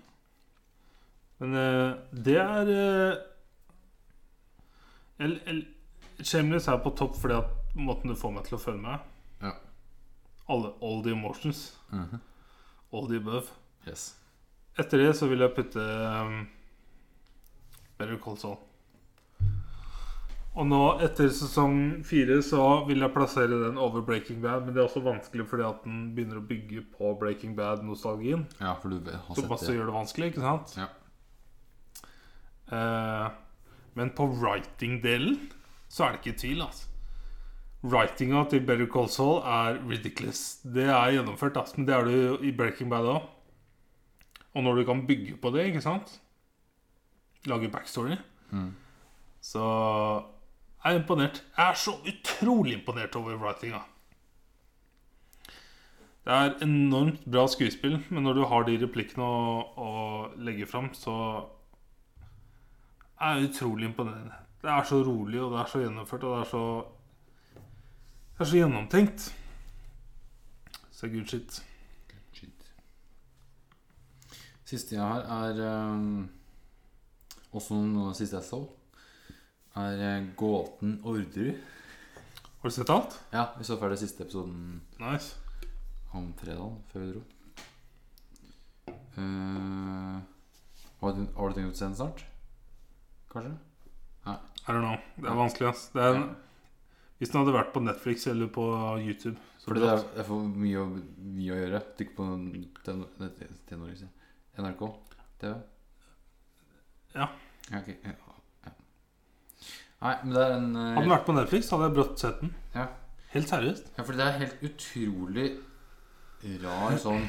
Men eh, det er eh, el, el, Shameless er på topp fordi at måten du får meg til å føle meg Ja. Alle, All the emotions. Mhm. All the above. Yes. Etter det så vil jeg putte um, Better Call Saul. Og nå, etter sesong fire, så vil jeg plassere den over Breaking Bad. Men det er også vanskelig fordi at den begynner å bygge på Breaking Bad-nostalgien. Ja, for du har Som sett også det. gjør det vanskelig, ikke sant? Ja. Eh, men på writing-delen så er det ikke tvil, altså. Writinga til Better Call Saul er ridiculous. Det er gjennomført, altså. Men det er det jo i Breaking Bad òg. Og når du kan bygge på det, ikke sant Lage backstory. Mm. Så jeg er imponert. Jeg er så utrolig imponert over writinga. Det er enormt bra skuespill, men når du har de replikkene å, å legge fram, så er jeg utrolig imponerende. Det er så rolig, og det er så gjennomført, og det er så Det er så gjennomtenkt. Så good shit. Shit. Siste jeg har, er ehm, Også noe av det siste jeg så, er eh, gåten Orderud. Har du sett alt? Ja, vi så ferdig siste episoden Nice. om fredagen før vi dro. Eh, har, du, har du tenkt å se den snart? Kanskje? I don't know. Det er vanskelig, ass. Det er en, hvis den hadde vært på Netflix eller på YouTube så Fordi det hadde er, det er for mye å, mye å gjøre. Trykk på den- den- den- tenåring, sier jeg. NRK TV. Ja. ja, ok, ja, ja. Nei, men det er en eh, den vært på Netflix, hadde jeg brått sett den. Ja. Helt seriøst. Ja, fordi det er helt utrolig rar sånn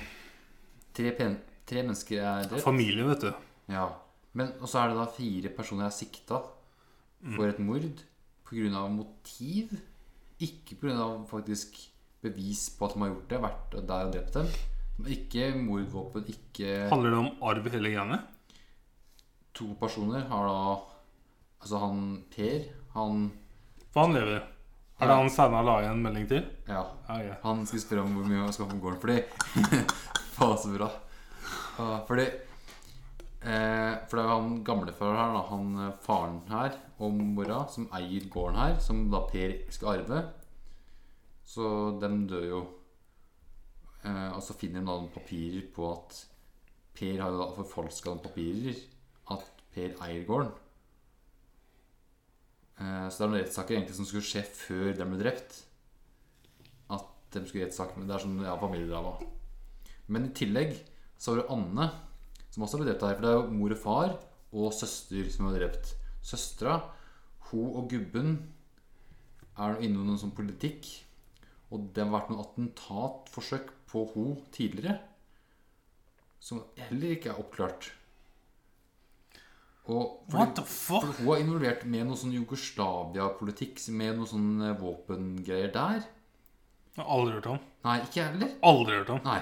Tre, pen, tre mennesker er drept. Familien, vet du. Ja. Men og så er det da fire personer er sikta for et mord pga. motiv. Ikke pga. faktisk bevis på at de har gjort det, vært der og drept dem. Ikke mordvåpen, ikke Handler det om arv hele greiene? To personer har da Altså han Per, han For han lever. Er det han Steinar la igjen en melding til? Ja. Ja, ja. Han skulle spørre om hvor mye han skal få på gården fordi Faen, så bra. Ah, fordi eh, For det er jo han gamlefar her, da, han eh, faren her og mora, som eier gården her, som da Per skal arve. Så dem dør jo. Eh, og så finner de da noen papirer på at Per har jo da forfalska noen papirer. At Per eier gården. Eh, så det er noen rettssaker egentlig som skulle skje før de ble drept at de skulle gjette sak, men det er sånn ja, familiedrama. Men i tillegg så var det Anne som også ble drept her. For det er jo mor og far og søster som ble drept. Søstera, hun og gubben er nå innom noen sånn politikk. Og det har vært noen attentatforsøk på hun tidligere. Som heller ikke er oppklart. Og fordi- What the fuck? for hun er involvert med noe sånn Jugoslavia-politikk, med noe sånn eh, våpengreier der. Jeg har aldri hørt om. Nei, ikke jeg heller. Aldri hørt om. Nei.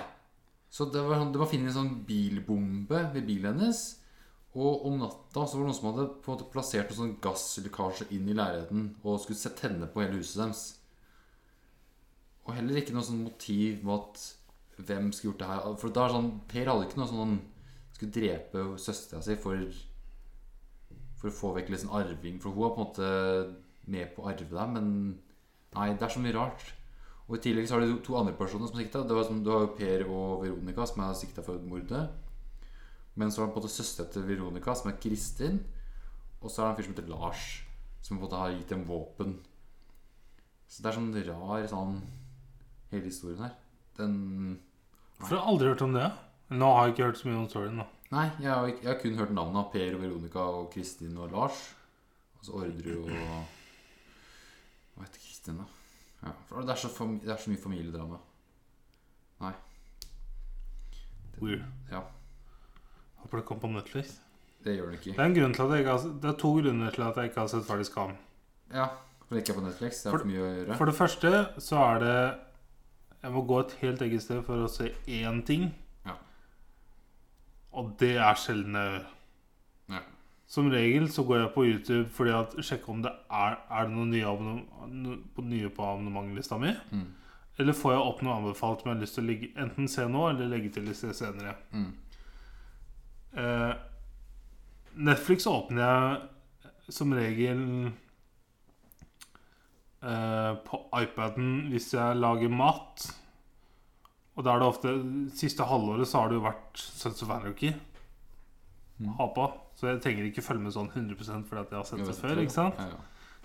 Så det var, det var funnet en sånn bilbombe ved bilen hennes. Og om natta så var det noen som hadde på en måte plassert noen sånn gasslekkasje inn i leiligheten og skulle se- tenne på hele huset deres. Og heller ikke noe sånn motiv med at Hvem skulle gjort det her? For da er det sånn, Per hadde ikke noe sånn Han skulle drepe søstera si for For å få vekk liksom arving. For hun var på en måte med på å arve deg, men nei, det er så mye rart. Og I tillegg så har du to andre personer som er sikta. Det var som, du har jo Per og Veronica, som er sikta for mordet. Men så har han på en måte søstera til Veronica, som er Kristin. Og så er det en fyr som heter Lars, som på en måte har gitt dem våpen. Så det er sånn rar sånn Hele historien her. Den For jeg har aldri hørt om det. Nå har jeg ikke hørt så mye om storyen, da. Nei, jeg har, ikke- jeg har kun hørt navnene av Per og Veronica og Kristin og Lars. Og så Orderud og Hva heter Kristin, da? Ja, for det, er så fam, det er så mye familiedrama. Weird. Ja, Håper det kom på Netflix. det gjør det Det ikke. er, en grunn til at jeg ikke har, det er to grunner til at jeg ikke har sett ferdig Skam. Ja, For det ikke er på Netflix. Det er For- for mye å gjøre. For det første så er det Jeg må gå et helt eget sted for å se én ting. Ja. Og det er sjelden jeg gjør. Ja. Som regel så går jeg på YouTube fordi at sjekker om det er, er det noen nye, abonnement, på, nye på abonnementlista mi. Mm. Eller får jeg opp noe anbefalt som jeg har lyst til å legge, enten se nå eller legge til å se senere. Mm. Eh, Netflix åpner jeg som regel eh, på iPaden hvis jeg lager mat. Og da er det ofte Siste halvåret så har det jo vært Sons of Anarchy. Mm. Ha på. Så jeg trenger ikke følge med sånn 100 fordi at jeg har sett Jo, det jeg før. tror ikke sant? Ja, ja.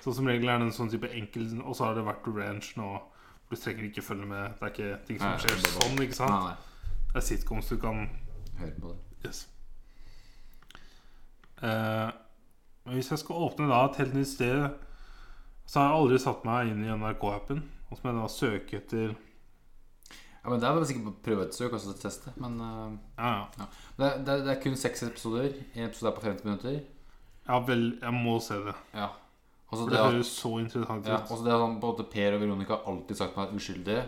Så som regel er det en sånn type enkel Og så har det vært ranch nå. Du trenger ikke følge med. Det er ikke ting som Nei, skjer det er bare- sånn. ikke Nei, sant? nei. Det er sitcoms du kan Hører på det. Yes. Eh, men hvis jeg skal åpne da et helt nytt sted, så har jeg aldri satt meg inn i NRK-appen. Og så må jeg da søke etter Ja, men Det er vel sikkert på prøvesøk også til å altså, teste. Men øh, Ja, ja. det, er- det, er- det er kun seks episoder. Én episode er på 50 minutter. Ja vel, jeg må se det. Ja. Og så For det det at- høres så interessant Ja, ut. også det er sånn, både Per og Veronica har alltid sagt meg uskyldige.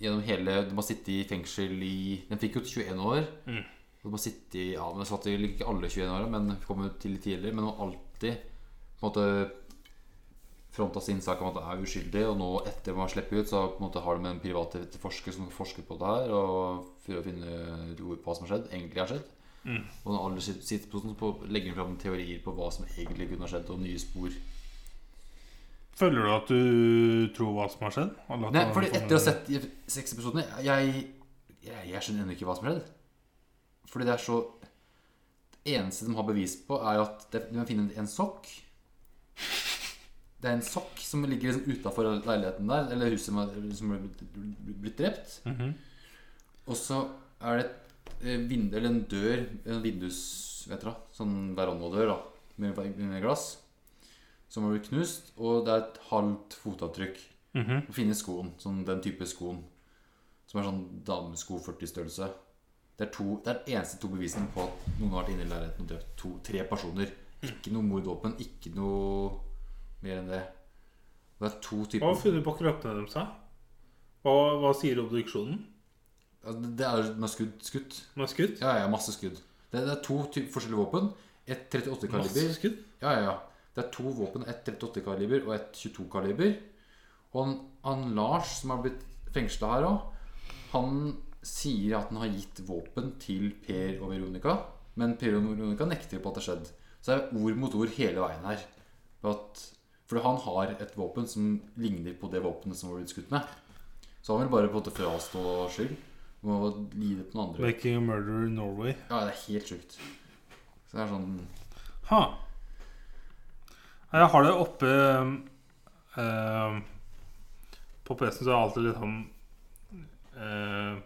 Gjennom hele, De har sittet i fengsel i De fikk jo 21 år. Mm. Og de har sittet i, ja, de satt i ikke alle 21 åra, men kom jo til litt tidligere. Men de har alltid på en måte fronta sin sak om at de er uskyldige. Og nå etter de har sluppet ut, så på en måte har de en privat etterforsker som forsker på det her. Og for å finne ut hva som har skjedd, egentlig har skjedd. Mm. Og når alle sit- sitter på sånn, så legger de fram teorier på hva som egentlig kunne ha skjedd, og nye spor. Føler du at du tror hva som har skjedd? Eller at Nei, du har fordi fått med etter å ha deg- sett de seks episodene jeg, jeg, jeg skjønner ennå ikke hva som skjedde. Fordi det er så Det eneste de har bevis på, er at det, de må finne en sokk. Det er en sokk som ligger liksom utafor leiligheten der, eller huset som har- som ble blitt- blitt drept. Mhm. Og så er det et eh, vind, eller en dør, en vindus, vet dere, sånn verandadør da, med, med glass, som har blitt knust, og det er et halvt fotavtrykk. Mhm. Å finne skoen, sånn den type skoen, som er sånn damesko 40-størrelse. Det er, to, det er den eneste to bevisene på at noen har vært inne i leiligheten og drept to, tre personer. Ikke noe mordvåpen, ikke noe mer enn det. Det er to Hva har typer du funnet på kroppene deres? da? Hva, hva sier obduksjonen? Altså, Det er med skudd. skutt. Med skudd? Ja, ja, masse skudd. Det, det er to ty forskjellige våpen. Et 38 Masse kaliber. skudd? Ja, ja, ja. Det er to våpen. Et 38 kaliber og et 22 kaliber. Og han, han Lars, som har blitt fengsla her òg, han sier at han har gitt våpen til Per og Veronica. Men Per og Veronica nekter på at det har skjedd. Så det er ord mot ord hele veien her. For, at, for han har et våpen som ligner på det våpenet som var blitt skutt med. Så han vil bare på en måte frastå skyld. Må lide på noen andre. Making a murderer in Norway. Ja, det er helt sjukt. Så det er sånn Ha. Jeg har det oppe eh, På PC-en så er jeg alltid litt sånn eh,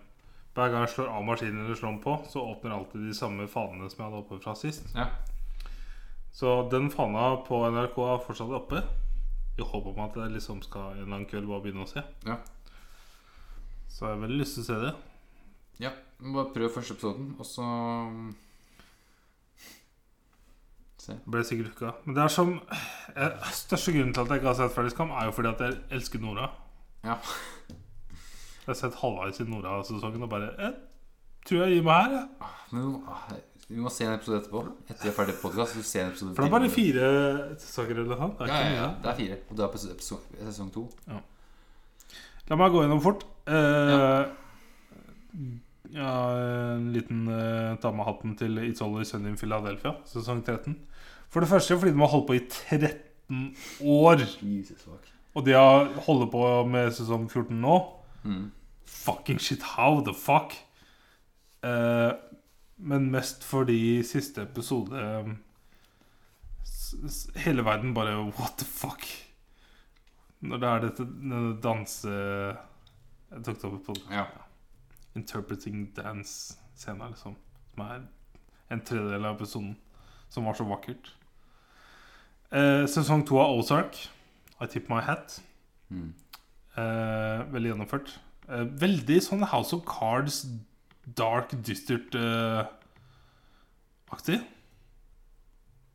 Hver gang jeg slår av maskinen eller slår den på, så åpner alltid de samme fanene som jeg hadde oppe fra sist. Ja. Så den fana på NRK er fortsatt oppe. I håp om at jeg liksom skal en eller annen kveld bare begynne å se. Ja. Så jeg har veldig lyst til å se det. Ja, vi må bare prøv første episoden, og så Se. Ble sikkert hooka. Men det er som jeg, Største grunnen til at jeg ikke har sett ferdig Skam, er jo fordi at jeg elsker Nora. Ja. Jeg har sett halvveis i Nora-sesongen og bare jeg tror jeg gir meg her, jeg. Men vi må- ah, vi må se en episode etterpå. Etter vi er ferdig med podkast. Det er For det er bare fire sesonger eller noe sånt. Det er Ja, ikke ja, ja, mye. det er fire. Og du er på sesong, sesong to. La meg gå gjennom fort. Eh, ja, en liten eh, ta med hatten til It's Always Sunny in Philadelphia, sesong 13. For det første fordi de har holdt på i 13 år. Jesus fuck. Og de har holder på med sesong 14 nå. Mm. Fucking shit, how the fuck? Eh, men mest fordi siste episode eh, s s Hele verden bare what the fuck? Når det er dette denne danse... Jeg tok det opp på Ja. Interpreting Dance-scena, liksom. Som er en tredjedel av episoden. Som var så vakkert. Eh, sesong to av Ozark. I tip my hat. Mm. Eh, veldig gjennomført. Eh, veldig sånn House of Cards, dark, dystert eh, aktig.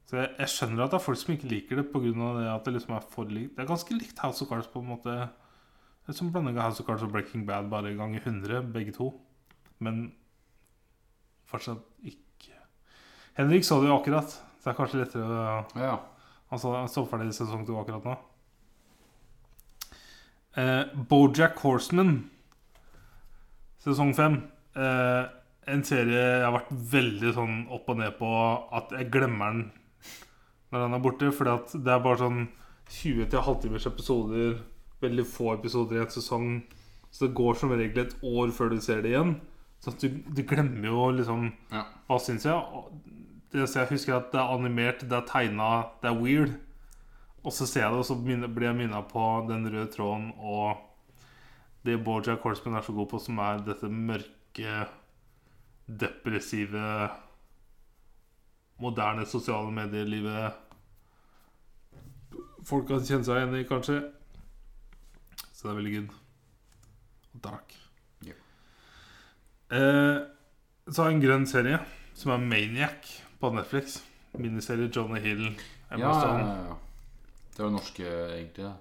Så jeg, jeg skjønner at det er folk som ikke liker det pga. det at det liksom er for likt. Det er ganske likt House of Cards på en måte. Det er som blanding av House of Cards og Breaking Bad bare ganger 100, begge to. Men fortsatt ikke Henrik så det jo akkurat, så det er kanskje lettere å ja. ja. han så, han Altså, så ferdig sesong to akkurat nå. Eh, Bojack Horseman, sesong fem. Eh, en serie jeg har vært veldig sånn opp og ned på at jeg glemmer den når den er borte. Fordi at det er bare sånn 20 halvtimers episoder, veldig få episoder i en sesong. Så det går som regel et år før du ser det igjen. Så at du, du glemmer jo liksom Ja. Hva syns jeg? Og Det eneste jeg husker er at det er animert, det er tegna, det er weird. Og så ser jeg det, og så minne- blir jeg minna på den røde tråden og det Borja Korsman er så god på, som er dette mørke, depressive, moderne sosiale medielivet folk kan kjenne seg igjen i, kanskje. Så det er veldig good. Og dark. Ja. Eh, så har jeg en grønn serie som er Maniac på Netflix. Miniserie Johnny Hill. Ja, Emma ja, Stone. ja, ja. Det var det norske, egentlig. da.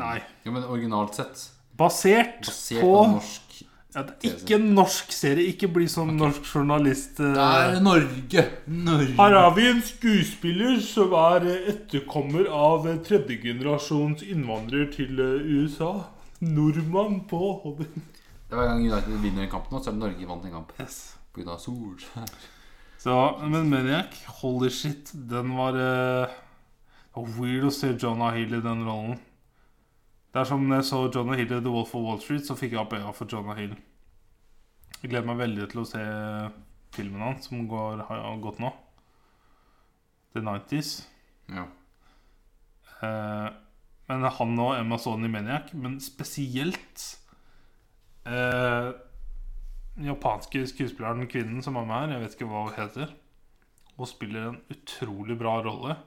Nei. Jo, men originalt sett. Basert, Basert på, på norsk ja, det er Ikke en norsk serie. Ikke bli sånn norsk journalist. eh. Det er Norge! Norge. Her har vi en skuespiller som er eh, etterkommer av eh, tredjegenerasjons innvandrer til eh, USA. Nordmann på Hollywood. Det er Hver gang United vinner en kamp nå, så er det Norge vant en kamp. Yes. På grunn av Solskjær. Så, men Maniac, holy shit, den var eh, det var weird å se Jonah Hill i den rollen. Det er som når jeg så Jonah Hill i The Wolf of Wall Street, så fikk jeg opp øya for Jonah Hill. Jeg gleder meg veldig til å se filmen hans, som går, har gått nå. The 90s. Ja. Eh, men han og Emma Stone i Maniac, men spesielt eh, den japanske skuespilleren, kvinnen som er med her, jeg vet ikke hva hun heter, hun spiller en utrolig bra rolle.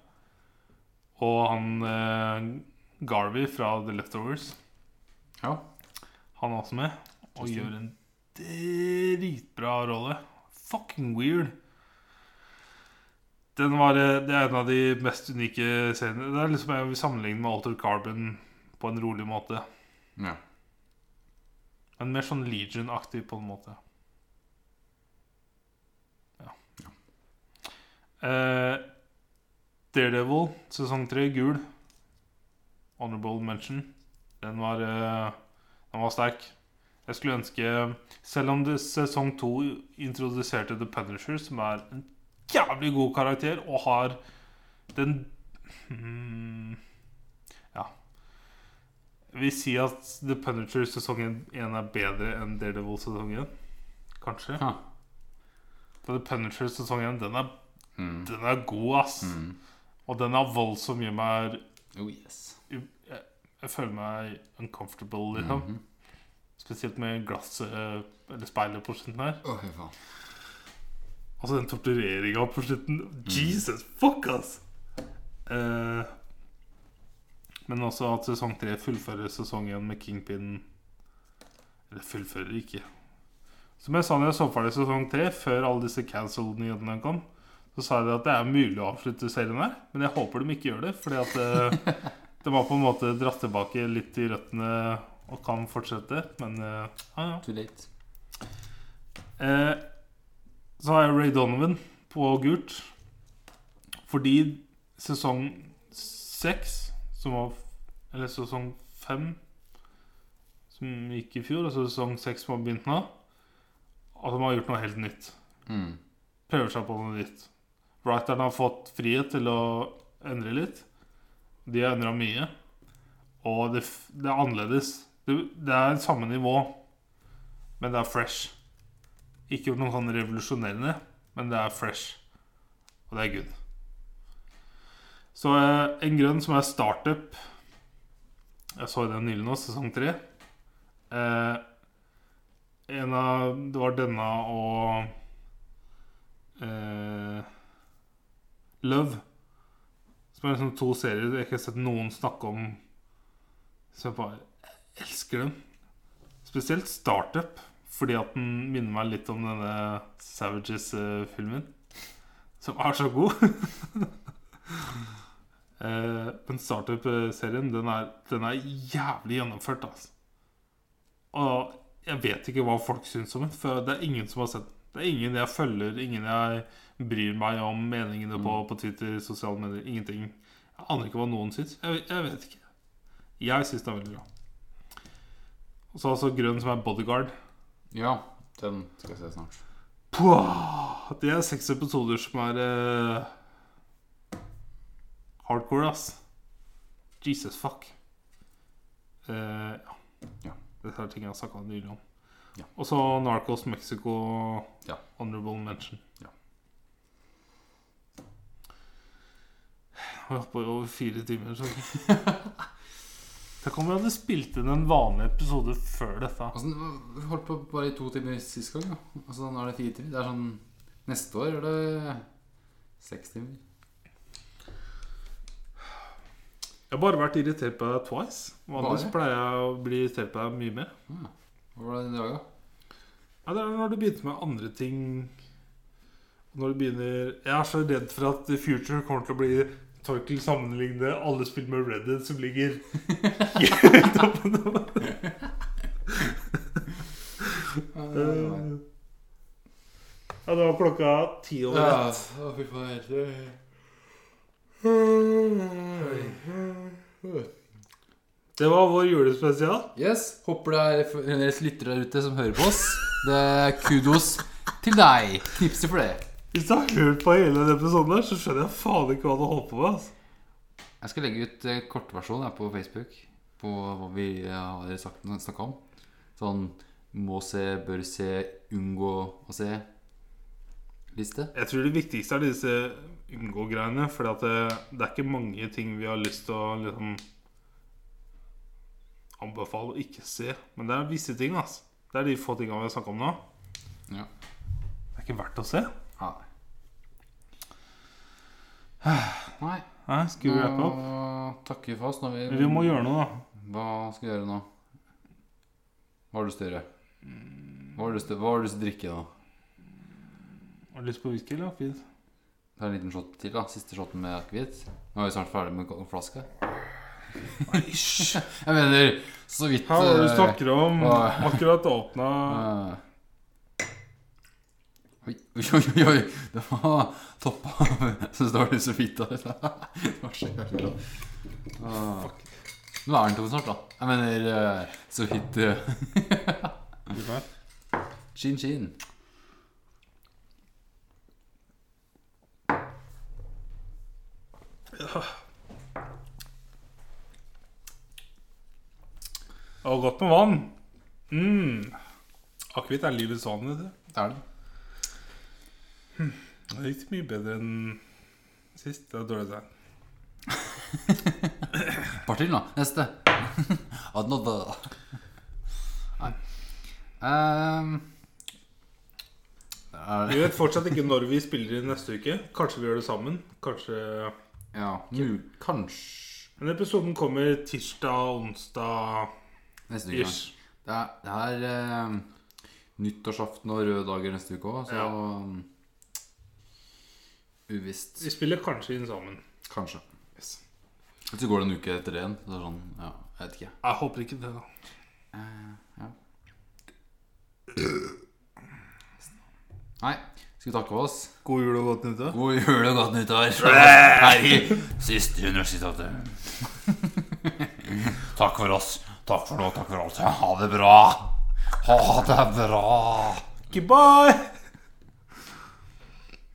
Og han eh, Garvey fra The Leftovers, ja. han er også med, og Justin. gjør en dritbra rolle. Fucking weird. Den var, eh, det er en av de mest unike seriene. Det er liksom jeg vil sammenligne med Altered Carbon på en rolig måte. ja. Men mer sånn Legion-aktig på en måte. Ja. Eh, Daredevil, sesong tre, gul. Honorable mention. Den var, eh, den var sterk. Jeg skulle ønske Selv om det, sesong to introduserte The Punisher, som er en jævlig god karakter, og har den hmm, Ja. Jeg vil si at The Punisher sesongen 1 er bedre enn Daredevil sesongen. Kanskje. Ha. For The Punisher sesongen den er, Mm. den er god, ass. Mm. Og den er vold som gjør meg Oh yes. Jeg, jeg føler meg uncomfortable, liksom. Mhm. Spesielt med glasset eh, Eller speilet på slutten her. Å, fy faen. Altså den tortureringa på slutten Jesus fuck, ass! Eh, men også at sesong tre fullfører sesongen med Kingpin Eller fullfører ikke. Som jeg sa når jeg så ferdig sesong tre, før alle disse cancel-nyhetene kom, så sa jeg at det er mulig å avslutte serien her, men jeg håper de ikke gjør det. Fordi at eh, de har på en måte dratt tilbake litt i røttene og kan fortsette, men eh, ja, ja. Too late. Eh, så har jeg Ray Donovan på gult. Fordi sesong seks, som var Eller sesong fem, som som gikk i fjor, altså sesong seks som har begynt nå, at de har gjort noe helt nytt. Mm. prøver seg på noe nytt. Writeren har fått frihet til å endre litt. De har endra mye. Og det, f- det er annerledes. Det, det er samme nivå, men det er fresh. Ikke gjort noe sånn revolusjonerende, men det er fresh. Og det er good. Så eh, en grønn som er startup Jeg så den nylig nå, sesong tre. Eh, en av Det var denne og eh, Love. Som er liksom to serier jeg ikke har sett noen snakke om. Så jeg bare elsker dem. Spesielt Startup, fordi at den minner meg litt om denne Savages-filmen. Som er så god. eh, men Startup-serien, den, er- den er jævlig gjennomført, altså. Og jeg vet ikke hva folk syns om den, for det er ingen som har sett den. Det er ingen jeg følger, ingen jeg bryr meg om meningene på på Twitter, sosiale medier. Ingenting. Jeg aner ikke hva noen syns. Jeg, vet- jeg vet ikke. Jeg syns den er veldig bra. Og så altså grønn som er bodyguard. Ja, den skal jeg se snart. Pua! Det er seks episoder som er eh, hardcore, ass. Jesus fuck. Eh, ja. Ja. Dette er ting jeg har snakka nylig om. Ja. Og så Narcos Mexico, Ja. honorable mention. Ja. Vi hoppa jo over fire timer, så Tenk om vi hadde spilt inn en vanlig episode før dette. Altså, vi holdt på bare i to timer sist gang. Da. Altså, nå er det fire timer. Det er sånn Neste år er det seks timer. Jeg har bare vært irritert på deg twice. Vanligvis Bare? pleier jeg å bli irritert på deg mye mer. Hva var det i dag, da? Ja, det er når du begynte med andre ting og Når du begynner Jeg er så redd for at The Future kommer til å bli Torkel sammenligne alle spill med Red Dead som ligger helt oppe nå. Ja, det var klokka ti over ett. å, fy faen. Det var vår julespesial. Yes. Håper det er fremdeles lyttere der ute som hører på oss. Det er kudos til deg. Knipser for det. Hvis du har hørt på hele denne episoden, her, så skjønner jeg faen ikke hva du holdt på med. Altså. Jeg skal legge ut eh, kortversjon her på Facebook på hva vi eh, har sagt- snakket om. Sånn må se, bør se, unngå å se liste. Jeg tror det viktigste er disse unngå-greiene. For det, det er ikke mange ting vi har lyst til å liksom anbefale å ikke se. Men det er visse ting. altså Det er de få tinga vi har snakka om nå. Ja. Det er ikke verdt å se. Ja. Nei. Nei, skal vi wrappe opp? nå takker vi for oss. Når vi, Vi må gjøre noe, da. Hva skal vi gjøre nå? Hva har du lyst til å gjøre? Hva har du lyst til, hva har du lyst til å drikke nå? Har du lyst på whisky eller akevitt? Ta en liten shot til, da. Siste shoten med akevitt. Nå er vi snart ferdig med flaska. Æsj! Jeg mener, så vidt Her var det du eh, snakker om. Nei. Akkurat åpna Eh. Oi, oi, oi, oi! Det var toppa. Jeg syns det var litt så fint. Da. Det var så jævlig bra. Ah. Nå er den tom snart, da. Jeg mener, eh, så vidt eh, Chin chin. Og godt med vann. Mm. Akevitt er livets vann, vet du. Det er den. Det gikk mye bedre enn sist. Det er dårlig tegn. Par til, da. Neste. Another. Nei. Ehm. det er Vi vet fortsatt ikke når vi spiller inn neste uke. Kanskje vi gjør det sammen. Kanskje Ja, mul kanskje Men episoden kommer tirsdag, onsdag neste uke. kanskje. ish. Det er, det er eh, nyttårsaften og røde dager neste uke òg, så Ja. um, Uvisst. Vi spiller kanskje inn sammen. Kanskje. Og Så går det en uke etter det igjen. Så det er sånn, ja, jeg vet ikke. Jeg håper ikke det, da. Nei, skal vi takke for oss? God jul og godt nyttår. God jul og godt nyttår! Her i siste universitetet. Takk for oss. Takk for nå, takk for alt. Ha det bra! Ha det bra! Goodbye!